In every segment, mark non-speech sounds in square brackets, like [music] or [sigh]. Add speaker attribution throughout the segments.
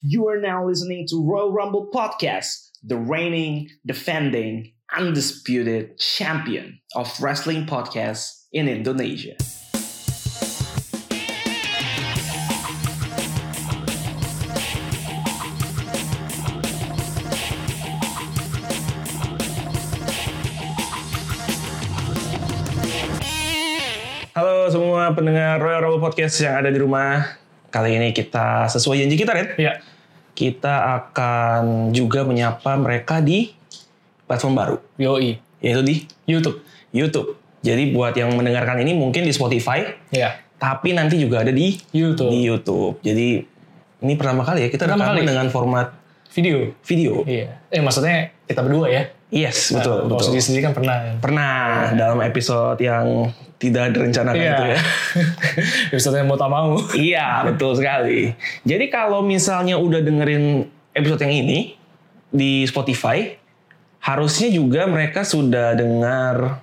Speaker 1: You are now listening to Royal Rumble Podcast, the reigning, defending, undisputed champion of wrestling podcasts in Indonesia.
Speaker 2: Halo semua pendengar Royal Rumble Podcast yang ada di rumah. Kali ini kita sesuai janji kita, Red.
Speaker 3: Iya.
Speaker 2: Kita akan juga menyapa mereka di platform baru,
Speaker 3: Yoi.
Speaker 2: yaitu di
Speaker 3: YouTube.
Speaker 2: YouTube. Jadi buat yang mendengarkan ini mungkin di Spotify,
Speaker 3: Iya.
Speaker 2: tapi nanti juga ada di
Speaker 3: YouTube.
Speaker 2: di YouTube. Jadi ini pertama kali ya kita
Speaker 3: Pertama
Speaker 2: rekaman
Speaker 3: kali.
Speaker 2: dengan format
Speaker 3: Video.
Speaker 2: video.
Speaker 3: Iya. Eh maksudnya kita berdua ya.
Speaker 2: Yes, betul,
Speaker 3: Nah, kalau
Speaker 2: betul.
Speaker 3: sendiri-sendiri kan pernah. kan?
Speaker 2: Pernah dalam episode yang tidak direncanakan
Speaker 3: Iya.
Speaker 2: itu ya.
Speaker 3: [laughs] Episode yang mau tak mau.
Speaker 2: Iya, betul sekali. Jadi kalau misalnya udah dengerin episode yang ini di Spotify, harusnya juga mereka sudah dengar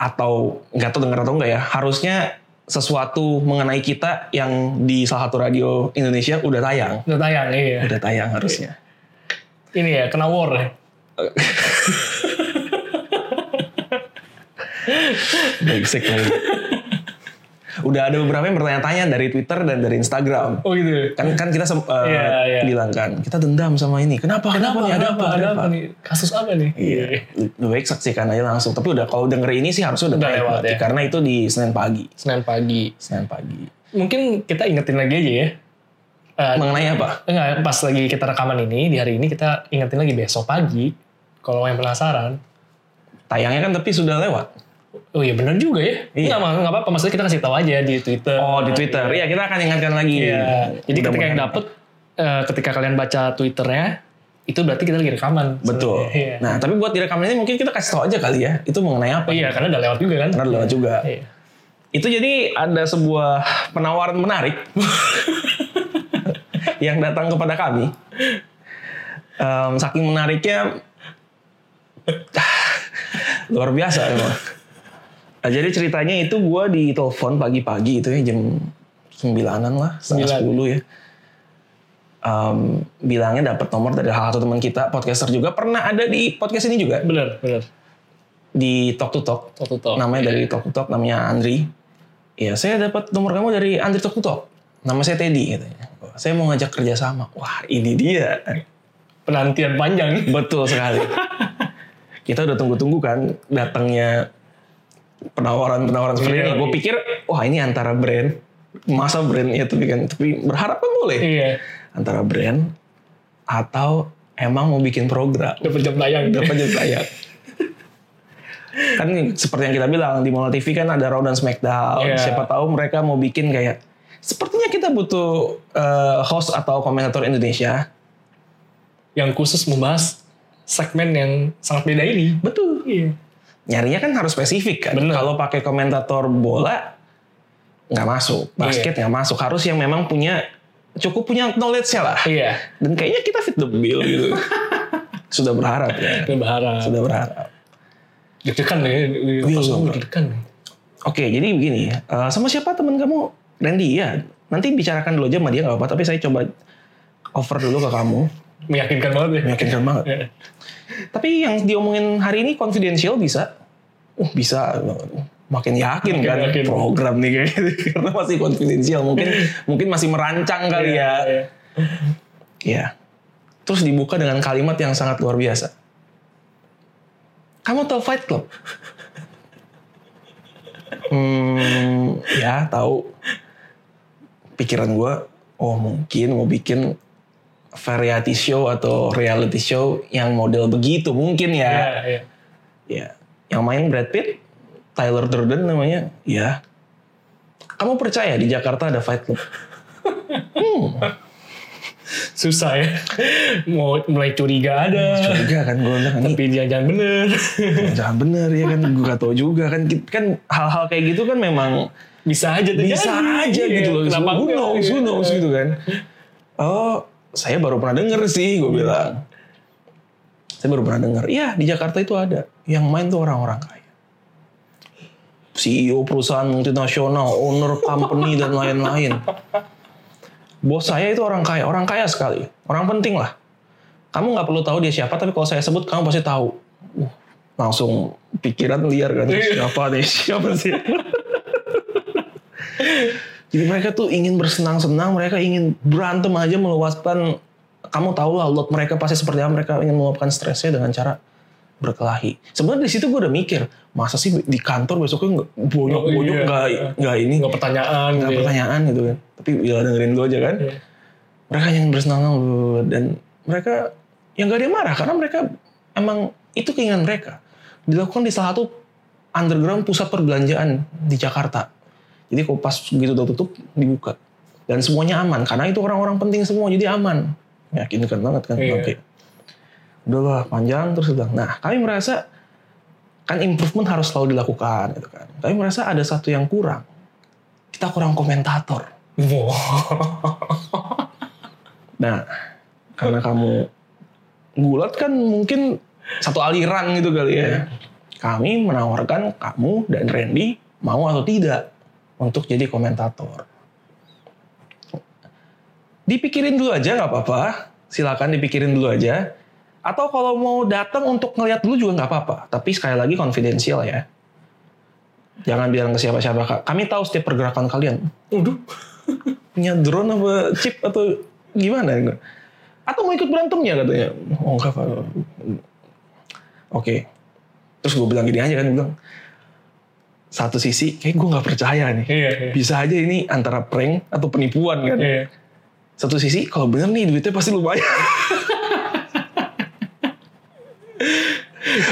Speaker 2: atau nggak tahu dengar atau enggak ya, harusnya sesuatu mengenai kita yang di salah satu radio Indonesia udah tayang.
Speaker 3: Udah tayang, iya.
Speaker 2: Udah tayang harusnya.
Speaker 3: Ini ya, kena war ya.
Speaker 2: Basic lagi. Udah ada beberapa yang bertanya-tanya dari Twitter dan dari Instagram.
Speaker 3: Oh gitu.
Speaker 2: kan kan kita sem- eh,
Speaker 3: Iya, iya.
Speaker 2: bilang kan kita dendam sama ini kenapa kenapa, nih ada apa
Speaker 3: Ada apa nih? Kasus apa nih?
Speaker 2: iya lebih baik saksikan aja langsung tapi udah kalau denger ini sih harusnya udah,
Speaker 3: Udah
Speaker 2: tayang
Speaker 3: lewat
Speaker 2: berarti.
Speaker 3: ya.
Speaker 2: karena itu di Senin pagi
Speaker 3: Senin pagi.
Speaker 2: Senin pagi
Speaker 3: Mungkin kita ingetin lagi aja ya. Eh,
Speaker 2: mengenai apa
Speaker 3: enggak, pas lagi kita rekaman ini, di hari ini kita ingetin lagi besok pagi. Kalau yang penasaran.
Speaker 2: tayangnya kan tapi sudah lewat
Speaker 3: Oh iya bener juga ya.
Speaker 2: Iya.
Speaker 3: Enggak, enggak apa-apa. Maksudnya kita kasih tahu aja di Twitter.
Speaker 2: oh di Twitter iya kita akan ingatkan lagi
Speaker 3: Iya. Jadi ketika
Speaker 2: Mudah-mudahan.
Speaker 3: yang dapet, eh, ketika kalian baca twitternya, itu berarti kita lagi rekaman.
Speaker 2: betul
Speaker 3: sebenarnya. Iya.
Speaker 2: nah tapi buat direkam ini mungkin kita kasih tau aja kali ya itu mengenai apa
Speaker 3: Oh iya, karena udah lewat juga kan.
Speaker 2: karena udah lewat juga
Speaker 3: Iya.
Speaker 2: itu jadi ada sebuah penawaran menarik yang datang kepada kami Em, saking menariknya [sighs] luar biasa emang Nah, jadi ceritanya itu gue ditelepon pagi-pagi itu ya jam sembilanan lah setengah
Speaker 3: Sembilan.
Speaker 2: sepuluh ya Em, bilangnya dapat nomor dari salah satu teman kita podcaster juga pernah ada di podcast ini juga
Speaker 3: Bener, bener.
Speaker 2: di Talk to Talk
Speaker 3: Toto to.
Speaker 2: namanya dari Talk to Talk namanya Andri. Ya saya dapat nomor kamu dari Andri Talk to Talk. Nama saya Teddy katanya. Saya mau ngajak kerjasama. Wah ini dia.
Speaker 3: Penantian
Speaker 2: [laughs]
Speaker 3: panjang.
Speaker 2: Betul sekali. Kita udah tunggu-tunggu kan datangnya penawaran-penawaran seperti ini. Gue pikir wah ini antara brand masa brand ya tapi kan tapi berharap kan boleh
Speaker 3: iya.
Speaker 2: antara brand atau emang mau bikin program
Speaker 3: Dapat jam tayang.
Speaker 2: berapa jam tayang kan seperti yang kita bilang di Mola TV kan ada Raw dan Smackdown
Speaker 3: Iya.
Speaker 2: siapa tahu mereka mau bikin kayak sepertinya kita butuh eh, host atau komentator Indonesia
Speaker 3: Yang khusus membahas segmen yang sangat beda ini.
Speaker 2: betul
Speaker 3: Iya.
Speaker 2: nyarinya kan harus spesifik kan
Speaker 3: Bener.
Speaker 2: kalau pakai komentator bola nggak masuk
Speaker 3: Iya.
Speaker 2: basket nggak masuk harus yang memang punya cukup punya knowledge nya lah
Speaker 3: Iya.
Speaker 2: dan kayaknya kita fit the bill
Speaker 3: [laughs]
Speaker 2: gitu sudah berharap ya
Speaker 3: Udah berharap.
Speaker 2: sudah berharap
Speaker 3: Deg-degan ya.
Speaker 2: Iya,
Speaker 3: Pas
Speaker 2: iya.
Speaker 3: gue deg-degan. ya.
Speaker 2: Oke, jadi begini, eh, sama siapa teman kamu? Randy ya. Nanti bicarakan dulu aja sama dia nggak apa-apa, tapi saya coba over dulu ke kamu.
Speaker 3: Meyakinkan banget ya.
Speaker 2: Meyakinkan banget.
Speaker 3: Iya.
Speaker 2: Tapi yang diomongin hari ini confidential bisa? Uh, bisa. Makin yakin
Speaker 3: Makin
Speaker 2: kan
Speaker 3: yakin.
Speaker 2: program nih kayak gitu. [laughs] karena masih confidential. Mungkin mungkin masih merancang kali
Speaker 3: Iya,
Speaker 2: ya.
Speaker 3: iya.
Speaker 2: Iya. Terus dibuka dengan kalimat yang sangat luar biasa. Kamu tahu Fight Club? [laughs] hmm, ya tahu. Pikiran gue, oh mungkin mau bikin variety show atau reality show yang model begitu mungkin
Speaker 3: Iya,
Speaker 2: ya.
Speaker 3: iya.
Speaker 2: Ya. Yang main Brad Pitt, Tyler Durden namanya. Ya. Kamu percaya di Jakarta ada Fight Club?
Speaker 3: Susah ya. [laughs] Mau mulai curiga ada.
Speaker 2: Curiga kan gue bilang ini
Speaker 3: Tapi jangan-jangan bener.
Speaker 2: Jangan bener ya kan, gue gak tau juga kan, kan hal-hal kayak gitu kan memang
Speaker 3: Bisa aja terjadi.
Speaker 2: bisa aja
Speaker 3: Iya,
Speaker 2: gitu loh.
Speaker 3: Kenapa
Speaker 2: who
Speaker 3: enggak? Iya.
Speaker 2: knows, who knows gitu kan. Oh, saya baru pernah denger sih,
Speaker 3: Iya.
Speaker 2: gue bilang. Saya baru pernah denger. Iya, di Jakarta itu ada. Yang main tuh orang-orang kaya. E CEO perusahaan multinasional, owner company dan lain-lain. Bos saya itu orang kaya, orang kaya sekali, orang penting lah. Kamu nggak perlu tahu dia siapa, tapi kalau saya sebut kamu pasti tahu. Uh, langsung pikiran liar kan,
Speaker 3: Iya.
Speaker 2: siapa nih, [laughs] siapa sih? Jadi mereka tuh ingin bersenang-senang, mereka ingin berantem aja meluapkan. Kamu tahu lah, lot mereka pasti seperti apa. Mereka ingin meluapkan stresnya dengan cara berkelahi. Sebenarnya di situ gue udah mikir, masa sih di kantor besoknya nggak bonyok bonyok
Speaker 3: Oh, iya.
Speaker 2: nggak nggak ini
Speaker 3: Nggak pertanyaan
Speaker 2: nggak
Speaker 3: gitu ya.
Speaker 2: pertanyaan gitu kan. Tapi ya dengerin gue aja kan.
Speaker 3: Iya.
Speaker 2: Mereka yang bersenang-senang blablabla. dan mereka yang gak ada yang marah karena mereka emang itu keinginan mereka dilakukan di salah satu underground pusat perbelanjaan di Jakarta. Jadi kalau pas gitu udah tutup dibuka dan semuanya aman karena itu orang-orang penting semua jadi aman. Meyakinkan banget kan.
Speaker 3: Iya.
Speaker 2: Oke. Udahlah panjang terus bilang. Nah kami merasa kan improvement harus selalu dilakukan gitu kan. Kami merasa ada satu yang kurang. Kita kurang komentator.
Speaker 3: Wow.
Speaker 2: Nah, karena kamu gulat kan mungkin satu aliran gitu kali ya. Kami menawarkan kamu dan Randy mau atau tidak untuk jadi komentator. Dipikirin dulu aja nggak apa-apa. Silakan dipikirin dulu aja. Atau kalau mau datang untuk ngeliat dulu juga nggak apa-apa. Tapi sekali lagi konfidensial ya. Jangan bilang ke siapa-siapa. Kak. Kami tahu setiap pergerakan kalian
Speaker 3: Waduh.
Speaker 2: punya drone apa chip atau gimana gitu. Atau mau ikut berantemnya katanya. Oh enggak Pak. Oke. Terus gue bilang gini aja kan, gue bilang. Satu sisi kayak gue gak percaya nih.
Speaker 3: Iya. iya.
Speaker 2: Bisa aja ini antara prank atau penipuan kan.
Speaker 3: Iya.
Speaker 2: Satu sisi kalau bener nih duitnya pasti lumayan. [laughs]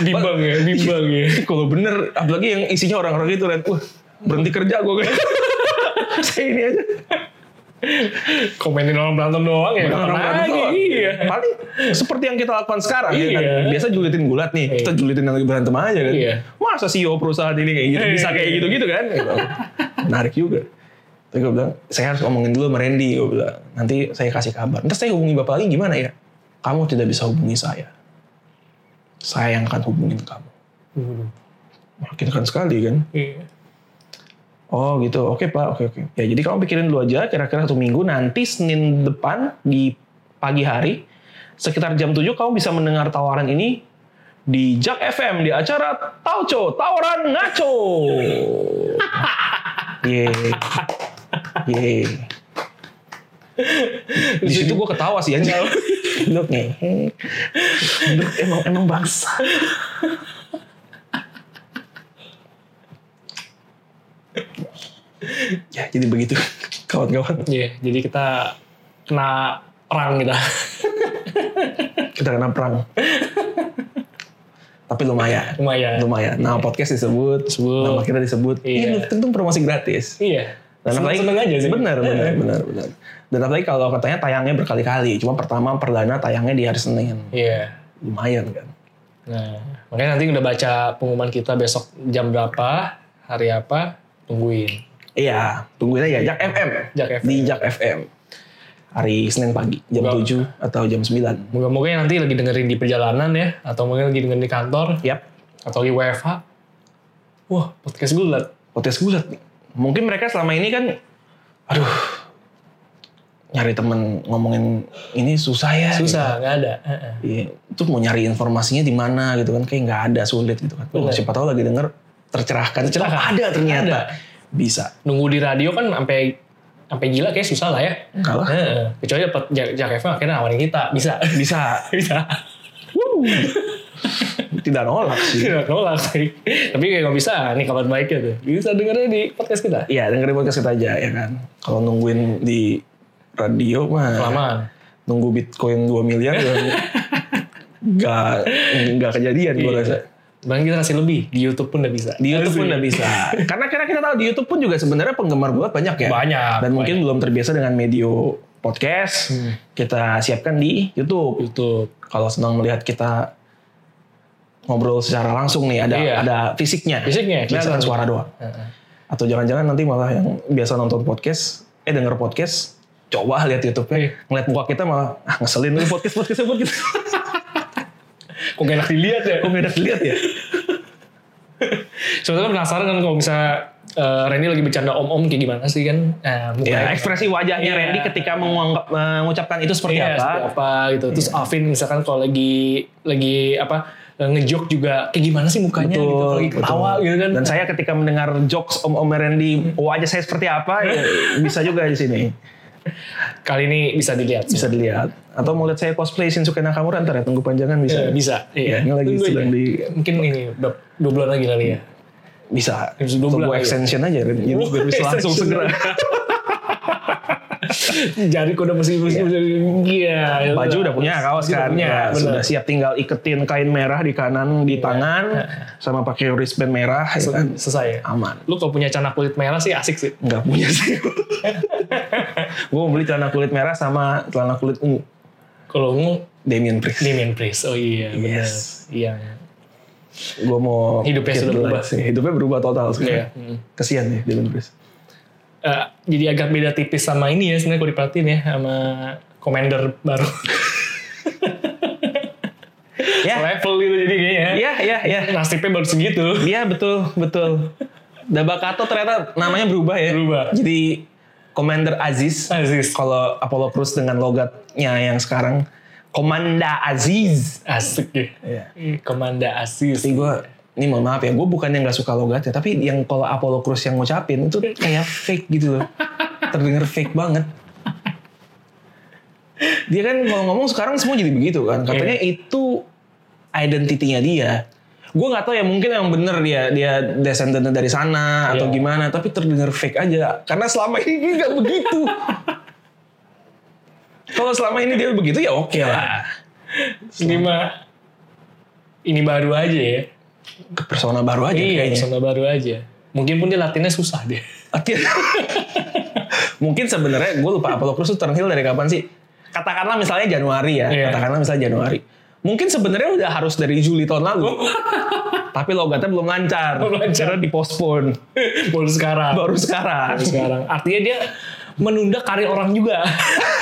Speaker 3: Bimbang ya, bimbang ya.
Speaker 2: kalau bener, apalagi yang isinya orang-orang gitu kan. Wah berhenti kerja gue kayak. [laughs] Saya ini aja.
Speaker 3: Komenin orang berantem doang ya. Kapan
Speaker 2: Orang-orang
Speaker 3: lagi?
Speaker 2: doang.
Speaker 3: Iya.
Speaker 2: Paling seperti yang kita lakukan sekarang ya kan.
Speaker 3: Iya.
Speaker 2: Biasa julitin gulat nih, kita julitin yang lagi berantem aja kan.
Speaker 3: Iya.
Speaker 2: Masa CEO perusahaan ini kayak gitu bisa kayak
Speaker 3: Iya.
Speaker 2: gitu-gitu kan. Gitu. Menarik juga. Tapi gue bilang, saya harus ngomongin dulu sama Randy. Gue bilang, nanti saya kasih kabar. Ntar saya hubungi bapak lagi gimana ya? Kamu tidak bisa hubungi saya. Saya yang akan hubungin kamu.
Speaker 3: Waduh.
Speaker 2: Meyakinkan sekali kan.
Speaker 3: Iya.
Speaker 2: Oh gitu, oke pak, oke oke. Ya jadi kamu pikirin dulu aja, kira-kira satu minggu nanti Senin depan di pagi hari sekitar jam 7 kamu bisa mendengar tawaran ini di Jak FM di acara Tauco Tawaran Ngaco. Ye. Ye. Di situ gue ketawa sih anjing. Lu ngehek. Lu emang emang bangsa. Ya jadi begitu kawan-kawan.
Speaker 3: Iya, jadi kita kena perang kita.
Speaker 2: Kita kena perang. Tapi lumayan.
Speaker 3: [laughs] Lumayan.
Speaker 2: lumayan. Nah podcast disebut,
Speaker 3: Disebut.
Speaker 2: nama kita disebut.
Speaker 3: Iya.
Speaker 2: Ini tentu promosi gratis.
Speaker 3: Iya.
Speaker 2: Dan apalagi
Speaker 3: Seneng-seneng aja sih.
Speaker 2: Benar, benar, benar, benar. Dan apalagi kalau katanya tayangnya berkali-kali. Cuma pertama perdana tayangnya di hari Senin.
Speaker 3: Iya.
Speaker 2: Lumayan kan.
Speaker 3: Nah, makanya nanti udah baca pengumuman kita besok jam berapa, hari apa, tungguin.
Speaker 2: Iya, tungguin aja Jak FM.
Speaker 3: Jak FM.
Speaker 2: Di Jak FM. Hari Senin pagi jam
Speaker 3: Enggak.
Speaker 2: 7 atau jam 9.
Speaker 3: Moga-moga yang nanti lagi dengerin di perjalanan ya, atau mungkin lagi dengerin di kantor,
Speaker 2: Yap,
Speaker 3: atau lagi WFH. Wah, podcast gulat.
Speaker 2: podcast gulat nih. Mungkin mereka selama ini kan aduh nyari temen ngomongin ini susah ya.
Speaker 3: Susah, nggak ada. Heeh.
Speaker 2: Iya, terus mau nyari informasinya di mana gitu kan kayak nggak ada sulit gitu kan. Oh,
Speaker 3: Bener.
Speaker 2: siapa tahu lagi denger tercerahkan.
Speaker 3: Tercerahkan.
Speaker 2: Oh, ada ternyata.
Speaker 3: Ada.
Speaker 2: Bisa.
Speaker 3: Nunggu di radio kan sampai sampai gila kayak susah lah ya.
Speaker 2: Kalah.
Speaker 3: Heeh. Kecuali dapat Jak Jak FM akhirnya nawarin kita, bisa. [laughs]
Speaker 2: Bisa.
Speaker 3: bisa.
Speaker 2: Wuh. [laughs] Tidak nolak sih.
Speaker 3: Tidak nolak sih. Tapi kayak nggak bisa, nih kabar baiknya tuh. Bisa dengerin di podcast kita.
Speaker 2: Iya, dengerin podcast kita aja ya kan. Kalau nungguin di radio mah
Speaker 3: Kelamaan.
Speaker 2: nunggu Bitcoin 2 miliar
Speaker 3: [laughs]
Speaker 2: Gak, nggak kejadian gue
Speaker 3: Iya.
Speaker 2: rasa.
Speaker 3: Bahkan kita kasih lebih, di Youtube pun udah bisa. Iya
Speaker 2: Di YouTube pun udah bisa. Karena karena kita tahu di YouTube pun juga sebenarnya penggemar bulat banyak ya.
Speaker 3: Banyak, Hmm.
Speaker 2: Dan mungkin belum terbiasa dengan medio podcast. Kita siapkan di YouTube.
Speaker 3: YouTube.
Speaker 2: Kalau senang melihat kita ngobrol secara langsung nih ada
Speaker 3: Iya.
Speaker 2: ada fisiknya.
Speaker 3: Fisiknya,
Speaker 2: Biasa kan
Speaker 3: kelihatan.
Speaker 2: suara doang.
Speaker 3: Heeh.
Speaker 2: Atau jangan-jangan nanti malah yang biasa nonton podcast, eh denger podcast, coba lihat YouTube-nya,
Speaker 3: Iya.
Speaker 2: ngeliat muka kita malah ah, ngeselin nih podcast podcast podcast. [laughs]
Speaker 3: Kok gak enak dilihat ya?
Speaker 2: Kok beda lihat ya?
Speaker 3: Sebetulnya penasaran kan kalau misalnya eh, Randy lagi bercanda om-om kayak gimana sih kan? Nah,
Speaker 2: Ya,
Speaker 3: mukanya-
Speaker 2: ekspresi wajahnya
Speaker 3: Iya.
Speaker 2: Randy ketika menguang- mengucapkan itu seperti apa.
Speaker 3: Iya, seperti apa gitu. Terus
Speaker 2: Iya.
Speaker 3: Alvin misalkan kalau lagi lagi apa eh, ngejok juga kayak gimana sih mukanya gitu
Speaker 2: Betul,
Speaker 3: kalau lagi ketawa
Speaker 2: betul.
Speaker 3: gitu kan.
Speaker 2: Dan saya ketika mendengar jokes Om Om Randy, "Oh, wajah saya seperti apa ya bisa juga di sini.
Speaker 3: Kali ini bisa dilihat.
Speaker 2: Bisa dilihat. Atau mau lihat saya cosplay Shinsuke Nakamura ntar ya tunggu panjangan bisa.
Speaker 3: Eh, [laughs] bisa. Iya.
Speaker 2: Ini lagi
Speaker 3: Tunggu aja.
Speaker 2: sedang di
Speaker 3: mungkin ini udah dua bulan lagi kali ya.
Speaker 2: bisa.
Speaker 3: Episode ya. 12
Speaker 2: Tunggu
Speaker 3: lagi.
Speaker 2: extension aja Ren. Jadi biar bisa
Speaker 3: [laughs]
Speaker 2: langsung segera.
Speaker 3: Jari kuda mesti mesti iya.
Speaker 2: Baju udah punya kaos
Speaker 3: Baju udah
Speaker 2: kan.
Speaker 3: punya, Iya.
Speaker 2: Ya,
Speaker 3: bener.
Speaker 2: sudah siap tinggal iketin kain merah di kanan di tangan sama pakai wristband merah ya kan.
Speaker 3: Selesai ya.
Speaker 2: Aman.
Speaker 3: Lu kalau punya celana kulit merah sih asik sih.
Speaker 2: Nggak punya
Speaker 3: [laughs]
Speaker 2: sih. Gue mau beli celana kulit merah sama celana kulit ungu.
Speaker 3: Kalau ungu
Speaker 2: Damien Priest.
Speaker 3: Damien Priest. Oh iya, benar.
Speaker 2: Yes.
Speaker 3: Iya.
Speaker 2: gue mau
Speaker 3: Hidupnya
Speaker 2: hit
Speaker 3: sudah
Speaker 2: the
Speaker 3: berubah.
Speaker 2: lights nih. hidupnya berubah total
Speaker 3: Iya.
Speaker 2: sekarang
Speaker 3: Hmm.
Speaker 2: kasihan ya Dylan Bruce
Speaker 3: Eh, jadi agak beda tipis sama ini ya sebenarnya kalau diperhatiin ya sama Commander baru.
Speaker 2: [laughs] Ya.
Speaker 3: Level gitu jadi kayaknya.
Speaker 2: iya iya iya
Speaker 3: Nasibnya baru segitu.
Speaker 2: iya betul betul Dabakato ternyata namanya berubah ya
Speaker 3: Berubah.
Speaker 2: jadi Commander Aziz
Speaker 3: Aziz.
Speaker 2: kalau Apollo Crews dengan logatnya yang sekarang Komanda Aziz
Speaker 3: Asik ya.
Speaker 2: Iya.
Speaker 3: Ih, Komanda Asis.
Speaker 2: Jadi gue ini mohon maaf ya, gue bukannya nggak suka logatnya, tapi yang kalau Apollo Crews yang ngucapin itu
Speaker 3: [laughs]
Speaker 2: kayak fake gitu loh. Terdengar fake banget. Dia kan kalau ngomong sekarang semua jadi begitu
Speaker 3: Iya.
Speaker 2: kan. Katanya itu identitinya dia. Gue nggak tahu ya mungkin yang bener dia dia descendant dari sana atau
Speaker 3: Iya.
Speaker 2: gimana, tapi terdengar fake aja. Karena selama ini nggak begitu. kalau selama ini dia begitu ya oke
Speaker 3: Iya.
Speaker 2: lah.
Speaker 3: Ini mah ini baru aja ya.
Speaker 2: Ke persona baru aja
Speaker 3: Iya,
Speaker 2: kayaknya.
Speaker 3: persona baru aja. Mungkin pun dia latinnya susah dia.
Speaker 2: Artinya- [laughs] mungkin sebenarnya gue lupa Apollo Crews tuh ternhil dari kapan sih? Katakanlah misalnya Januari ya,
Speaker 3: Iya.
Speaker 2: katakanlah misalnya Januari. Mungkin sebenarnya udah harus dari Juli tahun lalu.
Speaker 3: [laughs]
Speaker 2: Tapi logatnya belum lancar.
Speaker 3: Oh. Belum lancar. Iya.
Speaker 2: Karena dipospon
Speaker 3: [laughs] baru sekarang.
Speaker 2: baru sekarang.
Speaker 3: Baru sekarang. Artinya dia menunda karir orang juga. [laughs]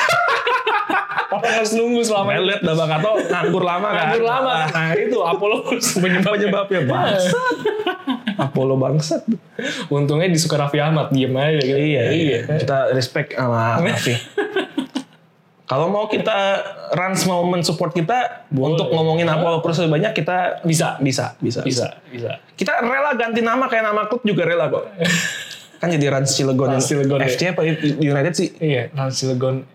Speaker 3: orang harus nunggu selama
Speaker 2: Makanya
Speaker 3: ini.
Speaker 2: lihat Dabakato nganggur lama kan.
Speaker 3: Nganggur lama. Iya.
Speaker 2: Nah,
Speaker 3: Nah itu Apollo penyebab.
Speaker 2: penyebabnya bangsat. Apollo bangsat.
Speaker 3: Untungnya di Sukaraffi Ahmad diem aja gitu.
Speaker 2: Iya, iya. Kita respect sama
Speaker 3: [laughs]
Speaker 2: Raffi. Kalau mau kita Rans mau mensupport kita
Speaker 3: Boleh.
Speaker 2: untuk ngomongin Apollo Crews lebih banyak kita
Speaker 3: Bisa.
Speaker 2: bisa bisa
Speaker 3: Bisa, bisa.
Speaker 2: Kita rela ganti nama kayak nama klub juga rela
Speaker 3: [laughs]
Speaker 2: kok. kan jadi Rans Cilegon,
Speaker 3: Rans Cilegon, ya.
Speaker 2: FC apa United sih?
Speaker 3: Iya, Rans Cilegon.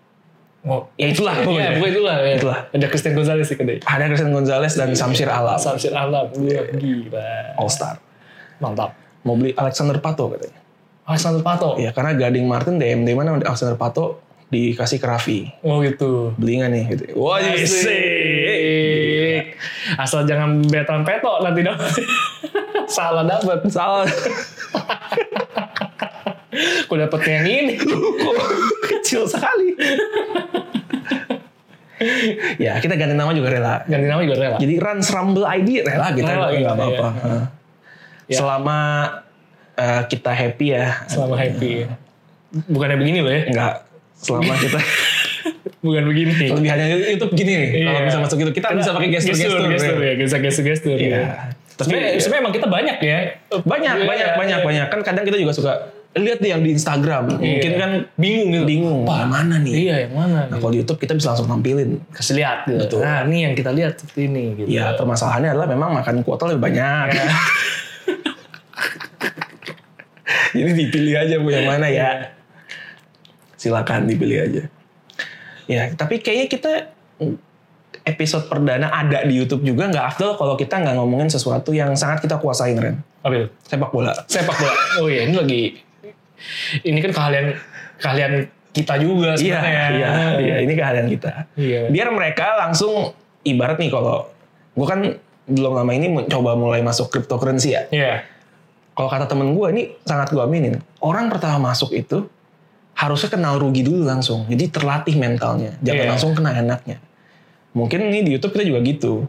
Speaker 3: Oh,
Speaker 2: Ya itulah
Speaker 3: iya,
Speaker 2: pokoknya.
Speaker 3: pokoknya itulah. Ya.
Speaker 2: Itulah.
Speaker 3: Ada Christian Gonzalez sih kedai.
Speaker 2: Ada Christian Gonzalez
Speaker 3: Iya.
Speaker 2: dan Samsir Alam
Speaker 3: Samsir Alam. Gila, Gila.
Speaker 2: All Star.
Speaker 3: Mantap. Iya.
Speaker 2: Mau beli Alexander Pato katanya.
Speaker 3: Alexander Pato.
Speaker 2: Ya karena Gading Martin DMD mana Alexander Pato dikasih ke Raffi.
Speaker 3: Oh gitu.
Speaker 2: Beli nggak nih? Gitu. Wah, sih.
Speaker 3: Asik. Asal jangan betan peto nanti dong. [laughs] Salah dapet.
Speaker 2: Salah.
Speaker 3: Aku dapet yang ini.
Speaker 2: [laughs] Kecil sekali. ya kita ganti nama juga rela.
Speaker 3: Ganti nama juga rela.
Speaker 2: Jadi Rans Rumble ID rela kita
Speaker 3: Rela,
Speaker 2: nggak
Speaker 3: iya,
Speaker 2: apa-apa.
Speaker 3: iya. Ya.
Speaker 2: Heeh. Selama eh, kita happy ya,
Speaker 3: Selama happy. Bukannya begini loh ya.
Speaker 2: nggak selama
Speaker 3: [laughs]
Speaker 2: kita
Speaker 3: Bukan begini.
Speaker 2: lebih hanya YouTube gini nih. Kalau
Speaker 3: Iya.
Speaker 2: bisa masuk YouTube kita bisa pakai gestur-gestur.
Speaker 3: gestur
Speaker 2: ya.
Speaker 3: ya. Bisa gestur-gestur.
Speaker 2: Iya.
Speaker 3: ya.
Speaker 2: Tapi
Speaker 3: Sebenarnya sebenarnya emang kita banyak ya.
Speaker 2: banyak,
Speaker 3: Iya,
Speaker 2: banyak,
Speaker 3: iya.
Speaker 2: banyak, banyak. Kan kadang kita juga suka lihat nih yang di Instagram. Mungkin kan
Speaker 3: bingung gitu.
Speaker 2: bingung.
Speaker 3: Apa?
Speaker 2: mana nih?
Speaker 3: Iya, yang mana?
Speaker 2: Nah, kalau di YouTube kita bisa langsung tampilin.
Speaker 3: Kasih lihat
Speaker 2: Betul.
Speaker 3: gitu. Nah, ini yang kita lihat seperti ini gitu.
Speaker 2: Ya, permasalahannya adalah memang makan kuota lebih banyak.
Speaker 3: Iya.
Speaker 2: [laughs] Jadi dipilih aja bu yang mana
Speaker 3: Iya.
Speaker 2: ya. Silakan dipilih aja. Ya, tapi kayaknya kita episode perdana ada di YouTube juga nggak afdol kalau kita nggak ngomongin sesuatu yang sangat kita kuasain Ren.
Speaker 3: Apa itu?
Speaker 2: Sepak bola.
Speaker 3: sepak bola. Oh iya, ini lagi ini kan keahlian keahlian kita
Speaker 2: Iya,
Speaker 3: juga sebenarnya. ya.
Speaker 2: iya, iya. Ini keahlian kita.
Speaker 3: Iya.
Speaker 2: Biar mereka langsung ibarat nih kalau gue kan belum lama ini coba mulai masuk cryptocurrency ya.
Speaker 3: Iya.
Speaker 2: kalau kata temen gue ini sangat gue aminin orang pertama masuk itu harusnya kenal rugi dulu langsung jadi terlatih mentalnya jangan
Speaker 3: Iya.
Speaker 2: langsung kena enaknya mungkin ini di YouTube kita juga gitu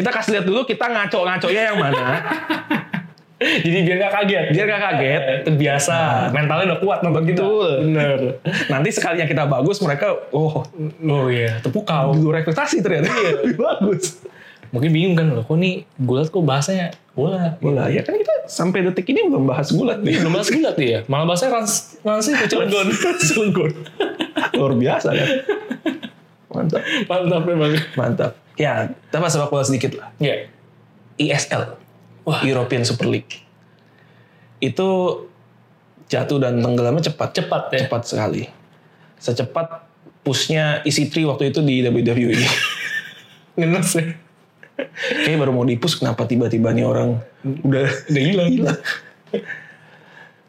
Speaker 2: kita kasih lihat dulu kita ngaco-ngaconya yang mana
Speaker 3: [laughs] Jadi biar gak kaget.
Speaker 2: biar gak kaget
Speaker 3: Eh, Terbiasa. Mentalnya udah kuat nonton kita.
Speaker 2: Betul.
Speaker 3: Bener.
Speaker 2: nanti sekalinya kita bagus mereka oh
Speaker 3: Oh iya, tepuk kau.
Speaker 2: di luar ekspektasi ternyata lebih bagus
Speaker 3: Mungkin bingung kan loh, kok nih gulat kok bahasanya bola.
Speaker 2: Bola ya kan kita sampai detik ini belum bahas ya? gulat
Speaker 3: Iya, [laughs]
Speaker 2: nih.
Speaker 3: belum bahas gulat dia. Malah bahasanya rans, ransi ke Cilegon. [laughs]
Speaker 2: Cilegon. Luar biasa kan. Mantap,
Speaker 3: Mantap memang.
Speaker 2: mantap. Ya, kita bahas sepak bola sedikit lah.
Speaker 3: Iya.
Speaker 2: ESL,
Speaker 3: Wah.
Speaker 2: European Super League. Itu jatuh dan tenggelamnya cepat,
Speaker 3: Cepat ya.
Speaker 2: cepat sekali. Secepat pushnya EC3 waktu itu di
Speaker 3: [laughs]
Speaker 2: WWE.
Speaker 3: Ngenes ya.
Speaker 2: Kayaknya baru mau dipus kenapa tiba-tiba nih orang udah
Speaker 3: Udah
Speaker 2: [laughs]
Speaker 3: hilang.
Speaker 2: gila.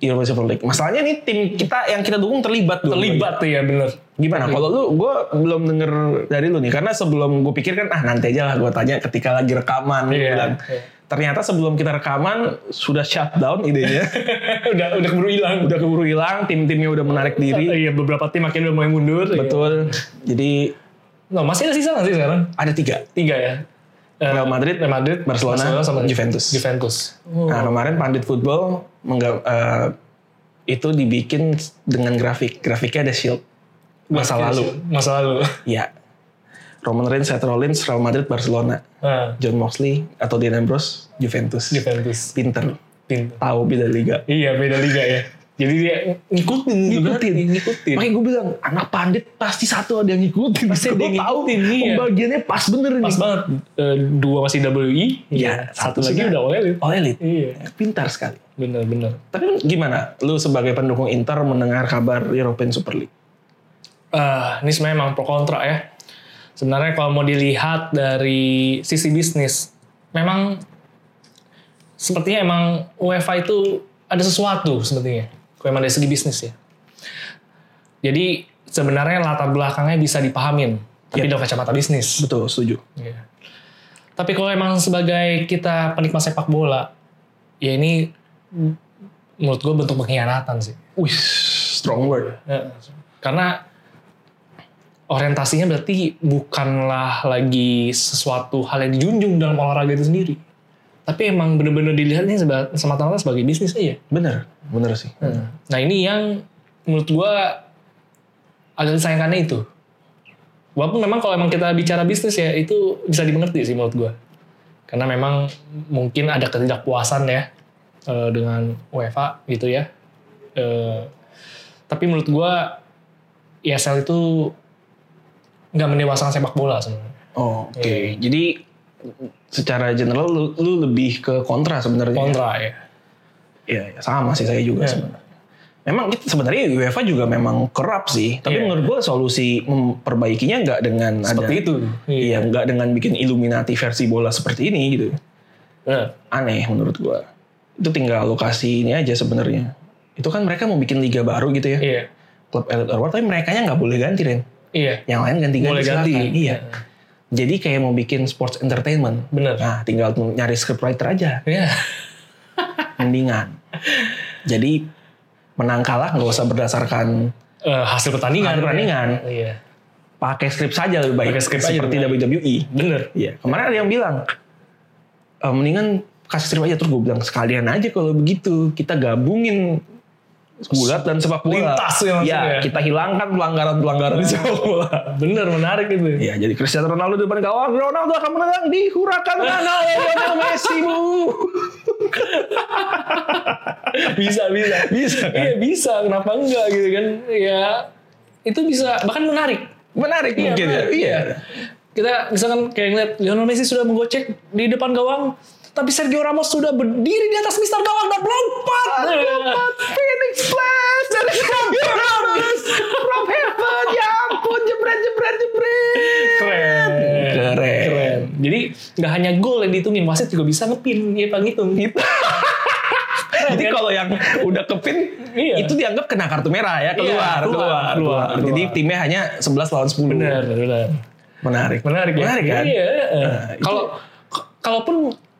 Speaker 2: European Super League. Masalahnya nih tim kita yang kita dukung terlibat dulu.
Speaker 3: Terlibat tuh ya bener.
Speaker 2: Gimana? Kalau lu, gue belum denger dari lu nih, karena sebelum gue pikir kan, ah nanti aja lah gue tanya ketika lagi rekaman. gua
Speaker 3: Iya.
Speaker 2: bilang.
Speaker 3: Iya.
Speaker 2: Ternyata sebelum kita rekaman sudah shutdown [laughs] idenya,
Speaker 3: [laughs] udah udah keburu hilang.
Speaker 2: udah keburu hilang, tim-timnya udah menarik diri,
Speaker 3: Iya beberapa tim akhirnya udah mulai mundur.
Speaker 2: betul. Jadi
Speaker 3: Nah, masih ada sisa nggak sih sekarang?
Speaker 2: ada tiga,
Speaker 3: Tiga ya. Eh,
Speaker 2: Real Madrid,
Speaker 3: Real Madrid,
Speaker 2: Barcelona,
Speaker 3: sama
Speaker 2: Juventus.
Speaker 3: Juventus. Oh.
Speaker 2: Nah kemarin Pandit Football mengga- eh, itu dibikin dengan grafik, grafiknya ada shield masa lalu.
Speaker 3: Masa lalu. [laughs]
Speaker 2: Ya, Roman Reigns, Seth Rollins, Real Madrid, Barcelona,
Speaker 3: Nah,
Speaker 2: John Moxley atau Dean Ambrose, Juventus.
Speaker 3: Juventus.
Speaker 2: Pinter,
Speaker 3: Pintu.
Speaker 2: tahu beda liga.
Speaker 3: Iya beda liga ya. Jadi dia ngikutin,
Speaker 2: Ngikutin.
Speaker 3: ngikutin.
Speaker 2: Makanya gue bilang anak pandit pasti satu ada yang ngikutin.
Speaker 3: Pasti ada
Speaker 2: Gua
Speaker 3: yang
Speaker 2: tahu
Speaker 3: ngikutin, iya.
Speaker 2: pembagiannya pas bener
Speaker 3: Pas
Speaker 2: nih.
Speaker 3: banget. Eh, dua masih WI.
Speaker 2: Iya,
Speaker 3: Satu
Speaker 2: satu
Speaker 3: lagi
Speaker 2: sudah.
Speaker 3: udah all elite.
Speaker 2: Oh elit,
Speaker 3: Iya.
Speaker 2: pintar sekali.
Speaker 3: Bener-bener.
Speaker 2: Tapi gimana? Lu sebagai pendukung Inter mendengar kabar European Super League?
Speaker 3: Ah, ini sebenarnya emang pro kontra ya. Sebenarnya kalau mau dilihat dari sisi bisnis, memang sepertinya emang UEFA itu ada sesuatu sepertinya. Kalau emang dari segi bisnis ya. Jadi sebenarnya latar belakangnya bisa dipahamin, tapi
Speaker 2: Iya.
Speaker 3: dari kacamata bisnis.
Speaker 2: Betul, setuju.
Speaker 3: Iya. Tapi kalau emang sebagai kita penikmat sepak bola, ya ini mm, menurut gue bentuk pengkhianatan sih.
Speaker 2: Wih, strong word.
Speaker 3: Ya, karena orientasinya berarti bukanlah lagi sesuatu hal yang dijunjung dalam olahraga itu sendiri. Tapi emang bener-bener dilihatnya seba- semata-mata sebagai bisnis iya. aja.
Speaker 2: Bener, bener sih.
Speaker 3: Nah ini yang menurut gua agak disayangkannya itu. Walaupun memang kalau emang kita bicara bisnis ya itu bisa dimengerti sih menurut gua. Karena memang mungkin ada ketidakpuasan ya eh, dengan UEFA gitu ya. Eh, tapi menurut gua ESL itu nggak mendewasakan sepak bola sebenarnya.
Speaker 2: Oke, jadi secara general lu, lu lebih ke kontra sebenarnya.
Speaker 3: Kontra ya.
Speaker 2: Iya, iya, sama sih saya juga
Speaker 3: Iya.
Speaker 2: sebenarnya. Memang kita- sebenarnya UEFA juga memang kerap sih, tapi
Speaker 3: Iya.
Speaker 2: menurut gua solusi memperbaikinya nggak dengan
Speaker 3: Seperti
Speaker 2: ada
Speaker 3: itu.
Speaker 2: Iya, nggak dengan bikin Illuminati versi bola seperti ini gitu.
Speaker 3: Nah,
Speaker 2: Aneh menurut gua. Itu tinggal lokasi ini aja sebenarnya. Itu kan mereka mau bikin liga baru gitu ya.
Speaker 3: Iya.
Speaker 2: Klub Elite Award, tapi mereka nggak boleh ganti, Ren.
Speaker 3: Iya.
Speaker 2: Yang lain ganti-ganti
Speaker 3: Boleh ganti.
Speaker 2: silakan. Iya. Jadi kayak mau bikin sports entertainment.
Speaker 3: Bener.
Speaker 2: Nah, tinggal nyari scriptwriter aja.
Speaker 3: Iya. [laughs]
Speaker 2: mendingan. Jadi menang kalah nggak usah berdasarkan
Speaker 3: Eh, hasil pertandingan.
Speaker 2: Hasil pertandingan.
Speaker 3: Iya.
Speaker 2: pakai skrip saja lebih baik.
Speaker 3: Pakai skrip aja
Speaker 2: seperti
Speaker 3: lebih
Speaker 2: WWE.
Speaker 3: Bener.
Speaker 2: Iya. Kemarin ada yang bilang "E, mendingan kasih skrip aja terus gue bilang sekalian aja kalau begitu kita gabungin gulat dan sepak bola.
Speaker 3: Lintas ya maksudnya. Oh.
Speaker 2: Iya, kita hilangkan pelanggaran-pelanggaran di sepak bola.
Speaker 3: [laughs] Bener menarik itu. [laughs]
Speaker 2: Iya, jadi Cristiano Ronaldo di depan gawang, Ronaldo akan menang di Huracan Rana oleh Lionel Messi bu.
Speaker 3: bisa bisa
Speaker 2: Bisa, kan?
Speaker 3: Iya bisa. Kenapa enggak gitu kan? Ya itu bisa bahkan menarik.
Speaker 2: Menarik
Speaker 3: Iya,
Speaker 2: mungkin ya.
Speaker 3: menarik,
Speaker 2: Iya.
Speaker 3: Kita misalkan kayak ngeliat Lionel Messi sudah menggocek di depan gawang, tapi Sergio Ramos sudah berdiri di atas mistar gawang dan melompat.
Speaker 2: Phoenix Flash dari Sergio Ramos from heaven ya ampun jebret jebret jebret
Speaker 3: Keren.
Speaker 2: Keren.
Speaker 3: Keren. Jadi nggak hanya gol yang dihitungin, wasit juga bisa ngepin ya Pak ngitung.
Speaker 2: gitu jadi kalau yang udah kepin
Speaker 3: Iya.
Speaker 2: itu dianggap kena kartu merah ya keluar
Speaker 3: Iya, keluar,
Speaker 2: keluar,
Speaker 3: keluar,
Speaker 2: keluar jadi
Speaker 3: keluar.
Speaker 2: timnya hanya 11 lawan 10
Speaker 3: Benar, benar.
Speaker 2: menarik
Speaker 3: Menarik ya.
Speaker 2: menarik kan iya.
Speaker 3: Iya. eh.
Speaker 2: itu-
Speaker 3: Kalau k- kalaupun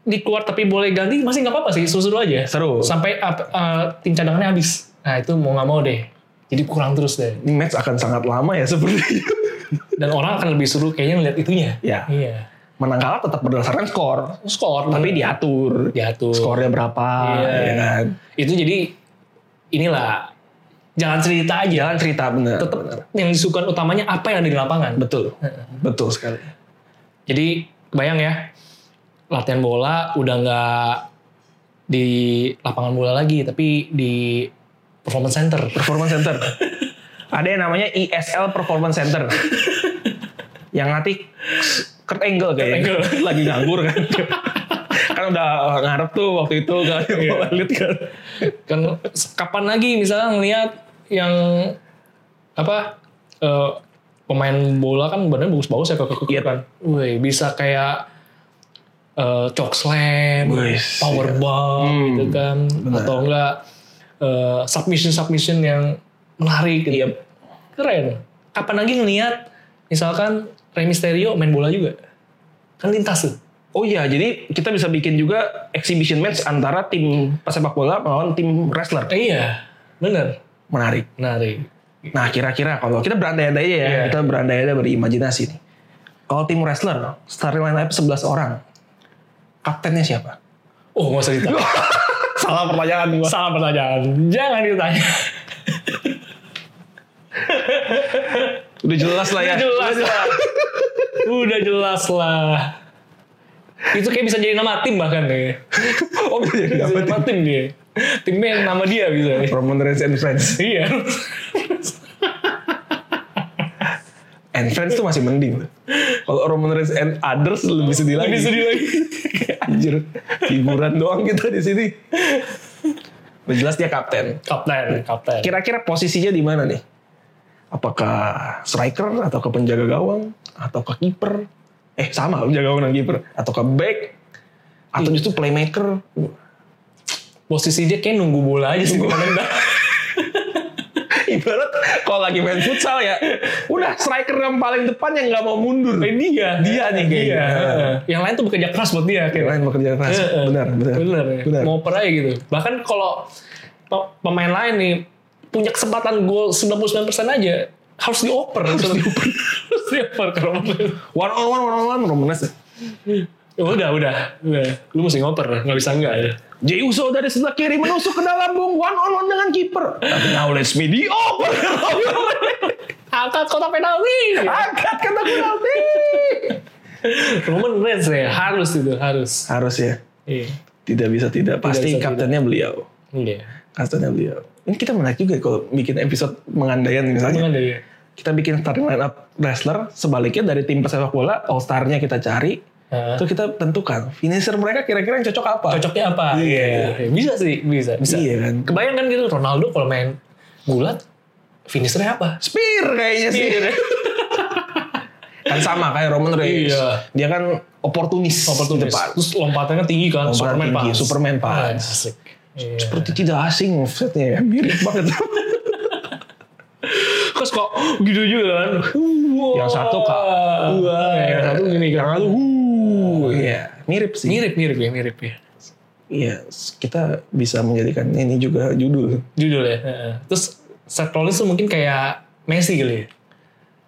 Speaker 3: dikeluar tapi boleh ganti masih nggak apa-apa sih seru-seru aja.
Speaker 2: Seru.
Speaker 3: Sampai ap- eh, tim cadangannya habis. Nah itu mau nggak mau deh. Jadi kurang terus deh.
Speaker 2: ini match akan sangat lama ya seperti itu [laughs]
Speaker 3: Dan orang akan lebih seru kayaknya ngeliat itunya.
Speaker 2: ya
Speaker 3: Iya.
Speaker 2: menang kalah tetap berdasarkan skor
Speaker 3: Skor.
Speaker 2: tapi diatur
Speaker 3: Diatur.
Speaker 2: skornya berapa
Speaker 3: Iya.
Speaker 2: ya kan
Speaker 3: Itu jadi inilah jalan Kan cerita aja.
Speaker 2: jalan cerita bener
Speaker 3: Tetap yang disukan Nah, utamanya apa yang ada di lapangan.
Speaker 2: betul betul sekali
Speaker 3: Jadi bayang ya latihan bola udah nggak di lapangan bola lagi, tapi di performance center.
Speaker 2: Performance Center. Ada yang namanya ISL Performance Center. yang nanti Kurt Angle kayaknya.
Speaker 3: Kurt Angle.
Speaker 2: [laughs] Lagi nganggur kan. kan udah ngarep tuh waktu itu kan.
Speaker 3: [laughs] Iya.
Speaker 2: Lihat kan.
Speaker 3: kan kapan lagi misalnya ngelihat yang apa eh, pemain bola kan badannya bagus-bagus ya kok kok- kok-
Speaker 2: Iya.
Speaker 3: kan. Woi, bisa kayak eh choke slam,
Speaker 2: Wes,
Speaker 3: power bomb
Speaker 2: iya. Hmm,
Speaker 3: gitu kan atau enggak submission submission yang menarik gitu.
Speaker 2: Iya.
Speaker 3: Keren. Kapan lagi ngelihat misalkan Rey Mysterio main bola juga. Kan lintas tuh.
Speaker 2: Oh iya, jadi kita bisa bikin juga exhibition match antara tim pesepak bola melawan tim wrestler.
Speaker 3: Eh, iya, bener.
Speaker 2: Menarik.
Speaker 3: Menarik.
Speaker 2: Nah, kira-kira kalau kita berandai-andai aja ya,
Speaker 3: Iya.
Speaker 2: kita berandai-andai berimajinasi nih. Kalau tim wrestler, starting line up 11 orang. Kaptennya siapa?
Speaker 3: Oh, nggak usah [laughs] ditanya.
Speaker 2: Salah pertanyaan gua.
Speaker 3: Salah pertanyaan. Jangan [laughs] ditanya.
Speaker 2: Udah jelas lah ya.
Speaker 3: Udah jelas lah. Udah jelas lah. Itu kayak bisa jadi nama tim bahkan [laughs] ya.
Speaker 2: [laughs] oh, iya,
Speaker 3: Bisa jadi nama tim dia. Timnya yang nama dia [laughs] bisa.
Speaker 2: Roman Reigns and Friends.
Speaker 3: iya.
Speaker 2: And Friends tuh masih mending. tuh. Kalau Roman Reigns and Others lebih sedih lagi.
Speaker 3: Lebih sedih lagi.
Speaker 2: [laughs] Anjir, hiburan doang kita di sini. Udah jelas dia kapten.
Speaker 3: Kapten, kapten.
Speaker 2: Kira-kira posisinya di mana nih? Apakah striker atau ke penjaga gawang atau ke kiper? Eh sama penjaga gawang dan kiper atau ke back atau justru playmaker?
Speaker 3: Posisi dia kayak nunggu bola aja sih. di [laughs] mana-mana.
Speaker 2: Ibarat kalau lagi main futsal ya, udah striker yang paling depan yang nggak mau mundur.
Speaker 3: Eh, dia.
Speaker 2: Dia nih kayaknya.
Speaker 3: Dia. Heeh. Yang lain tuh bekerja keras buat dia.
Speaker 2: Yang
Speaker 3: Kayak.
Speaker 2: lain bekerja keras.
Speaker 3: Heeh.
Speaker 2: Benar, Eh, benar.
Speaker 3: Bener, ya. Mau oper aja gitu. Bahkan kalau pe- pemain lain nih punya kesempatan gol 99% aja harus dioper. Harus dioper. [laughs] harus dioper ke Roman Reigns.
Speaker 2: One on one, one on one, Roman Reigns.
Speaker 3: Ya Udah, udah, udah. Lu mesti ngoper, nggak bisa enggak ya.
Speaker 2: Jey Uso dari sebelah kiri menusuk ke dalam bung one on one dengan kiper. Tapi now let's me the open. [laughs]
Speaker 3: Angkat kotak penalti.
Speaker 2: Angkat kena penalti.
Speaker 3: [laughs] Roman Reigns ya, harus itu, harus.
Speaker 2: Harus ya.
Speaker 3: Iya.
Speaker 2: Tidak bisa tidak. Pasti
Speaker 3: bisa tidak.
Speaker 2: kaptennya beliau.
Speaker 3: Iya.
Speaker 2: Kaptennya beliau. Ini kita menarik juga ya kalau bikin episode mengandaian misalnya.
Speaker 3: Gimana ya?
Speaker 2: Kita bikin starting line up wrestler. Sebaliknya dari tim pesepak bola. All star-nya kita cari.
Speaker 3: Heeh.
Speaker 2: Terus kita tentukan. Finisher mereka kira-kira yang Iya. cocok apa.
Speaker 3: Cocoknya apa?
Speaker 2: Iya.
Speaker 3: Iya, Bisa sih, bisa, bisa.
Speaker 2: Iya kan.
Speaker 3: Kebayang kan gitu Ronaldo kalau main gulat finishernya apa?
Speaker 2: Spear kayaknya sih. [laughs] kan sama kayak Roman Reigns.
Speaker 3: Iya.
Speaker 2: Dia kan oportunis.
Speaker 3: Opportunist.
Speaker 2: Depan.
Speaker 3: Terus lompatannya tinggi kan,
Speaker 2: Lompatan
Speaker 3: Superman
Speaker 2: tinggi,
Speaker 3: punch.
Speaker 2: Superman punch.
Speaker 3: Ah, asik. Iya.
Speaker 2: Seperti tidak asing offsetnya ya. Mirip banget.
Speaker 3: Terus kok gitu juga kan. Wah.
Speaker 2: yang satu kak.
Speaker 3: Wah.
Speaker 2: Yang satu gini. Yang satu. wuh. Iya. Mirip sih.
Speaker 3: Mirip, mirip ya, mirip ya.
Speaker 2: Iya. Kita bisa menjadikan ini juga judul.
Speaker 3: Judul ya. heeh. Terus Seth Rollins tuh mungkin kayak Messi kali ya.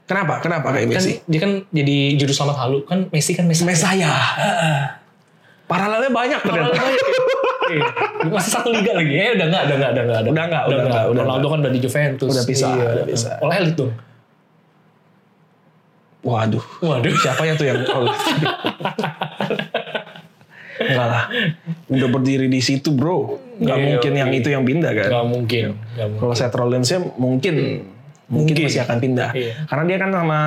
Speaker 2: Kenapa? Kenapa kayak
Speaker 3: Kan
Speaker 2: Messi?
Speaker 3: dia kan jadi juru selamat halu. Kan Messi kan Messi.
Speaker 2: Mesaya. Paralelnya banyak
Speaker 3: Ronaldo
Speaker 2: ternyata.
Speaker 3: banyak ya. Iya. Masih satu liga lagi. Eh udah enggak, udah enggak, udah enggak.
Speaker 2: Udah nggak, udah nggak, udah
Speaker 3: Ronaldo kan udah di Juventus.
Speaker 2: Udah pisah,
Speaker 3: Iya.
Speaker 2: udah pisah.
Speaker 3: Oleh elit dong.
Speaker 2: Waduh.
Speaker 3: Waduh.
Speaker 2: Siapa ya tuh yang Enggak lah. Udah berdiri di situ, Bro. Enggak
Speaker 3: Iya,
Speaker 2: mungkin
Speaker 3: iya.
Speaker 2: yang itu yang pindah kan.
Speaker 3: Gak mungkin. Gak mungkin.
Speaker 2: Kalau Seth Rollins-nya mungkin mungkin
Speaker 3: Hmm. Mungkin.
Speaker 2: masih akan pindah.
Speaker 3: Iya.
Speaker 2: Karena dia kan sama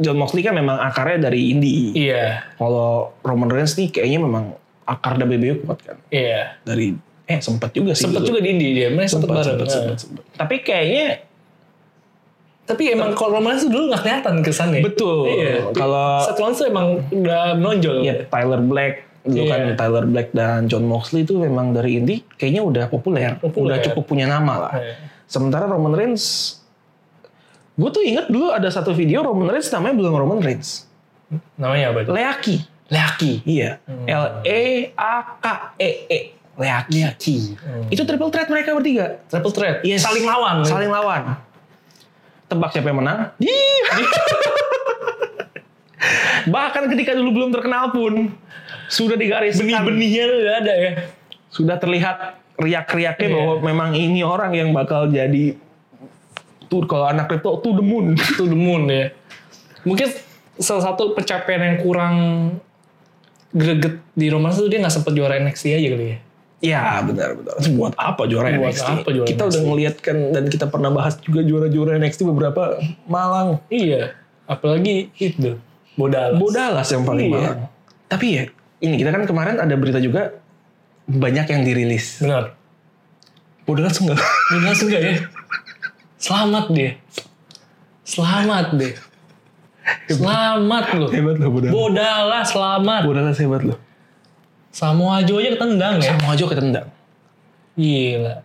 Speaker 2: John Moxley kan memang akarnya dari indie.
Speaker 3: Iya.
Speaker 2: Kalau Roman Reigns nih kayaknya memang akar WWE kuat kan.
Speaker 3: Iya.
Speaker 2: Dari eh sempat juga sih.
Speaker 3: Sempet
Speaker 2: dulu.
Speaker 3: juga di India dia. Mereka sempet,
Speaker 2: Sempat,
Speaker 3: bareng.
Speaker 2: sempat,
Speaker 3: Nah.
Speaker 2: sempat, sempat. Tapi kayaknya
Speaker 3: Tapi emang kalau Roman Reigns tuh dulu gak kelihatan kesannya.
Speaker 2: betul.
Speaker 3: Iya.
Speaker 2: Kalau
Speaker 3: Seth Rollins tuh emang udah menonjol.
Speaker 2: ya Tyler Black dulu
Speaker 3: Iya.
Speaker 2: kan Tyler Black dan John Moxley itu memang dari indie kayaknya udah populer,
Speaker 3: Populer.
Speaker 2: udah cukup punya nama lah.
Speaker 3: Iya.
Speaker 2: Sementara Roman Reigns gue tuh inget dulu ada satu video Roman Reigns namanya belum Roman Reigns.
Speaker 3: Namanya apa? tuh?
Speaker 2: Leaki.
Speaker 3: Leaki.
Speaker 2: Iya. L E A K E E. Leaki.
Speaker 3: Leaki. Hmm.
Speaker 2: Itu triple threat mereka bertiga.
Speaker 3: Triple threat.
Speaker 2: Yes.
Speaker 3: Saling lawan.
Speaker 2: Saling lawan. Tebak siapa yang menang? Iya. [laughs] Bahkan ketika dulu belum terkenal pun sudah digariskan,
Speaker 3: Benih-benihnya udah ada ya.
Speaker 2: sudah terlihat riak-riaknya
Speaker 3: Iya.
Speaker 2: bahwa memang ini orang yang bakal jadi tuh kalau anak crypto to the moon.
Speaker 3: To the moon ya. Mungkin salah satu pencapaian yang kurang greget di Roman itu dia nggak sempet juara NXT aja kali ya.
Speaker 2: Ya benar benar. Buat apa juara
Speaker 3: Buat
Speaker 2: NXT?
Speaker 3: apa juara
Speaker 2: kita
Speaker 3: NXT?
Speaker 2: udah ngeliat kan dan kita pernah bahas juga juara-juara NXT beberapa malang.
Speaker 3: Iya, apalagi itu Bodalas.
Speaker 2: Bodalas yang paling
Speaker 3: Iya.
Speaker 2: malang. Tapi ya ini kita kan kemarin ada berita juga banyak yang dirilis.
Speaker 3: Benar.
Speaker 2: Bodalas enggak?
Speaker 3: Bodalas enggak ya? Selamat dia. Selamat deh. Selamat loh.
Speaker 2: [laughs] hebat loh Bodalas.
Speaker 3: Bodalas selamat.
Speaker 2: Bodalas hebat loh.
Speaker 3: Samoa Joe aja ketendang ya.
Speaker 2: Sama aja ketendang.
Speaker 3: Gila.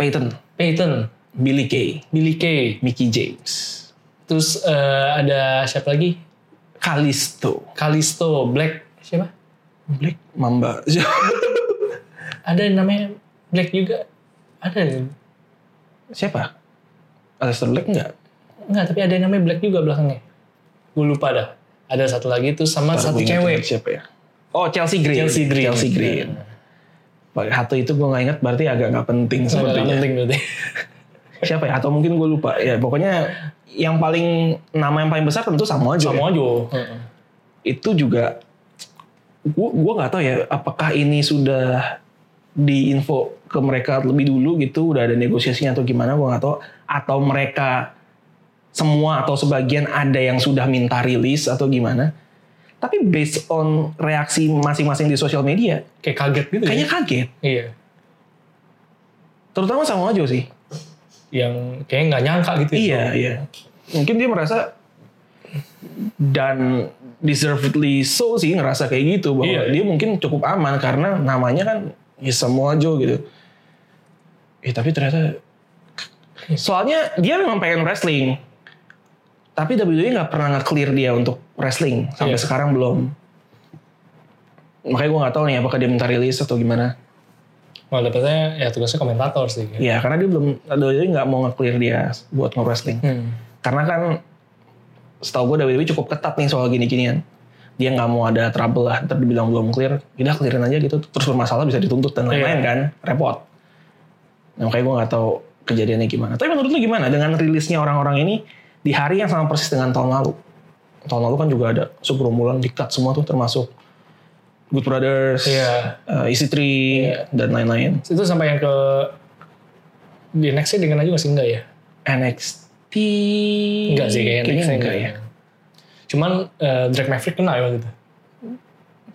Speaker 2: Peyton,
Speaker 3: Peyton,
Speaker 2: Billy Kay,
Speaker 3: Billy Kay,
Speaker 2: Mickey James,
Speaker 3: terus eh, ada siapa lagi?
Speaker 2: Kalisto,
Speaker 3: Kalisto, Black, siapa?
Speaker 2: Black Mamba. [laughs]
Speaker 3: Ada yang namanya Black juga. Ada ya?
Speaker 2: Siapa? Aleister Black enggak?
Speaker 3: Enggak, tapi ada yang namanya Black juga belakangnya. Gue lupa dah. Ada satu lagi itu sama
Speaker 2: Ntar
Speaker 3: satu
Speaker 2: gua ingat
Speaker 3: cewek.
Speaker 2: ingat Siapa ya? Oh Chelsea Green. Iya.
Speaker 3: Chelsea Green.
Speaker 2: Chelsea Green. Pakai Hato itu gue nggak ingat berarti agak nggak penting
Speaker 3: Sepertinya.
Speaker 2: sepertinya.
Speaker 3: penting berarti.
Speaker 2: Siapa ya? Atau mungkin gue lupa. Ya pokoknya yang paling nama yang paling besar tentu ya. Samoa Joe.
Speaker 3: Samoa Joe.
Speaker 2: Itu juga gue gue nggak tahu ya apakah ini sudah diinfo ke mereka lebih dulu gitu udah ada negosiasinya atau gimana gue nggak tahu atau mereka semua atau sebagian ada yang sudah minta rilis atau gimana tapi based on reaksi masing-masing di sosial media
Speaker 3: Kayak kaget gitu
Speaker 2: kayaknya
Speaker 3: ya.
Speaker 2: kaget
Speaker 3: Iya.
Speaker 2: terutama sama Ojo sih
Speaker 3: Yang kayaknya nggak nyangka gitu. ya.
Speaker 2: iya iya mungkin dia merasa dan deservedly so sih ngerasa kayak gitu bahwa
Speaker 3: Iya.
Speaker 2: dia mungkin cukup aman karena namanya kan ya semua Ojo gitu eh tapi ternyata soalnya dia memang pengen wrestling tapi WWE nggak pernah nge-clear dia untuk wrestling sampai
Speaker 3: Iya.
Speaker 2: sekarang belum makanya gue nggak tahu nih apakah dia minta rilis atau gimana
Speaker 3: Malah dapetnya ya tugasnya komentator sih. Iya.
Speaker 2: ya karena dia belum WWE nggak mau nge-clear dia buat nge-wrestling
Speaker 3: Hmm.
Speaker 2: karena kan setahu gue WWE E cukup ketat nih soal gini-ginian dia nggak mau ada trouble lah ntar dibilang belum clear udah clearin aja gitu terus bermasalah bisa dituntut dan lain-lain
Speaker 3: Iya.
Speaker 2: kan repot nah, makanya gue nggak tahu kejadiannya gimana tapi menurut lu gimana dengan rilisnya orang-orang ini di hari yang sama persis dengan tahun lalu tahun lalu kan juga ada segerombolan dikat semua tuh termasuk Good Brothers,
Speaker 3: Iya.
Speaker 2: eh, EC3 dan lain-lain
Speaker 3: Itu sampai yang ke di next sih dengan aja masih enggak ya?
Speaker 2: NXT
Speaker 3: Enggak sih kayaknya.
Speaker 2: kayaknya
Speaker 3: next-nya
Speaker 2: enggak ya
Speaker 3: Cuman eh, Drake Maverick kena ya waktu itu.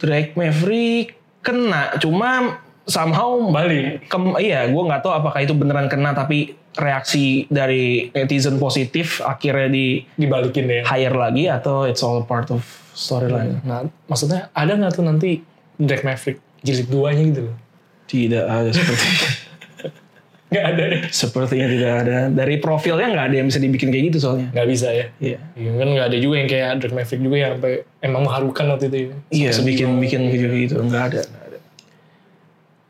Speaker 2: Drake Maverick kena, cuma somehow
Speaker 3: Balik.
Speaker 2: kem- iya, gue nggak tahu apakah itu beneran kena, tapi reaksi dari netizen positif akhirnya di
Speaker 3: Dibalikin deh.
Speaker 2: hire lagi atau it's all part of storyline.
Speaker 3: Nah, maksudnya ada nggak tuh nanti Drake Maverick jilid duanya gitu loh? [laughs]
Speaker 2: Tidak ada seperti [laughs]
Speaker 3: Nggak ada deh.
Speaker 2: sepertinya tidak ada. Dari profilnya nggak ada yang bisa dibikin kayak gitu soalnya.
Speaker 3: Nggak bisa ya.
Speaker 2: Iya.
Speaker 3: Iya kan nggak ada juga yang kayak Drake Maverick juga yang sampai emang mengharukan waktu itu. ya.
Speaker 2: Iya,
Speaker 3: Sampai sedih
Speaker 2: bikin
Speaker 3: banget.
Speaker 2: bikin video kayak gitu nggak ada. nggak ada.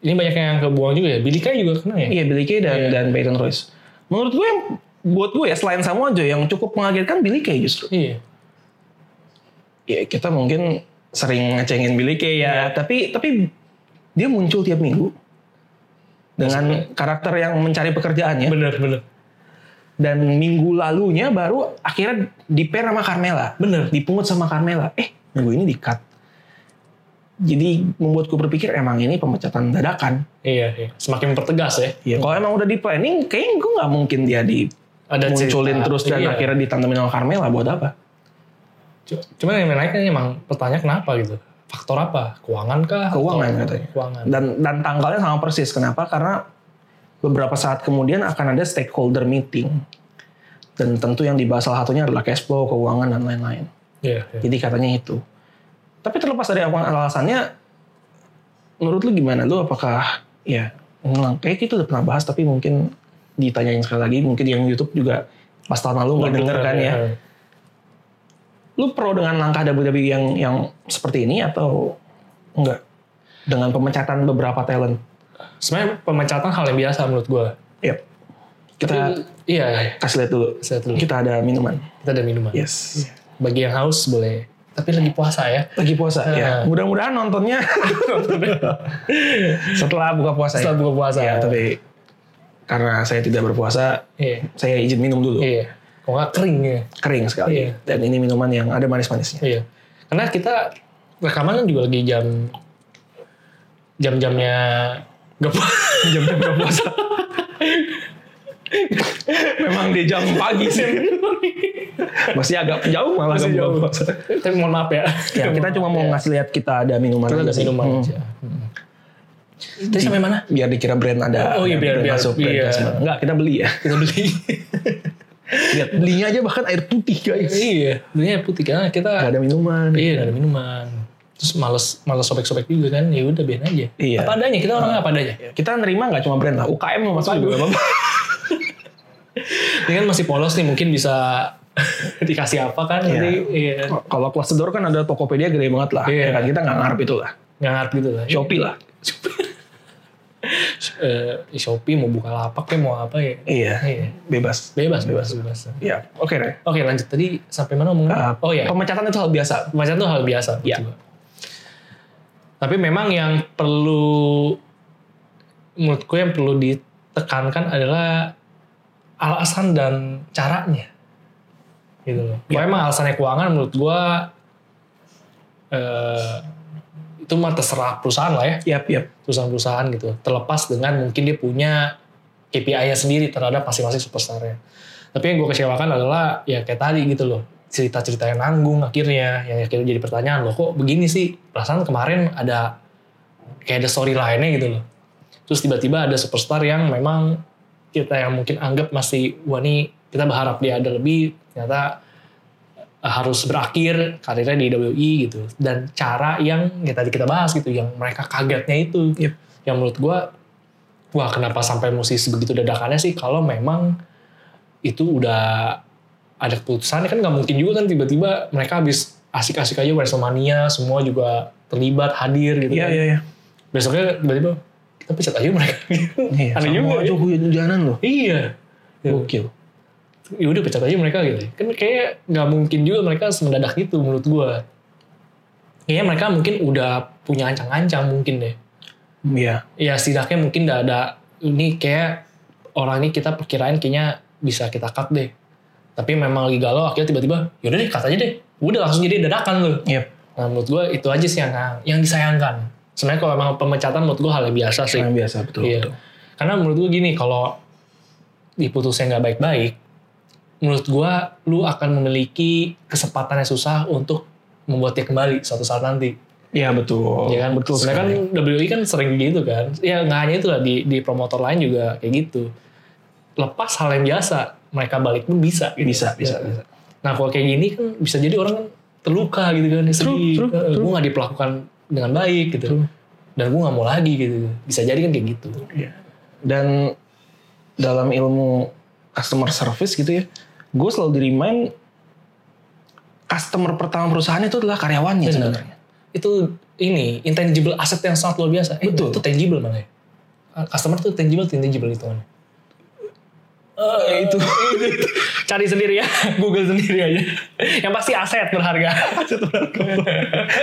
Speaker 3: Ini banyak yang kebuang juga ya. Billy Kay juga kena ya.
Speaker 2: Iya, Billy Kay dan
Speaker 3: Iya.
Speaker 2: dan Peyton Royce. Menurut gue yang buat gue ya selain Samoa Joe yang cukup mengagetkan Billy Kay justru.
Speaker 3: Iya.
Speaker 2: ya kita mungkin sering ngecengin Billy Kay ya, tapi tapi dia muncul tiap minggu dengan karakter yang mencari pekerjaannya
Speaker 3: Bener bener.
Speaker 2: dan minggu lalunya baru akhirnya di pair sama Carmela
Speaker 3: Bener.
Speaker 2: dipungut sama Carmela eh minggu ini di cut jadi membuatku berpikir emang ini pemecatan dadakan
Speaker 3: Iya, iya. Semakin mempertegas ya.
Speaker 2: ya kalau emang udah di planning kayaknya gue nggak mungkin dia
Speaker 3: Ada
Speaker 2: dimunculin
Speaker 3: cerita.
Speaker 2: terus dan
Speaker 3: Iya.
Speaker 2: akhirnya ditantemin sama Carmela buat apa
Speaker 3: Cu- Cuman yang menarik kan emang pertanyaan kenapa gitu. Faktor apa? Keuangan kah?
Speaker 2: Keuangan
Speaker 3: Atau-
Speaker 2: katanya. Nah,
Speaker 3: Keuangan.
Speaker 2: dan dan tanggalnya sama persis kenapa karena beberapa saat kemudian akan ada stakeholder meeting dan tentu yang dibahas salah satunya adalah cash flow keuangan dan lain-lain
Speaker 3: Iya, iya.
Speaker 2: jadi katanya itu tapi terlepas dari apa alasannya menurut lu gimana lu apakah ya ngulang kayak kita udah pernah bahas tapi mungkin ditanyain sekali lagi mungkin yang YouTube juga pas tahun lalu nggak denger kan ya
Speaker 3: Iya.
Speaker 2: lu pro dengan langkah WWE yang yang seperti ini atau enggak dengan pemecatan beberapa talent
Speaker 3: Sebenarnya pemecatan hal yang biasa menurut gue.
Speaker 2: Yap. Kita
Speaker 3: Iya, iya.
Speaker 2: kasih lihat dulu.
Speaker 3: Saya dulu.
Speaker 2: Kita ada minuman.
Speaker 3: Kita ada minuman.
Speaker 2: Yes.
Speaker 3: Bagi yang haus boleh. Tapi lagi puasa ya.
Speaker 2: Lagi puasa ya.
Speaker 3: Ah.
Speaker 2: Mudah-mudahan nontonnya [laughs] setelah buka puasa
Speaker 3: Setelah
Speaker 2: ya.
Speaker 3: buka puasa.
Speaker 2: Ya, tapi karena saya tidak berpuasa,
Speaker 3: Iya.
Speaker 2: saya izin minum dulu.
Speaker 3: Iya. Kok nggak kering ya.
Speaker 2: Kering sekali.
Speaker 3: Iya.
Speaker 2: Dan ini minuman yang ada manis-manisnya.
Speaker 3: Iya. Karena kita rekaman kan juga lagi jam jam-jamnya gak puasa [laughs] jam-jam gak puasa
Speaker 2: [laughs] Memang di jam pagi sih. [laughs] Masih agak jauh malah
Speaker 3: Iya. Masih
Speaker 2: kamu
Speaker 3: jauh.
Speaker 2: bawa.
Speaker 3: tapi mohon maaf ya
Speaker 2: Ya, kita cuma mau ngasih lihat kita ada minuman.
Speaker 3: kita ada
Speaker 2: aja sih.
Speaker 3: minuman
Speaker 2: Hmm.
Speaker 3: aja Tadi sampai mana
Speaker 2: Biar dikira brand ada.
Speaker 3: Oh iya,
Speaker 2: ada
Speaker 3: biar-
Speaker 2: brand
Speaker 3: biar-
Speaker 2: masuk brand
Speaker 3: iya.
Speaker 2: Tasman. Enggak, kita beli [laughs] ya.
Speaker 3: kita beli
Speaker 2: Lihat belinya aja bahkan air putih guys.
Speaker 3: [laughs] iya belinya putih karena
Speaker 2: Gak
Speaker 3: kita
Speaker 2: ada minuman.
Speaker 3: iya gak ada minuman terus males males sobek-sobek juga kan ya udah biarin aja
Speaker 2: Iya.
Speaker 3: apa adanya kita orangnya apa adanya
Speaker 2: Kita nerima nggak cuma brand lah, UKM mau masuk juga nggak apa-apa.
Speaker 3: ini kan masih polos nih mungkin bisa [laughs] dikasih apa kan nanti iya.
Speaker 2: [laughs] Kalau kelas sedor kan ada Tokopedia gede banget lah. Ya
Speaker 3: Iya.
Speaker 2: kan kita nggak ngarep itu lah.
Speaker 3: ngarep gitu lah
Speaker 2: Shopee lah.
Speaker 3: Eh, Shopee mau buka lapak kayak mau apa ya
Speaker 2: Iya.
Speaker 3: iya
Speaker 2: Bebas.
Speaker 3: bebas bebas bebas
Speaker 2: Iya. Oke Ray.
Speaker 3: oke lanjut tadi sampai mana ngomong
Speaker 2: Eh,
Speaker 3: oh ya
Speaker 2: Pemecatan itu hal biasa.
Speaker 3: macam tuh hal biasa
Speaker 2: Iya.
Speaker 3: menurut gua. tapi memang yang perlu menurut gue yang perlu ditekankan adalah alasan dan caranya gitu loh Pokoknya emang alasannya keuangan menurut gue eh, itu mah terserah perusahaan lah ya
Speaker 2: Yap, yap.
Speaker 3: perusahaan-perusahaan gitu terlepas dengan mungkin dia punya KPI-nya sendiri terhadap masing-masing superstarnya tapi yang gue kecewakan adalah ya kayak tadi gitu loh cerita-cerita yang nanggung akhirnya yang akhirnya jadi pertanyaan loh kok begini sih perasaan kemarin ada kayak ada story lainnya gitu loh terus tiba-tiba ada superstar yang memang kita yang mungkin anggap masih wah nih kita berharap dia ada lebih ternyata eh, harus berakhir karirnya di WWE gitu dan cara yang ya tadi kita bahas gitu yang mereka kagetnya itu
Speaker 2: Yep.
Speaker 3: yang menurut gua wah kenapa sampai musisi begitu dadakannya sih kalau memang itu udah ada keputusannya kan nggak mungkin juga kan tiba-tiba mereka habis asik-asik aja Wrestlemania semua juga terlibat hadir gitu
Speaker 2: Iya,
Speaker 3: kan
Speaker 2: iya, iya.
Speaker 3: besoknya tiba-tiba kita pecat aja mereka [laughs]
Speaker 2: Iya,
Speaker 3: Ada
Speaker 2: sama
Speaker 3: juga ya.
Speaker 2: aja hujan-hujanan loh.
Speaker 3: iya
Speaker 2: Gokil.
Speaker 3: ya udah pecat aja mereka gitu kan kayak nggak mungkin juga mereka semendadak itu menurut gua kayaknya mereka mungkin udah punya ancang-ancang mungkin deh
Speaker 2: Iya.
Speaker 3: ya setidaknya mungkin udah ada ini kayak orang ini kita perkirain kayaknya bisa kita cut deh tapi memang lagi galau akhirnya tiba-tiba yaudah deh cut aja deh udah langsung jadi dadakan loh
Speaker 2: Yap.
Speaker 3: nah menurut gua itu aja sih yang yang disayangkan sebenarnya kalau emang pemecatan menurut gua hal yang biasa sih
Speaker 2: Yang biasa betul.
Speaker 3: Iya.
Speaker 2: betul.
Speaker 3: Karena menurut gue gini, kalau diputusnya nggak baik-baik, menurut gue lu akan memiliki kesempatan yang susah untuk membuat dia kembali suatu saat nanti.
Speaker 2: Iya betul.
Speaker 3: ya kan?
Speaker 2: betul
Speaker 3: Sebenarnya
Speaker 2: sekali.
Speaker 3: kan WWE kan sering gitu kan. Ya nggak hanya itu lah, di, di promotor lain juga kayak gitu. Lepas hal yang biasa, mereka balik pun bisa. gitu.
Speaker 2: bisa, bisa,
Speaker 3: Ya.
Speaker 2: bisa.
Speaker 3: Nah kalau kayak gini kan bisa jadi orang kan terluka gitu kan. dia
Speaker 2: True,
Speaker 3: sedih.
Speaker 2: true,
Speaker 3: Eh,
Speaker 2: true.
Speaker 3: Gue gak diperlakukan dengan baik gitu.
Speaker 2: True.
Speaker 3: Dan gue gak mau lagi gitu. Bisa jadi kan kayak gitu.
Speaker 2: Dan dalam ilmu customer service gitu ya, gue selalu di remind customer pertama perusahaan itu adalah karyawannya
Speaker 3: Benar.
Speaker 2: sebenarnya.
Speaker 3: itu ini intangible aset yang sangat luar biasa. Eh,
Speaker 2: Betul.
Speaker 3: Itu tangible malah ya. Customer tuh tangible, tangible gitu,
Speaker 2: [laughs]
Speaker 3: hitungannya. Eh itu cari sendiri ya, [laughs] Google sendiri aja. Yang pasti aset berharga. Aset berharga.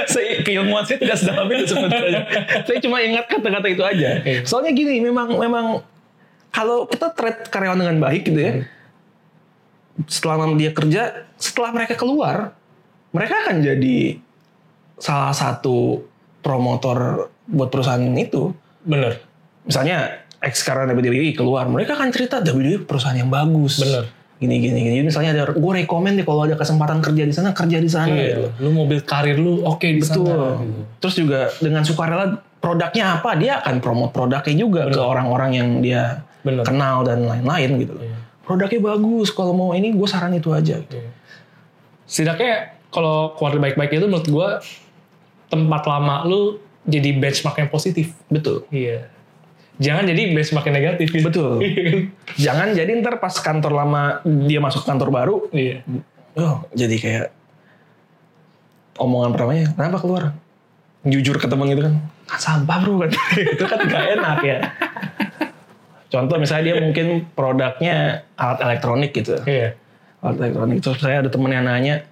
Speaker 2: saya keilmuan saya tidak sedalam itu sebenarnya. saya cuma ingat kata-kata itu aja.
Speaker 3: Iya.
Speaker 2: Soalnya gini, memang memang kalau kita treat karyawan dengan baik gitu
Speaker 3: Hmm.
Speaker 2: ya, selama dia kerja, setelah mereka keluar, mereka akan jadi salah satu promotor buat perusahaan itu.
Speaker 3: [laughs] bener,
Speaker 2: Misalnya ex karyawan WWE E keluar, mereka akan cerita WWE E perusahaan yang bagus.
Speaker 3: bener.
Speaker 2: Gini gini gini. Jadi misalnya ada, gue rekomend deh kalau ada kesempatan kerja di sana kerja di sana.
Speaker 3: Iya,
Speaker 2: gitu.
Speaker 3: lu mobil karir lu oke di sana.
Speaker 2: Betul.
Speaker 3: gitu.
Speaker 2: Terus juga dengan sukarela produknya apa dia akan promote produknya juga ke orang-orang yang dia
Speaker 3: Bener.
Speaker 2: kenal dan lain-lain gitu. loh.
Speaker 3: Iya.
Speaker 2: Produknya bagus kalau mau ini gue saran itu aja. Gitu.
Speaker 3: setidaknya kalau keluar baik-baik itu menurut gua tempat lama lu jadi benchmark yang positif. [laughs]
Speaker 2: Betul.
Speaker 3: Iya. Jangan jadi benchmark yang negatif. gitu.
Speaker 2: Betul.
Speaker 3: [laughs] Iya kan?
Speaker 2: Jangan jadi ntar pas kantor lama dia masuk ke kantor baru,
Speaker 3: Iya.
Speaker 2: oh jadi kayak omongan pertamanya kenapa keluar? Jujur ke temen gitu kan, "Ah, sampah bro [laughs] kan, itu kan gak enak ya. Contoh misalnya dia mungkin produknya alat elektronik gitu.
Speaker 3: Iya.
Speaker 2: alat elektronik terus saya ada temen yang nanya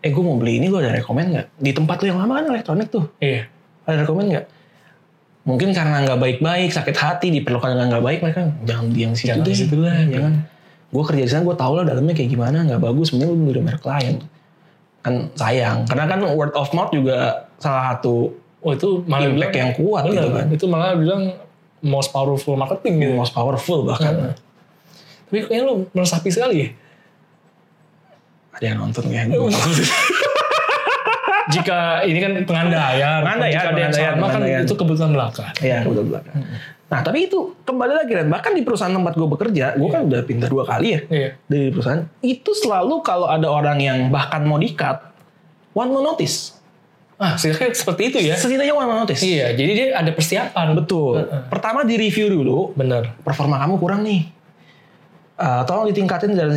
Speaker 2: eh gue mau beli ini lo ada rekomend nggak di tempat lo yang lama kan elektronik tuh
Speaker 3: Iya.
Speaker 2: ada rekomend nggak mungkin karena nggak baik-baik sakit hati diperlukan dengan nggak baik mereka jangan diam situ deh Iya kan?
Speaker 3: Jangan di situ lah, gitu.
Speaker 2: jangan gue kerja di sana gue tau lah dalamnya kayak gimana nggak bagus mending lu beli dari merek lain kan sayang karena kan word of mouth juga salah satu
Speaker 3: Oh itu malah
Speaker 2: impact yang kuat
Speaker 3: Bener,
Speaker 2: gitu kan
Speaker 3: Itu malah bilang most powerful marketing gitu.
Speaker 2: most powerful
Speaker 3: Iya.
Speaker 2: bahkan
Speaker 3: Tapi kayaknya lu
Speaker 2: [laughs]
Speaker 3: meresapi sekali ya.
Speaker 2: ada yang nonton ya
Speaker 3: Iya, Jika ini kan pengandaian.
Speaker 2: Pengandaian,
Speaker 3: Jika ada
Speaker 2: pengandaian,
Speaker 3: yang sama kan
Speaker 2: pengandaian.
Speaker 3: itu kebetulan belaka.
Speaker 2: Iya, kebetulan belakang. Nah, tapi itu kembali lagi dan bahkan di perusahaan tempat gue bekerja, gue kan udah pindah dua kali ya
Speaker 3: Iya.
Speaker 2: dari perusahaan. Itu selalu kalau ada orang yang bahkan mau dikat, one more notice.
Speaker 3: Ah, setidaknya seperti itu ya.
Speaker 2: Setidaknya one more notice.
Speaker 3: Iya, jadi dia ada persiapan.
Speaker 2: Iya. Betul. Pertama di review dulu,
Speaker 3: Bener.
Speaker 2: performa kamu kurang nih. Eh, tolong ditingkatin dan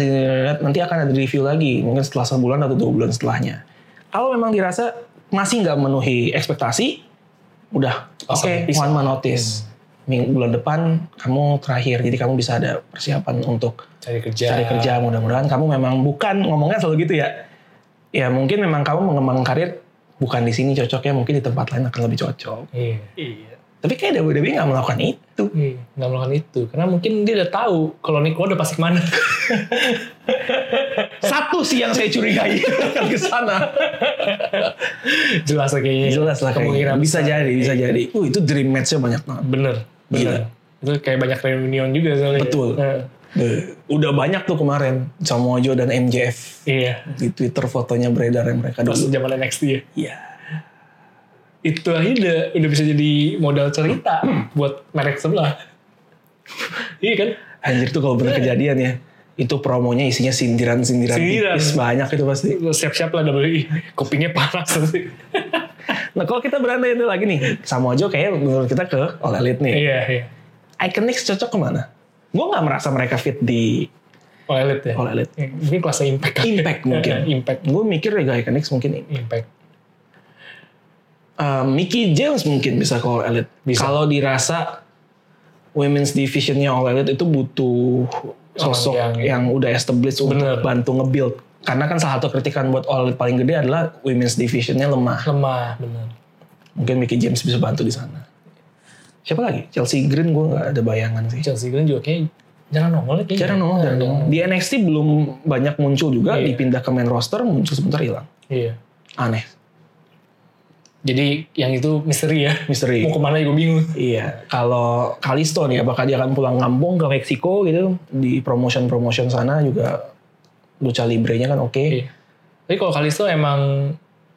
Speaker 2: nanti akan ada review lagi mungkin setelah sebulan atau dua bulan setelahnya. Kalau memang dirasa masih nggak memenuhi ekspektasi, udah oke
Speaker 3: Pasang pisau.
Speaker 2: one man notice. Minggu bulan depan kamu terakhir, jadi kamu bisa ada persiapan untuk
Speaker 3: Cari kerja.
Speaker 2: cari kerja. Mudah-mudahan kamu memang bukan ngomongnya selalu gitu ya. Ya mungkin memang kamu mengembangkan karir bukan di sini cocoknya, mungkin di tempat lain akan lebih cocok.
Speaker 3: Iya.
Speaker 1: Iya.
Speaker 2: Tapi kayak WWE nggak melakukan itu.
Speaker 3: Iya, nggak melakukan itu karena mungkin dia udah tahu kalau Niko udah pasti kemana. [laughs]
Speaker 2: Satu sih yang saya curigai [laughs] akan ke sana.
Speaker 3: Jelas lah kayaknya.
Speaker 2: Jelas lah kayaknya.
Speaker 3: Kemungkinan
Speaker 2: Bisa jadi, bisa jadi. Uh itu dream match-nya banyak banget.
Speaker 3: Bener, bener. Itu kayak banyak reunion juga soalnya.
Speaker 2: Betul.
Speaker 3: Nah,
Speaker 2: Eh, Udah banyak tuh kemarin Samoa Joe dan MJF
Speaker 3: iya.
Speaker 2: di Twitter fotonya beredar yang mereka
Speaker 3: Pas
Speaker 2: dulu.
Speaker 3: zaman NXT ya.
Speaker 2: Iya.
Speaker 3: Itu aja udah, udah bisa jadi modal cerita
Speaker 2: Hmm.
Speaker 3: buat merek sebelah. iya kan?
Speaker 2: Anjir tuh kalau bener kejadian ya. Itu promonya isinya sindiran-sindiran
Speaker 3: Sindiran.
Speaker 2: tipis banyak itu pasti.
Speaker 3: Siap-siap lah E. WWE. Kopinya panas. nanti.
Speaker 2: Nah kalau kita berandai itu lagi nih, Samoa Joe kayaknya menurut kita ke All Elite nih.
Speaker 3: iya, iya.
Speaker 2: Iconics cocok kemana? Gue nggak merasa mereka fit di
Speaker 3: Oh, elite ya.
Speaker 2: All Elite.
Speaker 3: Ya, Mungkin kelasnya impact. kali.
Speaker 2: Impact mungkin.
Speaker 3: [laughs] impact.
Speaker 2: Gue mikir ya Iconics mungkin ini.
Speaker 3: Impact.
Speaker 2: Uh, Mickey James mungkin bisa ke All Elite.
Speaker 3: Bisa.
Speaker 2: Kalau dirasa women's divisionnya All Elite itu butuh sosok
Speaker 3: Orang yang-
Speaker 2: yang, udah established
Speaker 3: Bener.
Speaker 2: untuk bantu nge-build. Karena kan salah satu kritikan buat All Elite paling gede adalah women's divisionnya lemah.
Speaker 3: Lemah, bener.
Speaker 2: Mungkin Mickey James bisa bantu di sana. Siapa lagi? Chelsea Green gue nggak ada bayangan sih.
Speaker 3: Chelsea Green juga kayaknya jarang nongol ya kayaknya.
Speaker 2: Jarang nongol, jarang nongol. Di NXT belum banyak muncul juga,
Speaker 3: Iya.
Speaker 2: dipindah ke main roster muncul sebentar hilang.
Speaker 3: Iya.
Speaker 2: Aneh,
Speaker 3: Jadi yang itu misteri ya.
Speaker 2: misteri.
Speaker 3: Mau kemana juga bingung.
Speaker 2: Iya, kalau Kalisto nih, apakah dia akan pulang kampung ke Meksiko gitu di promotion-promotion sana juga lucha librenya kan oke.
Speaker 3: Iya. Tapi kalau Kalisto emang